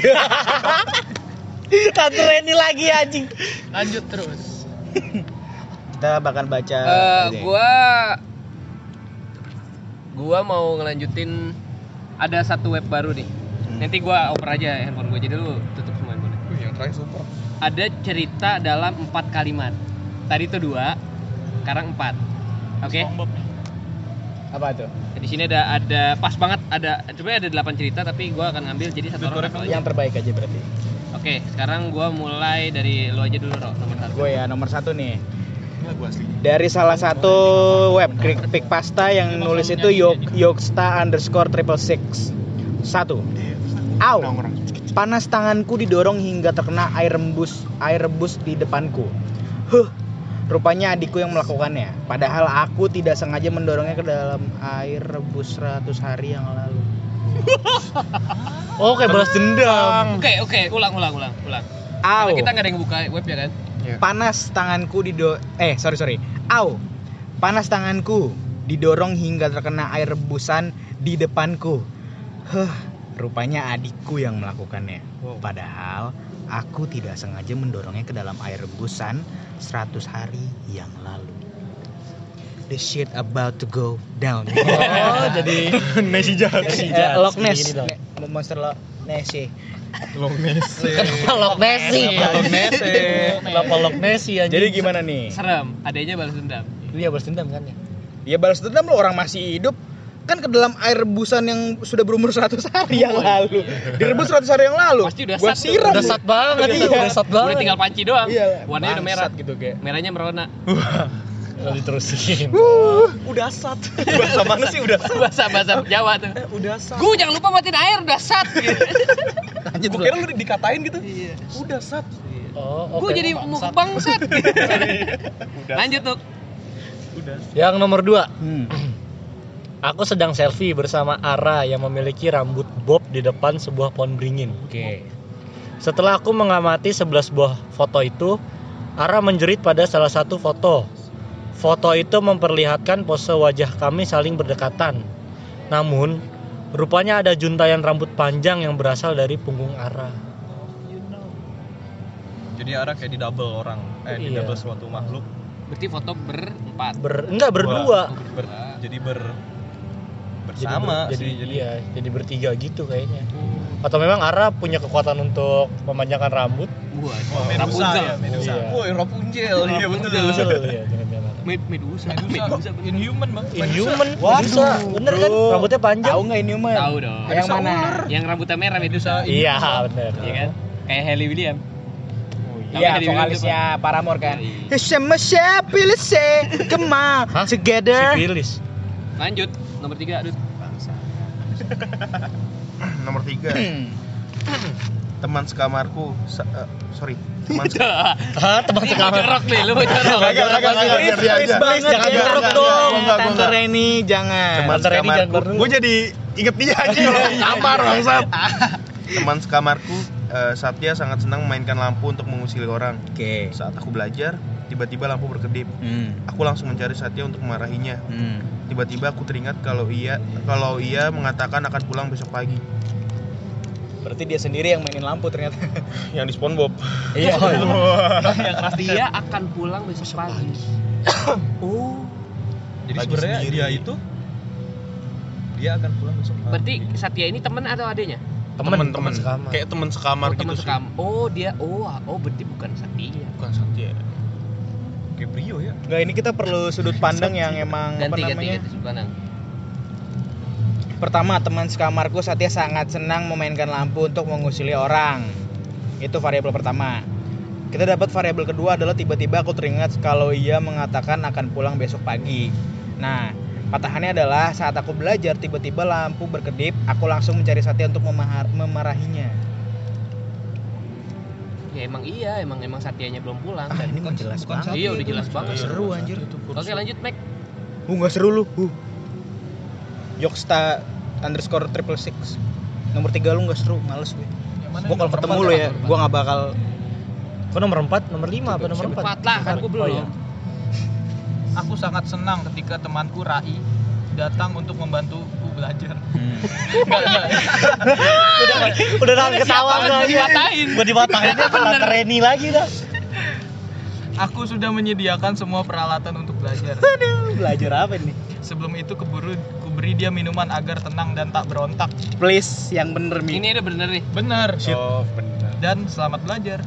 Speaker 5: Tante Reni lagi anjing.
Speaker 6: Lanjut terus.
Speaker 3: kita bakal baca
Speaker 2: Eh,
Speaker 3: Ah, ini.
Speaker 2: gua gua mau ngelanjutin ada satu web baru nih.
Speaker 3: Hmm.
Speaker 2: Nanti gua oper aja handphone gua jadi lu tutup semua handphone.
Speaker 7: Wih, yang terakhir super.
Speaker 2: Ada cerita dalam empat kalimat. Tadi itu dua, sekarang empat. Oke.
Speaker 3: apa tuh
Speaker 2: Di sini ada ada pas banget ada sebenarnya ada delapan cerita tapi gua akan ngambil jadi satu orang. satu aja.
Speaker 3: yang terbaik aja berarti
Speaker 2: Oke, sekarang gua mulai dari lu aja dulu, Ro, nomor satu.
Speaker 3: Gue ya nomor satu nih.
Speaker 7: Enggak gue asli.
Speaker 3: Dari salah satu web kritik pasta yang nulis itu Yok Yoksta underscore triple six satu. Au.
Speaker 4: Udah orang.
Speaker 3: Panas tanganku didorong hingga terkena air rembus air rebus di depanku. Huh. Rupanya adikku yang melakukannya. Padahal aku tidak sengaja mendorongnya ke dalam air rebus 100 hari yang lalu.
Speaker 5: Oh, kayak balas dendam.
Speaker 2: Oke, oke, ulang, ulang, ulang, ulang.
Speaker 3: Au.
Speaker 2: Karena kita nggak ada yang buka web ya kan?
Speaker 3: Panas tanganku dido eh sorry sorry. Au. Panas tanganku didorong hingga terkena air rebusan di depanku. Huh, rupanya adikku yang melakukannya. Padahal aku tidak sengaja mendorongnya ke dalam air rebusan 100 hari yang lalu. The shit about to go down.
Speaker 5: Oh, jadi Messi jahat.
Speaker 3: Eh, Loch Ness. Ne- Monster Loch Ness. eh.
Speaker 5: Kenapa Loch Ness eh? sih? Kenapa Loch Ness sih anjing?
Speaker 3: Jadi gimana nih?
Speaker 2: Serem, adanya balas dendam.
Speaker 5: dia balas dendam kan ya?
Speaker 3: Ya balas dendam lo orang masih hidup kan ke dalam air rebusan yang sudah berumur 100 hari yang lalu. Direbus 100 hari yang lalu.
Speaker 2: Pasti udah
Speaker 3: Gua
Speaker 2: sat tuh.
Speaker 3: siram.
Speaker 5: Udah sat banget,
Speaker 3: Iya.
Speaker 5: udah sat
Speaker 2: Udah
Speaker 5: banget.
Speaker 2: tinggal panci doang.
Speaker 3: Iya,
Speaker 2: Warnanya udah merah.
Speaker 3: bangsat gitu kayak.
Speaker 2: Merahnya merona.
Speaker 5: Lalu diterusin.
Speaker 7: Udah sat. Bahasa mana sih udah sat?
Speaker 2: Bahasa bahasa Jawa tuh.
Speaker 7: Udah sat.
Speaker 2: Gu jangan lupa matiin air, udah sat. Gitu.
Speaker 3: Lanjut dulu.
Speaker 7: Gue kira lu dikatain gitu. Udah sat.
Speaker 5: Oh,
Speaker 2: Gue
Speaker 5: oke.
Speaker 2: jadi
Speaker 5: Bangsat.
Speaker 2: bangsat. Lanjut tuh.
Speaker 5: Yang nomor dua,
Speaker 3: Hmm.
Speaker 5: aku sedang selfie bersama Ara yang memiliki rambut bob di depan sebuah pohon beringin.
Speaker 3: Oke.
Speaker 5: Setelah aku mengamati 11 buah foto itu, Ara menjerit pada salah satu foto. Foto itu memperlihatkan pose wajah kami saling berdekatan. Namun, rupanya ada juntayan rambut panjang yang berasal dari punggung Ara.
Speaker 7: Jadi arah kayak di double orang. Eh di
Speaker 5: Iya.
Speaker 7: double suatu makhluk.
Speaker 2: Berarti foto berempat.
Speaker 5: Ber, enggak berdua.
Speaker 7: Ber-
Speaker 5: Jadi
Speaker 7: jadi ber
Speaker 5: ber-
Speaker 7: bersama
Speaker 5: jadi,
Speaker 7: sih. Jadi
Speaker 5: iya, jadi bertiga gitu kayaknya. Atau memang Ara punya kekuatan untuk memanjangkan rambut?
Speaker 2: Gua.
Speaker 7: Medusa ya, Medusa.
Speaker 5: Iya.
Speaker 7: Woi, Rapunzel. Iya betul.
Speaker 5: Betul ya, jangan-jangan.
Speaker 2: Med Medusa. Medusa.
Speaker 7: Medusa. Inhuman bang.
Speaker 5: Inhuman,
Speaker 3: Waduh,
Speaker 5: Medusa. bener kan?
Speaker 3: bro.
Speaker 5: Rambutnya panjang.
Speaker 3: Tahu nggak ini Uman?
Speaker 2: Tahu dong.
Speaker 3: Yang mana?
Speaker 2: Yang rambutnya merah Medusa.
Speaker 5: Iya, bener.
Speaker 2: Iya kan? Kayak Hayley William. Tahu nggak
Speaker 3: Iya,
Speaker 2: dibilang
Speaker 3: vokalisnya Paramore kan.
Speaker 2: Iya.
Speaker 3: Sama siapa say, come on,
Speaker 5: Hah?
Speaker 3: together.
Speaker 5: Sipilis.
Speaker 2: Lanjut. Nomor tiga, Dut.
Speaker 4: Nomor tiga. Teman sekamarku. sa- eh, sorry. Teman se-
Speaker 5: Hah, teman
Speaker 2: Ini mau
Speaker 5: sekamar.
Speaker 2: jorok nih, lu mau jorok.
Speaker 4: Iya,
Speaker 3: Please, please banget,
Speaker 5: Jangan
Speaker 3: ya.
Speaker 5: jorok dong.
Speaker 3: Jangan, Tante Reni, jangan.
Speaker 4: Teman
Speaker 5: Tante Reni jangan
Speaker 4: sekamarku.
Speaker 5: baru.
Speaker 4: Gue jadi inget dia aja loh. Kamar bangsat. Teman sekamarku eh, Satya sangat senang memainkan lampu untuk mengusili orang.
Speaker 3: Oke.
Speaker 4: Saat aku belajar, tiba-tiba lampu berkedip.
Speaker 3: Hmm.
Speaker 4: Aku langsung mencari Satya untuk memarahinya.
Speaker 3: Hmm.
Speaker 4: Tiba-tiba aku teringat kalau ia kalau ia mengatakan akan pulang besok pagi.
Speaker 3: Berarti dia sendiri yang mainin lampu ternyata.
Speaker 4: Yang di SpongeBob.
Speaker 5: Iya.
Speaker 2: Dia akan pulang besok pagi. Oh,
Speaker 7: Jadi
Speaker 4: Lagi
Speaker 7: sebenarnya
Speaker 4: sendiri.
Speaker 7: dia itu dia akan pulang besok. pagi.
Speaker 2: berarti Satya ini teman atau adanya?
Speaker 5: Temen, temen
Speaker 4: Temen-temen.
Speaker 5: sekamar.
Speaker 4: Kayak teman sekamar
Speaker 2: Oh,
Speaker 4: gitu
Speaker 2: teman
Speaker 4: sih.
Speaker 2: sekam. Oh, dia oh, ah, oh berarti bukan Satya.
Speaker 4: Bukan Satya.
Speaker 7: kayak Brio ya.
Speaker 3: Enggak, ini kita perlu sudut pandang yang emang
Speaker 2: Ganti
Speaker 3: apa
Speaker 2: ganti
Speaker 3: namanya?
Speaker 2: ganti Subhanang.
Speaker 3: Pertama, teman sekamarku Satya sangat senang memainkan lampu untuk mengusili orang. Itu variabel pertama. Kita dapat variabel kedua adalah tiba-tiba aku teringat kalau ia mengatakan akan pulang besok pagi. Nah, patahannya adalah saat aku belajar tiba-tiba lampu berkedip, aku langsung mencari Satya untuk memahar- memarahinya.
Speaker 2: Ya emang iya, emang emang Satyanya belum pulang
Speaker 3: Ah,
Speaker 2: dan
Speaker 3: ini mah jelas banget.
Speaker 2: Iya, udah jelas banget.
Speaker 3: Seru anjir.
Speaker 2: Oke, lanjut Mac.
Speaker 3: Hu nggak seru lu. Hu. Yoksta underscore triple six. Nomor tiga lu nggak seru, males gue. Gue kalau ketemu lu ya, gue nggak bakal.
Speaker 5: Kok nomor 4, nomor 5 apa nomor 4?
Speaker 2: Empat lah, kan gua belum.
Speaker 5: Oh, iya.
Speaker 6: Aku sangat senang ketika temanku Rai datang untuk membantuku belajar. Enggak, enggak.
Speaker 5: Udah nahan ketawa
Speaker 2: Iya, Siapa
Speaker 3: iya.
Speaker 5: lagi.
Speaker 2: dikatain?
Speaker 5: Gua dipatahin sama Reni lagi dah.
Speaker 6: Aku sudah menyediakan semua peralatan untuk belajar.
Speaker 3: Belajar apa nih?
Speaker 6: Sebelum itu keburu kuberi dia minuman agar tenang dan tak berontak.
Speaker 3: Please yang bener Mi.
Speaker 2: Ini udah bener nih.
Speaker 6: Bener.
Speaker 7: Oh, benar.
Speaker 6: Dan selamat belajar.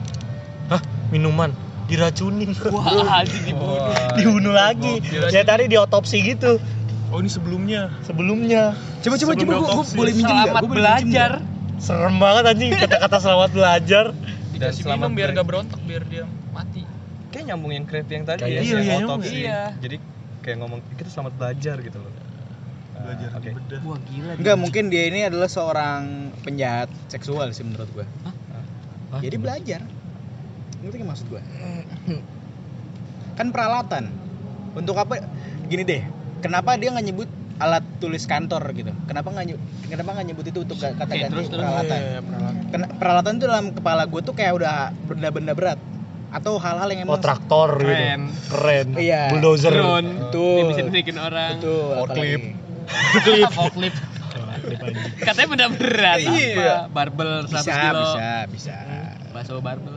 Speaker 5: Hah, minuman diracunin.
Speaker 2: Wah, anjing
Speaker 6: Iya,
Speaker 2: dibunuh.
Speaker 6: Oh,
Speaker 5: Dibunuh lagi. Ya tadi diotopsi gitu
Speaker 7: Oh, ini sebelumnya.
Speaker 5: sebelumnya.
Speaker 3: Coba coba coba
Speaker 7: Sebelum
Speaker 3: gue
Speaker 7: autopsi.
Speaker 3: boleh minjem nggak?
Speaker 2: Selamat
Speaker 3: Gua boleh minjem
Speaker 2: belajar.
Speaker 3: nggak?
Speaker 5: Serem banget anjing kata-kata selamat belajar.
Speaker 8: Dikasih
Speaker 6: selamat
Speaker 8: minum biar
Speaker 6: dari-
Speaker 8: gak berontak, biar dia mati.
Speaker 6: kayak nyambung yang creepy yang tadi
Speaker 5: Kayaknya
Speaker 6: ya,
Speaker 5: sih.
Speaker 6: yang
Speaker 5: Iya,
Speaker 6: otopsi.
Speaker 2: nyambung. Iya.
Speaker 6: Jadi kayak ngomong kita selamat belajar gitu loh.
Speaker 9: Belajar
Speaker 6: oke.
Speaker 9: di bedah.
Speaker 2: Wah gila.
Speaker 3: Enggak, mungkin dia ini adalah seorang penjahat seksual sih menurut gua.
Speaker 5: Hah?
Speaker 3: Jadi belajar. Ngerti nggak maksud gua? Kan peralatan. Untuk apa? Gini deh. Kenapa dia nggak nyebut alat tulis kantor gitu? Kenapa nggak nyebut, kenapa nggak nyebut itu untuk ga- kata
Speaker 2: Oke,
Speaker 3: ganti
Speaker 2: terus, terus.
Speaker 3: peralatan? Kena- peralatan itu dalam kepala gue tuh kayak udah benda-benda berat atau hal-hal yang
Speaker 5: Oh
Speaker 3: emang
Speaker 5: traktor
Speaker 2: Keren.
Speaker 5: gitu. Keren.
Speaker 3: Iya.
Speaker 5: Bulldozer.
Speaker 2: Drone. Dia bisa
Speaker 3: betul
Speaker 2: bikin orang.
Speaker 3: betul
Speaker 6: Forklift.
Speaker 3: apalagi.
Speaker 2: Forklift. Katanya benda berat. Iya. Barbel 100
Speaker 3: bisa
Speaker 2: kilo.
Speaker 3: bisa bisa
Speaker 2: Bakso barbel.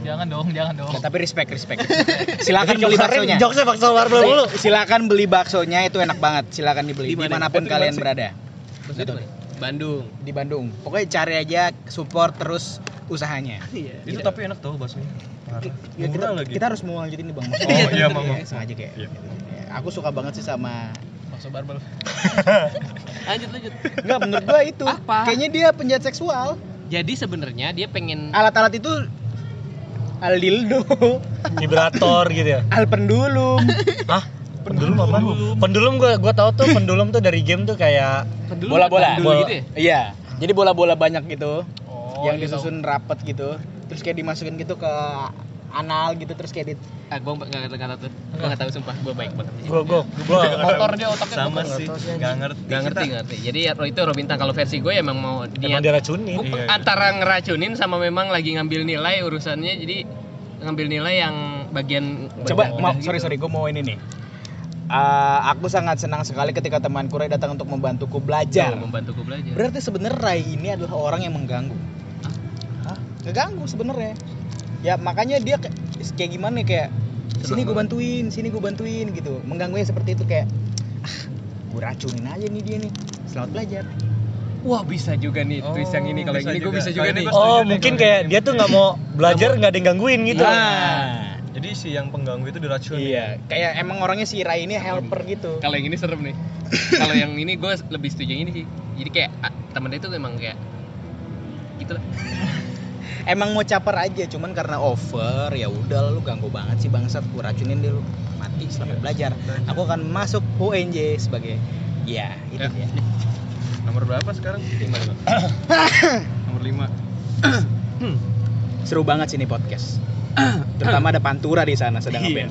Speaker 8: Jangan dong, jangan dong.
Speaker 3: Ya, tapi respect respect silakan
Speaker 5: Jadi
Speaker 3: beli baksonya
Speaker 5: jokes-nya- Jokesnya bakso barbel mulu.
Speaker 3: silakan beli baksonya itu enak banget silakan dibeli
Speaker 2: Di mana?
Speaker 3: dimanapun
Speaker 2: Itu di
Speaker 3: kalian
Speaker 2: mana sih?
Speaker 3: berada
Speaker 2: Terus itu mana? Bandung.
Speaker 3: di Bandung pokoknya cari aja support terus usahanya
Speaker 2: Iya.
Speaker 6: Itu tapi enak tau baksonya.
Speaker 7: Iya,
Speaker 6: Parah.
Speaker 3: Ya, kita,
Speaker 6: Murah lagi.
Speaker 3: kita harus mau lanjutin nih bang
Speaker 6: Oh iya mau
Speaker 3: Ya, sengaja kayak
Speaker 6: Iya.
Speaker 3: Ya, aku suka banget sih sama
Speaker 8: Bakso barbel.
Speaker 2: Lanjut lanjut.
Speaker 3: Enggak menurut gua itu
Speaker 2: Apa?
Speaker 3: kayaknya dia penjahat seksual
Speaker 2: Jadi sebenarnya dia pengen
Speaker 3: alat-alat itu al dildo,
Speaker 5: Vibrator gitu ya.
Speaker 3: al pendulum.
Speaker 5: Hah? Pendulum apa? Pendulum gua gua tahu tuh pendulum tuh dari game tuh kayak
Speaker 2: Pendulum
Speaker 3: Bola-bola.
Speaker 2: Dulu gitu ya.
Speaker 3: iya. Jadi bola-bola banyak gitu
Speaker 8: Oh,
Speaker 3: yang
Speaker 8: iya tahu.
Speaker 3: disusun rapet gitu. Terus kayak dimasukin gitu ke anal gitu terus kayak di
Speaker 2: Ah, gua enggak enggak enggak tahu tuh. Gua enggak tahu sumpah, gua baik banget.
Speaker 5: gua gua gua
Speaker 8: Motor dia otaknya
Speaker 6: sama
Speaker 8: kotor.
Speaker 6: sih. Gak ngerti.
Speaker 2: Gak ngerti
Speaker 6: Kita-
Speaker 2: gak ngerti. Jadi ya, itu Robintan kalau versi gue emang mau
Speaker 5: emang
Speaker 2: niat
Speaker 5: diracunin.
Speaker 2: Bu-
Speaker 6: Iya, iya.
Speaker 2: antara ngeracunin sama memang lagi ngambil nilai urusannya jadi ngambil nilai yang bagian
Speaker 3: Coba
Speaker 2: bagian
Speaker 3: mau
Speaker 2: udah
Speaker 3: sorry
Speaker 2: gitu.
Speaker 3: sorry gue mau ini nih. Eh, aku sangat senang sekali ketika teman Ray datang untuk membantuku belajar.
Speaker 2: Tuh, membantuku belajar.
Speaker 3: Berarti sebenarnya Ray ini adalah orang yang mengganggu. Ngeganggu sebenarnya. Ya makanya dia kayak, kayak gimana ya, kayak sini gue bantuin, sini gue bantuin gitu. Mengganggunya seperti itu kayak ah, gue racunin aja nih dia nih. Selamat belajar.
Speaker 2: Wah, bisa juga nih
Speaker 6: Oh,
Speaker 2: twist yang ini kalau yang
Speaker 6: bisa
Speaker 2: ini gue
Speaker 6: juga.
Speaker 2: bisa juga
Speaker 6: Kalau ini
Speaker 2: nih.
Speaker 6: gua
Speaker 5: Oh, mungkin kayak dia tuh nggak mau belajar nggak ada yang gangguin gitu.
Speaker 6: Jadi si yang pengganggu itu diracun.
Speaker 3: Nah. Iya, kayak emang orangnya si Ray ini helper gitu.
Speaker 2: Kalau yang ini serem nih. kalau yang ini gue lebih setuju yang ini sih. Jadi kayak ah, temen dia itu memang kayak gitu lah.
Speaker 3: Emang mau caper aja, cuman karena over ya udah lu ganggu banget sih bangsat, gue racunin deh lu. Mati
Speaker 6: Iya,
Speaker 3: selamat belajar. Aku akan masuk UNJ sebagai ya itu
Speaker 2: Ya.
Speaker 3: dia.
Speaker 6: Nomor berapa sekarang? Lima. Nomor lima.
Speaker 3: seru banget sini podcast terutama ada pantura di sana sedang
Speaker 2: Iya.
Speaker 3: ngeband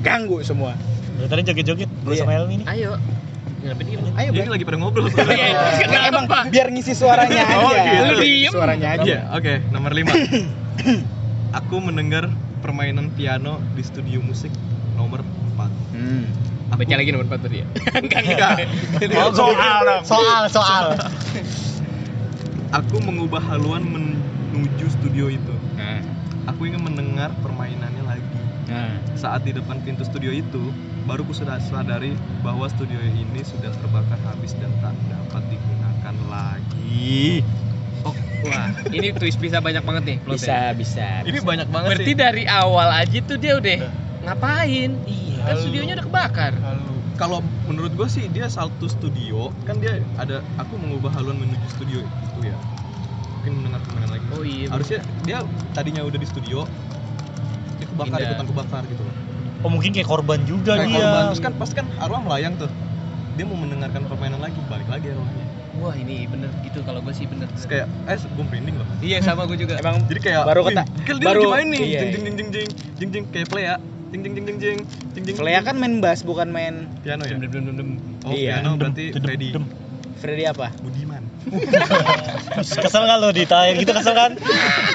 Speaker 3: ganggu semua
Speaker 5: Dari tadi joget-joget gue
Speaker 3: Iya.
Speaker 5: sama Elmi nih.
Speaker 2: Ayo. Ngapain gitu?
Speaker 3: ayo
Speaker 6: Ini
Speaker 3: Bray.
Speaker 6: lagi pada ngobrol.
Speaker 2: Oke,
Speaker 3: Nah, emang
Speaker 2: kenapa?
Speaker 3: biar ngisi suaranya aja
Speaker 6: Oh, gitu.
Speaker 2: Lu diem.
Speaker 3: suaranya aja
Speaker 6: Iya, oke, nomor 5. Aku mendengar permainan piano di studio musik nomor 4.
Speaker 3: hmm.
Speaker 2: Baca lagi nomor 4 tadi ya. Enggak enggak.
Speaker 5: Oh, soal Soal, soal.
Speaker 6: Aku mengubah haluan menuju studio itu.
Speaker 2: Nah.
Speaker 6: Aku ingin mendengar permainannya lagi. Saat di depan pintu studio itu, baru ku sudah sadari bahwa studio ini sudah terbakar habis dan tak dapat digunakan lagi.
Speaker 2: Oh, wah, ini twist bisa banyak banget nih plotnya.
Speaker 3: bisa bisa
Speaker 6: Ini banyak banget
Speaker 2: Berarti
Speaker 6: sih.
Speaker 2: dari awal aja tuh dia udah ngapain? Iya. Kan
Speaker 6: Lalu-
Speaker 2: studionya udah kebakar.
Speaker 6: Kalau menurut gue sih dia satu studio, kan dia ada aku mengubah haluan menuju studio itu ya. Mungkin mendengar permainan lagi.
Speaker 2: Oh iya.
Speaker 6: harusnya dia tadinya udah di studio dia kebakar
Speaker 2: Pindah.
Speaker 6: ikutan kebakar gitu loh
Speaker 5: Oh, mungkin kayak korban juga
Speaker 3: Iya.
Speaker 6: Kayak
Speaker 5: dia.
Speaker 6: korban. terus kan pas kan arwah melayang tuh dia mau mendengarkan permainan lagi balik lagi arwahnya
Speaker 2: Wah, ini bener gitu kalau gue sih bener.
Speaker 6: terus kayak eh gue merinding loh
Speaker 2: Iya, sama gue juga.
Speaker 3: emang
Speaker 6: jadi kayak
Speaker 3: Baru
Speaker 6: wih,
Speaker 3: kata-
Speaker 6: kan dia
Speaker 3: baru-
Speaker 6: lagi main nih
Speaker 3: iya,
Speaker 6: jing jing jing jing jing jing jing kayak play ya jing jing jing jing jing jing jing
Speaker 3: Flea kan main bass bukan main
Speaker 6: piano ya
Speaker 2: Dem, dem, dem, dem.
Speaker 6: oh
Speaker 3: Iya.
Speaker 6: piano berarti Freddy
Speaker 3: Freddy apa
Speaker 6: Budiman
Speaker 5: Terus Kesel kan lo ditanya gitu kesel kan?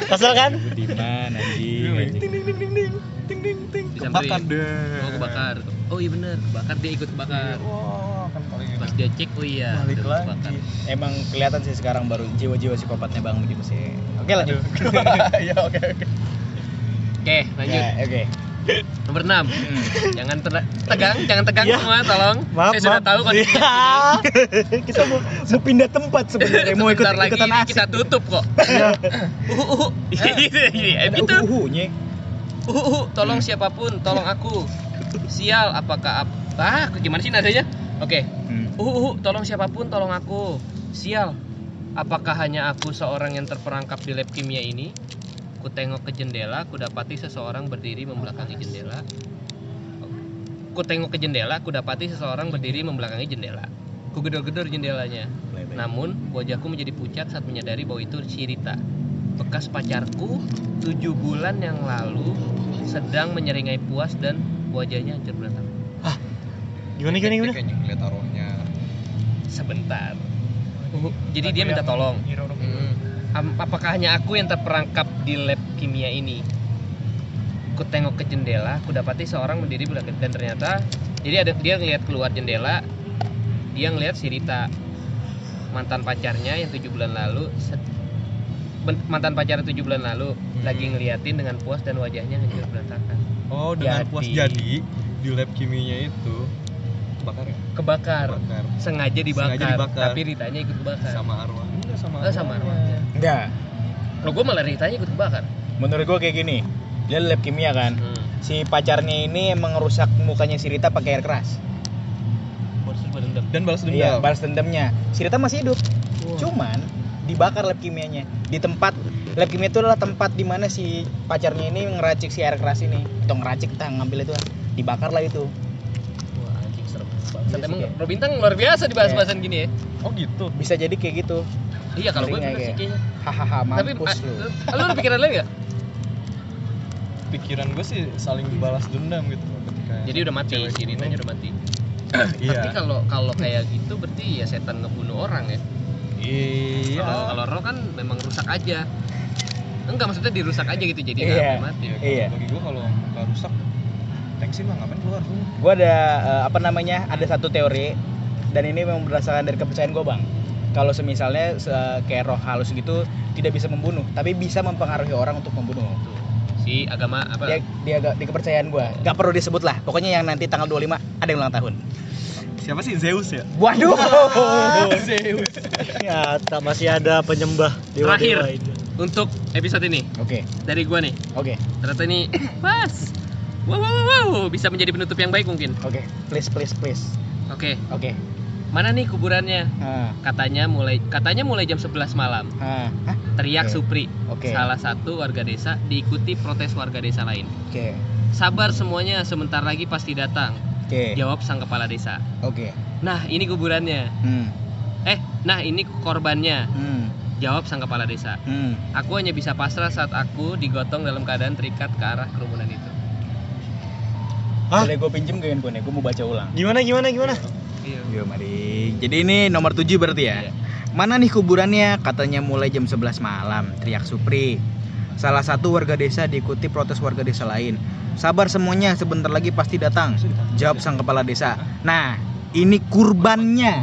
Speaker 5: Kesel kan?
Speaker 3: Budiman
Speaker 6: ting ting ting ting ting ting ting ting
Speaker 2: Bisa
Speaker 6: kebakar
Speaker 2: beli.
Speaker 6: deh
Speaker 2: Oh, kebakar. Oh iya bener, kebakar dia ikut kebakar.
Speaker 6: wah kan paling
Speaker 2: Pas dia cek, oh iya,
Speaker 6: balik
Speaker 2: udah kebakar.
Speaker 6: lagi
Speaker 3: emang kelihatan sih sekarang baru jiwa-jiwa psikopatnya bang Budi Mesir oke lanjut
Speaker 6: iya oke oke
Speaker 2: Oke, lanjut.
Speaker 3: Ya, oke
Speaker 2: Nomor 6. Jangan ter- tegang, jangan tegang
Speaker 5: Iya.
Speaker 2: semua, tolong.
Speaker 5: Maaf,
Speaker 2: Saya sudah
Speaker 5: maaf.
Speaker 2: tahu kok.
Speaker 5: Iya.
Speaker 3: kita mau, mau pindah tempat sebenarnya mau ikut
Speaker 2: Sebentar lagi
Speaker 3: ikutan
Speaker 2: ini
Speaker 3: asik Iya.
Speaker 2: kita tutup kok. Uhu, uhu. Gitu, gitu.
Speaker 3: Ada
Speaker 2: Gitu.
Speaker 3: uhuhunya.
Speaker 2: Uhuhu, tolong siapapun, tolong aku. Sial, apakah ap- ah, gimana sih nadanya? Oke.
Speaker 3: Hmm.
Speaker 2: Uhuhu, tolong siapapun, tolong aku. Sial. Apakah hanya aku seorang yang terperangkap di lab kimia ini? Ku tengok ke jendela, ku dapati seseorang berdiri membelakangi jendela. Ku tengok ke jendela, ku dapati seseorang berdiri membelakangi jendela. Ku gedor-gedor jendelanya. Namun, wajahku menjadi pucat saat menyadari bahwa itu si Rita. Bekas pacarku, tujuh bulan yang lalu, sedang menyeringai puas dan wajahnya hancur berantakan.
Speaker 5: Gimana gimana gimana?
Speaker 7: Kayaknya ngeliat taruhnya.
Speaker 2: Sebentar.
Speaker 7: Oh,
Speaker 2: Uhu, Jadi dia minta tolong. Hmm. Am- apakah hanya aku yang terperangkap di lab kimia ini? Ku tengok ke jendela, ku dapati seorang berdiri belakang dan ternyata jadi ada dia ngelihat keluar jendela, dia ngelihat si Rita mantan pacarnya yang tujuh bulan lalu set- ben- mantan pacarnya tujuh bulan lalu
Speaker 7: Hmm.
Speaker 2: lagi ngeliatin dengan puas dan wajahnya hancur berantakan
Speaker 7: Oh, dengan
Speaker 2: Jadi.
Speaker 7: puas jadi di lab kimianya itu bakar ya?
Speaker 2: kebakar
Speaker 7: Bakar
Speaker 2: sengaja dibakar,
Speaker 7: Sengaja dibakar.
Speaker 2: tapi Ritanya ikut kebakar
Speaker 7: sama arwah. Enggak sama.
Speaker 2: Eh, sama arwahnya.
Speaker 3: Enggak.
Speaker 2: lo gue malah Ritanya ikut kebakar
Speaker 3: Menurut gue kayak gini. Dia lab kimia kan.
Speaker 2: Hmm.
Speaker 3: Si pacarnya ini emang ngerusak mukanya si Rita pakai air keras.
Speaker 2: Versus berendam.
Speaker 7: Dan balas dendam.
Speaker 3: Iya, balas dendamnya. Si Rita masih hidup. Cuman dibakar lab kimianya di tempat lab kimia itu adalah tempat di mana si pacarnya ini ngeracik si air keras ini atau ngeracik tang ngambil itu lah. dibakar lah itu
Speaker 2: Wah, anjing serem banget.
Speaker 3: Iya
Speaker 2: Emang
Speaker 3: sih,
Speaker 2: Robintang luar biasa di bahas-bahasan gini ya.
Speaker 7: Oh gitu.
Speaker 3: bisa jadi kayak gitu
Speaker 2: Iya, kalau gue
Speaker 3: Ngeri
Speaker 2: bener
Speaker 3: nggak
Speaker 2: sih
Speaker 3: ya?
Speaker 2: kayaknya.
Speaker 3: hahaha
Speaker 2: Tapi
Speaker 3: mampus
Speaker 2: ah,
Speaker 3: lu
Speaker 2: lu ada pikiran lain enggak?
Speaker 7: Pikiran gue sih saling balas dendam gitu loh ketika.
Speaker 3: Iya.
Speaker 2: Jadi udah mati,
Speaker 7: cewek
Speaker 2: si
Speaker 7: ini.
Speaker 2: Ritanya udah mati.
Speaker 7: Iya.
Speaker 2: Tapi kalau kalau kayak gitu berarti ya setan ngebunuh orang ya.
Speaker 7: Iya.
Speaker 2: Kalau kalau roh kan memang rusak aja. Enggak maksudnya dirusak aja gitu jadi nggak
Speaker 3: Iya.
Speaker 2: sampai mati.
Speaker 7: Iya,
Speaker 3: Iya.
Speaker 7: Bagi gue kalau muka rusak tensin lah ngapain keluar dulu.
Speaker 3: gue ada eh, apa namanya ada satu teori dan ini memang berdasarkan dari kepercayaan gue bang kalau semisalnya se- kayak roh halus gitu tidak bisa membunuh tapi bisa mempengaruhi orang untuk membunuh
Speaker 2: Tuh. Si agama apa?
Speaker 3: dia dia agak- di kepercayaan gue gak perlu disebut lah pokoknya yang nanti tanggal 25 ada yang ulang tahun
Speaker 7: Siapa sih Zeus ya?
Speaker 3: waduh
Speaker 7: Zeus.
Speaker 5: Ya, tak masih ada penyembah dewa
Speaker 2: Terakhir.
Speaker 5: dewa itu.
Speaker 2: Untuk episode ini
Speaker 3: oke
Speaker 2: dari gua nih.
Speaker 3: oke
Speaker 2: Ternyata ini pas. Wow, wow, wow, wow, bisa menjadi penutup yang baik mungkin.
Speaker 3: oke please please please
Speaker 2: Oke,
Speaker 3: oke
Speaker 2: mana nih kuburannya?
Speaker 3: Ah,
Speaker 2: Katanya mulai katanya mulai jam 11 malam.
Speaker 3: ah, ah,
Speaker 2: Teriak
Speaker 3: Oke.
Speaker 2: Supri,
Speaker 3: oke
Speaker 2: salah satu warga desa diikuti protes warga desa lain.
Speaker 3: oke
Speaker 2: Sabar semuanya, sebentar lagi pasti datang.
Speaker 3: oke
Speaker 2: Jawab sang kepala desa.
Speaker 3: oke
Speaker 2: Nah, ini kuburannya.
Speaker 3: hmm
Speaker 2: Eh, nah ini korbannya.
Speaker 3: hmm
Speaker 2: Jawab sang kepala desa.
Speaker 3: hmm
Speaker 2: Aku hanya bisa pasrah saat aku digotong dalam keadaan terikat ke arah kerumunan itu.
Speaker 5: Hah?
Speaker 3: boleh gue pinjem gak handphone gue mau baca ulang
Speaker 5: Gimana gimana gimana?
Speaker 2: Iya.
Speaker 3: Yo mari. Jadi ini nomor 7 berarti ya. Mana nih kuburannya? Katanya mulai jam 11 malam, teriak Supri. Salah satu warga desa diikuti protes warga desa lain. Sabar semuanya, sebentar lagi pasti datang. Iya. Jawab sang kepala desa. Nah, ini kurbannya.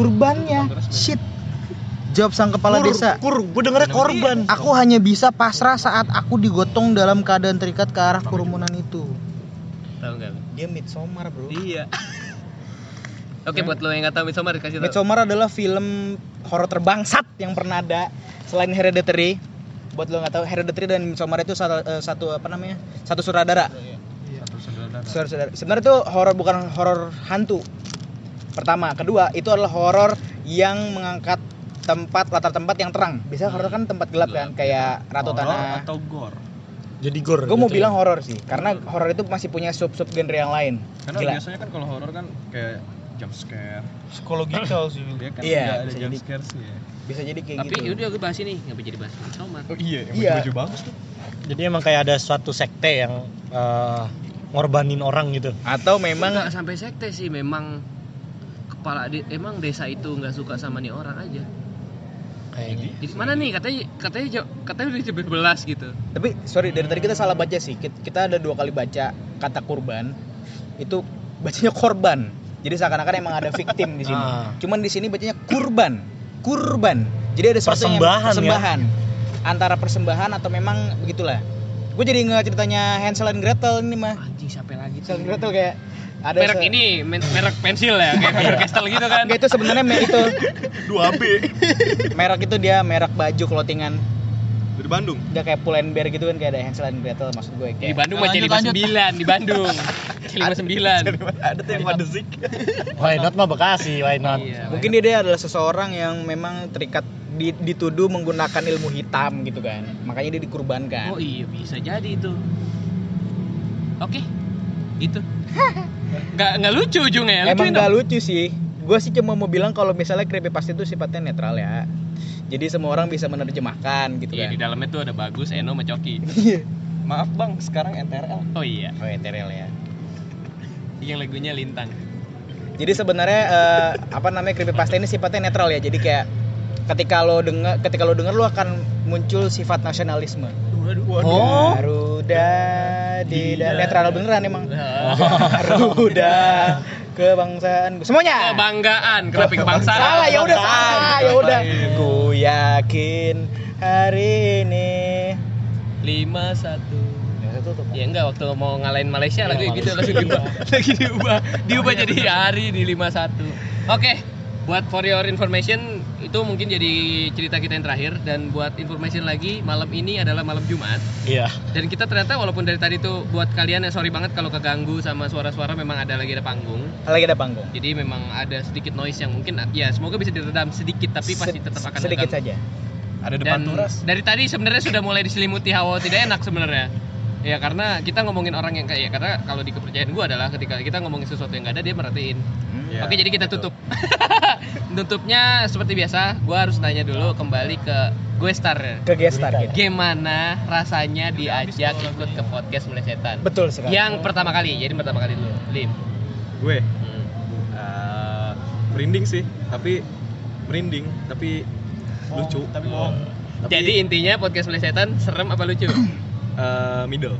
Speaker 3: Kurbannya. Shit. Jawab sang kepala
Speaker 5: Kur,
Speaker 3: desa.
Speaker 5: Kur, gue dengernya korban.
Speaker 3: Aku hanya bisa pasrah saat aku digotong dalam keadaan terikat ke arah kerumunan itu.
Speaker 2: Tahu nggak?
Speaker 3: Dia midsomar, Bro.
Speaker 2: Iya.
Speaker 3: Iya.
Speaker 2: Oke, buat lo yang nggak tahu Midsommar dikasih tahu.
Speaker 3: Midsommar adalah film horor terbangsat yang pernah ada selain Hereditary. Buat lo nggak tahu Hereditary dan Midsommar itu satu, eh, satu apa namanya? Satu sutradara.
Speaker 7: Iya, Satu saudara.
Speaker 3: Saudara- saudara. Sebenarnya itu horor bukan horor hantu. Pertama, kedua itu adalah horor yang mengangkat tempat latar tempat yang terang. Biasanya horor kan tempat gelap kan, kayak Ratu
Speaker 7: Hmm. iya. Horor
Speaker 3: Tanah.
Speaker 7: atau gor?
Speaker 5: Jadi gor.
Speaker 3: Gue mau
Speaker 5: gitu ya.
Speaker 3: bilang horor sih, karena horor itu masih punya sub-sub genre yang lain.
Speaker 7: Karena
Speaker 3: Gila.
Speaker 7: biasanya kan kalau horor kan kayak jump scare.
Speaker 4: Psikologikal sih. Bil.
Speaker 7: Dia kan
Speaker 3: Iya,
Speaker 7: nggak ada
Speaker 3: bisa
Speaker 7: jump
Speaker 3: jadi.
Speaker 7: scare sih ya.
Speaker 3: Bisa jadi kayak
Speaker 2: Tapi
Speaker 3: gitu.
Speaker 2: udah gue bahas ini, nggak jadi bahas Midsommar.
Speaker 7: Oh iya, yang
Speaker 3: Iya.
Speaker 7: baju bagus tuh.
Speaker 5: Jadi emang kayak ada suatu sekte yang eh, ngorbanin orang gitu.
Speaker 3: Atau
Speaker 2: Emang
Speaker 3: memang
Speaker 2: nggak sampai sekte sih, memang kepala de- emang desa itu nggak suka sama nih orang aja.
Speaker 5: Kayaknya.
Speaker 2: Jadi mana nih katanya katanya jaw- katanya udah jam 11 gitu.
Speaker 3: Tapi sorry dari tadi kita salah baca sih. Kit- Kita ada dua kali baca kata kurban. Itu bacanya korban. Jadi seakan-akan emang ada victim di sini.
Speaker 5: Ah.
Speaker 3: Cuman di sini bacanya kurban. Kurban. Jadi ada sesuatu yang-
Speaker 5: Persembahan, ya?
Speaker 3: persembahan. Antara persembahan atau memang begitulah. Gue jadi nggak ceritanya Hansel and Gretel ini mah.
Speaker 2: Anjing siapa lagi tuh?
Speaker 3: Hansel and Gretel kayak ada
Speaker 2: merek
Speaker 3: se-
Speaker 2: ini men- merek pensil ya kayak paper castle gitu kan
Speaker 3: Nggak, itu sebenarnya me- itu
Speaker 7: 2B
Speaker 3: merek itu dia merek baju clothingan.
Speaker 7: dari Bandung.
Speaker 3: Dia kayak Pull&Bear gitu kan kayak ada Hansel and Gretel maksud gue
Speaker 2: di
Speaker 3: kayak.
Speaker 2: Bandung
Speaker 6: Lanjut,
Speaker 2: masih lima
Speaker 6: lanjut.
Speaker 2: sembilan di Bandung lima sembilan
Speaker 7: Ada tuh yang ada zik.
Speaker 5: Why not mah Bekasi, why not?
Speaker 2: Iya,
Speaker 3: Mungkin dia, dia adalah seseorang yang memang terikat di- dituduh menggunakan ilmu hitam gitu kan. Makanya dia dikurbankan.
Speaker 2: Oh iya bisa jadi itu. Oke, itu. Nggak nggak lucu ujungnya. ya?
Speaker 3: Emang
Speaker 2: Lucuin
Speaker 3: gak
Speaker 2: dong.
Speaker 3: lucu sih. Gue sih cuma mau bilang kalau misalnya creepypasta itu sifatnya netral ya. Jadi semua orang bisa menerjemahkan gitu
Speaker 2: Iya
Speaker 3: kan.
Speaker 2: di dalamnya tuh ada bagus, Eno, sama Coki.
Speaker 7: Maaf bang, sekarang NTRL.
Speaker 2: Oh iya,
Speaker 3: Oh, netral ya.
Speaker 2: yang lagunya lintang.
Speaker 3: Jadi sebenarnya eh, apa namanya creepypasta ini sifatnya netral ya. Jadi kayak ketika lo denger ketika lo denger lo akan muncul sifat nasionalisme.
Speaker 2: Oh.
Speaker 3: Garuda di da- netral beneran emang. Garuda kebangsaan
Speaker 2: Iya,
Speaker 3: semuanya.
Speaker 2: Kebanggaan, kenapa kebangsaan?
Speaker 3: Ah. Salah ya udah salah ya udah. Ku yakin hari ini.
Speaker 2: Lima satu. Ya enggak waktu mau ngalahin Malaysia lagi
Speaker 3: Iya,
Speaker 2: gitu langsung diubah. lagi diubah. Diubah jadi ya. hari di 51. Oke. Buat for your information itu mungkin jadi cerita kita yang terakhir dan buat information lagi malam ini adalah malam Jumat
Speaker 5: Iya.
Speaker 2: dan kita ternyata walaupun dari tadi tuh buat kalian ya sorry banget kalau keganggu sama suara-suara memang ada lagi ada panggung
Speaker 3: Lagi ada panggung.
Speaker 2: jadi memang ada sedikit noise yang mungkin ya semoga bisa diredam sedikit tapi pasti tetap akan
Speaker 3: sedikit
Speaker 2: keganggu
Speaker 3: saja.
Speaker 7: Ada
Speaker 2: dan dari tadi sebenarnya sudah mulai diselimuti hawa tidak enak sebenarnya ya karena kita ngomongin orang yang kayak ya, karena kalau di kepercayaan gue adalah ketika kita ngomongin sesuatu yang gak ada dia merhatiin
Speaker 3: Hmm,
Speaker 7: Ya,
Speaker 3: iya.
Speaker 2: oke jadi kita tutup tutupnya seperti biasa gue harus nanya dulu kembali ke gue star
Speaker 3: Ke gestar kita.
Speaker 2: gimana rasanya diajak ikut ke podcast mulai setan
Speaker 3: Betul sekali.
Speaker 2: yang pertama kali jadi pertama kali dulu lim
Speaker 7: Gue
Speaker 2: Hmm.
Speaker 7: eh, merinding sih, tapi merinding, tapi lucu. Tapi
Speaker 6: Iya.
Speaker 2: jadi intinya podcast mulai setan serem apa lucu
Speaker 7: eh, middle.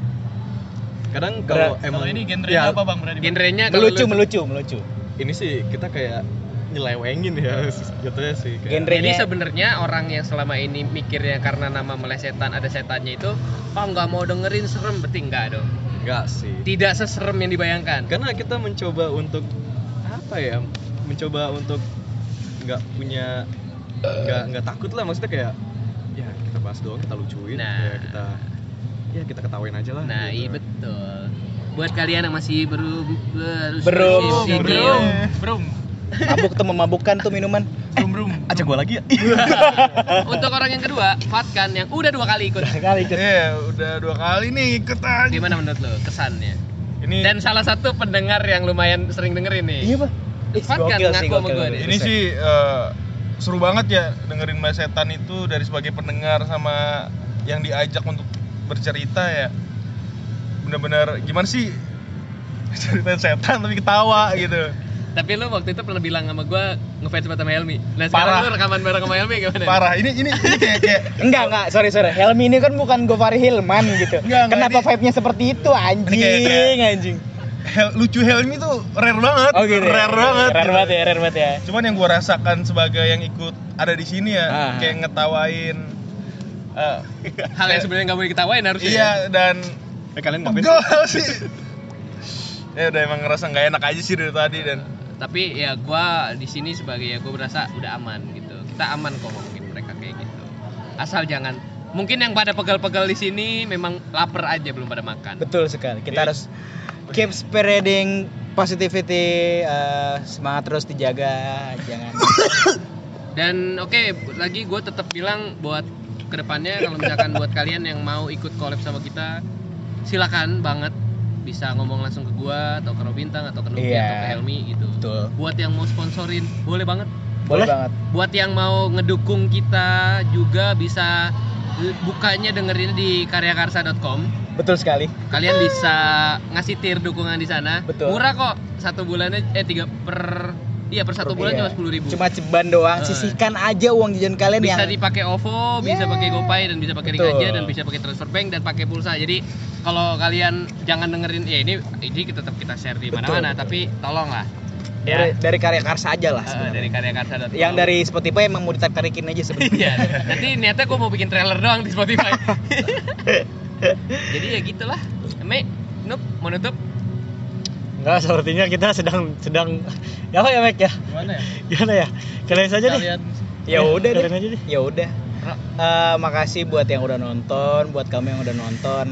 Speaker 7: Kadang kalau emang ini ya,
Speaker 6: bang berani?
Speaker 2: genrenya kalau
Speaker 3: melucu, melucu, melucu.
Speaker 7: Ini sih kita kayak nyelewengin ya jatuhnya sih
Speaker 2: Jadi
Speaker 7: kayak
Speaker 3: Genrenya
Speaker 2: sebenarnya orang yang selama ini mikirnya karena nama melesetan ada setannya itu oh nggak mau dengerin serem berarti enggak dong.
Speaker 7: enggak sih.
Speaker 2: Tidak seserem yang dibayangkan.
Speaker 7: Karena kita mencoba untuk apa ya? Mencoba untuk nggak punya nggak nggak takut lah maksudnya kayak ya kita bahas doang kita lucuin
Speaker 2: Nah.
Speaker 7: ya kita ya kita ketawain aja lah
Speaker 2: Nah, iya
Speaker 7: gitu.
Speaker 2: betul. Buat kalian yang masih belum
Speaker 3: Belum,
Speaker 6: Brum, brum,
Speaker 3: mabuk tuh memabukkan tuh minuman.
Speaker 6: brum, brum.
Speaker 7: Ajak gua lagi ya.
Speaker 2: Untuk orang yang kedua, Fatkan yang udah dua kali ikut.
Speaker 3: Kali ikut.
Speaker 4: Iya, udah dua kali nih ikut aja.
Speaker 2: Gimana menurut lo kesannya?
Speaker 4: Ini
Speaker 2: Dan salah satu pendengar yang lumayan sering dengerin nih.
Speaker 3: Iya, Pak. Ih,
Speaker 2: Fatkan
Speaker 3: gokil
Speaker 2: ngaku
Speaker 3: sih,
Speaker 2: sama
Speaker 3: gokil,
Speaker 2: gue
Speaker 3: gokil.
Speaker 2: nih.
Speaker 4: ini sih eh, seru banget ya dengerin Mas Setan itu dari sebagai pendengar sama yang diajak untuk bercerita ya. Bener-bener gimana sih cerita setan tapi ketawa gitu.
Speaker 2: Tapi lo waktu itu pernah bilang sama gue ngefans banget sama Helmi. Nah, sekarang
Speaker 4: Parah.
Speaker 2: lo rekaman bareng sama Helmi gimana?
Speaker 4: Parah. Ini ini ini kayak kayak
Speaker 3: Enggak, enggak, sorry, sorry. Helmi ini kan bukan Gofari Hilman gitu.
Speaker 4: Enggak, enggak,
Speaker 3: Kenapa
Speaker 4: ini-
Speaker 3: vibe-nya seperti itu,
Speaker 4: kayak-
Speaker 3: anjing,
Speaker 4: kayak-
Speaker 3: anjing.
Speaker 4: Hel- lucu Helmi tuh rare banget.
Speaker 3: Oh gitu. ya?
Speaker 4: Rare banget.
Speaker 3: Rare
Speaker 4: gitu.
Speaker 3: banget ya, rare banget ya.
Speaker 4: Cuman yang gua rasakan sebagai yang ikut ada di sini ya,
Speaker 3: Ah.
Speaker 4: kayak ngetawain eh,
Speaker 2: Hal yang sebenarnya nggak boleh diketawain harusnya. ya.
Speaker 4: iya dan
Speaker 7: Eh kalian ngapain sih?
Speaker 4: pegel sih. ya udah emang ngerasa nggak enak aja sih dari tadi dan
Speaker 2: tapi ya gua di sini sebagai ya gue merasa udah aman gitu kita aman kok mungkin mereka kayak gitu asal jangan mungkin yang pada pegal-pegal di sini memang lapar aja belum pada makan
Speaker 3: Betul sekali. Kita harus keep spreading positivity, eh, semangat terus dijaga, jangan.
Speaker 2: dan oke lagi gue tetap bilang buat kedepannya kalau misalkan buat kalian yang mau ikut collab sama kita silakan banget bisa ngomong langsung ke gua atau ke Robintang atau ke Nuki
Speaker 3: Iya.
Speaker 2: atau ke Helmi gitu
Speaker 3: Betul.
Speaker 2: buat yang mau sponsorin boleh banget
Speaker 3: Boleh banget.
Speaker 2: buat yang mau ngedukung kita juga bisa eh, bukanya dengerin di karyakarsa.com
Speaker 3: Betul sekali.
Speaker 2: kalian bisa ngasih tier dukungan di sana
Speaker 3: Betul.
Speaker 2: murah kok satu bulannya eh tiga per iya per satu bulan
Speaker 3: Iya.
Speaker 2: cuma sepuluh ribu
Speaker 3: Cuma ceban doang,
Speaker 2: Eh.
Speaker 3: sisihkan aja uang jajan kalian
Speaker 2: bisa
Speaker 3: yang
Speaker 2: dipakai OVO, bisa
Speaker 3: Yeah.
Speaker 2: pakai GoPay dan bisa pakai
Speaker 3: Betul.
Speaker 2: Ring aja dan bisa pakai transfer bank dan pakai pulsa. Jadi kalau kalian jangan dengerin ya ini ini kita tetap kita share di
Speaker 3: Betul,
Speaker 2: mana-mana
Speaker 3: betul.
Speaker 2: tapi tolonglah
Speaker 3: dari, dari karya karsa aja
Speaker 2: Ya.
Speaker 3: lah.
Speaker 2: Eh,
Speaker 3: sebenarnya.
Speaker 2: dari karyakarsa.com
Speaker 3: yang dari Spotify emang mau ditarik-tarikin aja sebenarnya.
Speaker 2: Iya. Nanti niatnya gue mau bikin trailer doang di Spotify. Jadi ya gitulah. Me, Nup, mau nutup?
Speaker 5: Enggak, sepertinya kita sedang sedang ya apa ya Mek ya?
Speaker 6: Gimana ya?
Speaker 5: Gimana ya? Kalian saja deh.
Speaker 6: Kalian
Speaker 3: ya udah
Speaker 5: Kalian
Speaker 3: deh.
Speaker 5: aja deh.
Speaker 3: Ya udah. Eh, makasih buat yang udah nonton, buat kamu yang udah nonton.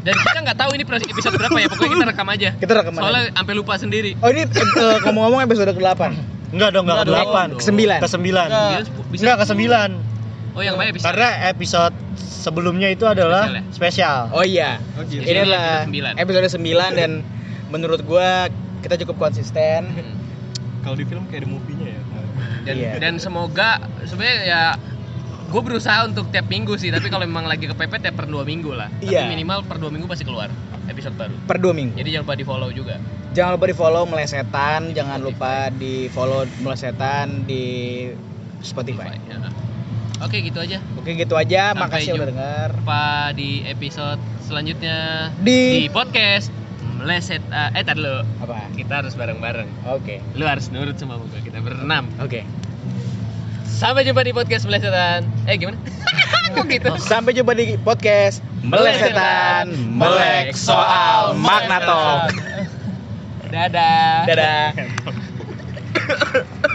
Speaker 2: Dan kita nggak tahu ini proses episode berapa ya, pokoknya kita rekam aja.
Speaker 3: Kita rekam aja.
Speaker 2: Soalnya sampai lupa sendiri.
Speaker 3: Oh ini eh, ngomong-ngomong eh, episode ke-8.
Speaker 5: Enggak dong, enggak
Speaker 6: Enggak dong.
Speaker 5: ke-8.
Speaker 3: Kesembilan.
Speaker 5: Ke-9.
Speaker 2: Dia
Speaker 6: Enggak.
Speaker 2: sepu- bisa
Speaker 5: Enggak
Speaker 2: sepuluh.
Speaker 5: ke-9.
Speaker 2: Oh, yang mana bisa?
Speaker 5: Karena episode sebelumnya itu adalah spesial.
Speaker 3: Oh iya.
Speaker 7: Oh gitu.
Speaker 3: Ini
Speaker 2: Jadi
Speaker 3: adalah
Speaker 2: episode sembilan.
Speaker 3: episode 9 dan menurut gua kita cukup konsisten.
Speaker 2: Hmm.
Speaker 7: Kalau di film kayak ada movie-nya ya.
Speaker 2: dan
Speaker 3: Iya.
Speaker 2: dan semoga sebenarnya ya gue berusaha untuk tiap minggu sih tapi kalau memang lagi kepepet ya per dua minggu lah tapi
Speaker 3: Iya.
Speaker 2: minimal per dua minggu pasti keluar episode baru
Speaker 3: Per dua minggu.
Speaker 2: jadi jangan lupa di follow juga
Speaker 3: Jangan lupa di follow melesetan, jangan lupa di follow melesetan di Spotify.
Speaker 2: Ya. oke gitu aja
Speaker 3: Oke gitu aja,
Speaker 2: Sampai
Speaker 3: makasih udah
Speaker 2: jumpa.
Speaker 3: dengar.
Speaker 2: apa di episode selanjutnya
Speaker 3: Di-
Speaker 2: podcast meleset eh, eh tar dulu
Speaker 3: Apa?
Speaker 2: kita harus bareng-bareng
Speaker 3: Oke.
Speaker 2: lu harus nurut sama gue kita berenam
Speaker 3: Oke.
Speaker 2: sampai jumpa di podcast melesetan eh gimana kok gitu
Speaker 3: Sampai jumpa di podcast melesetan melek soal magnatok.
Speaker 2: dadah
Speaker 3: Dadah.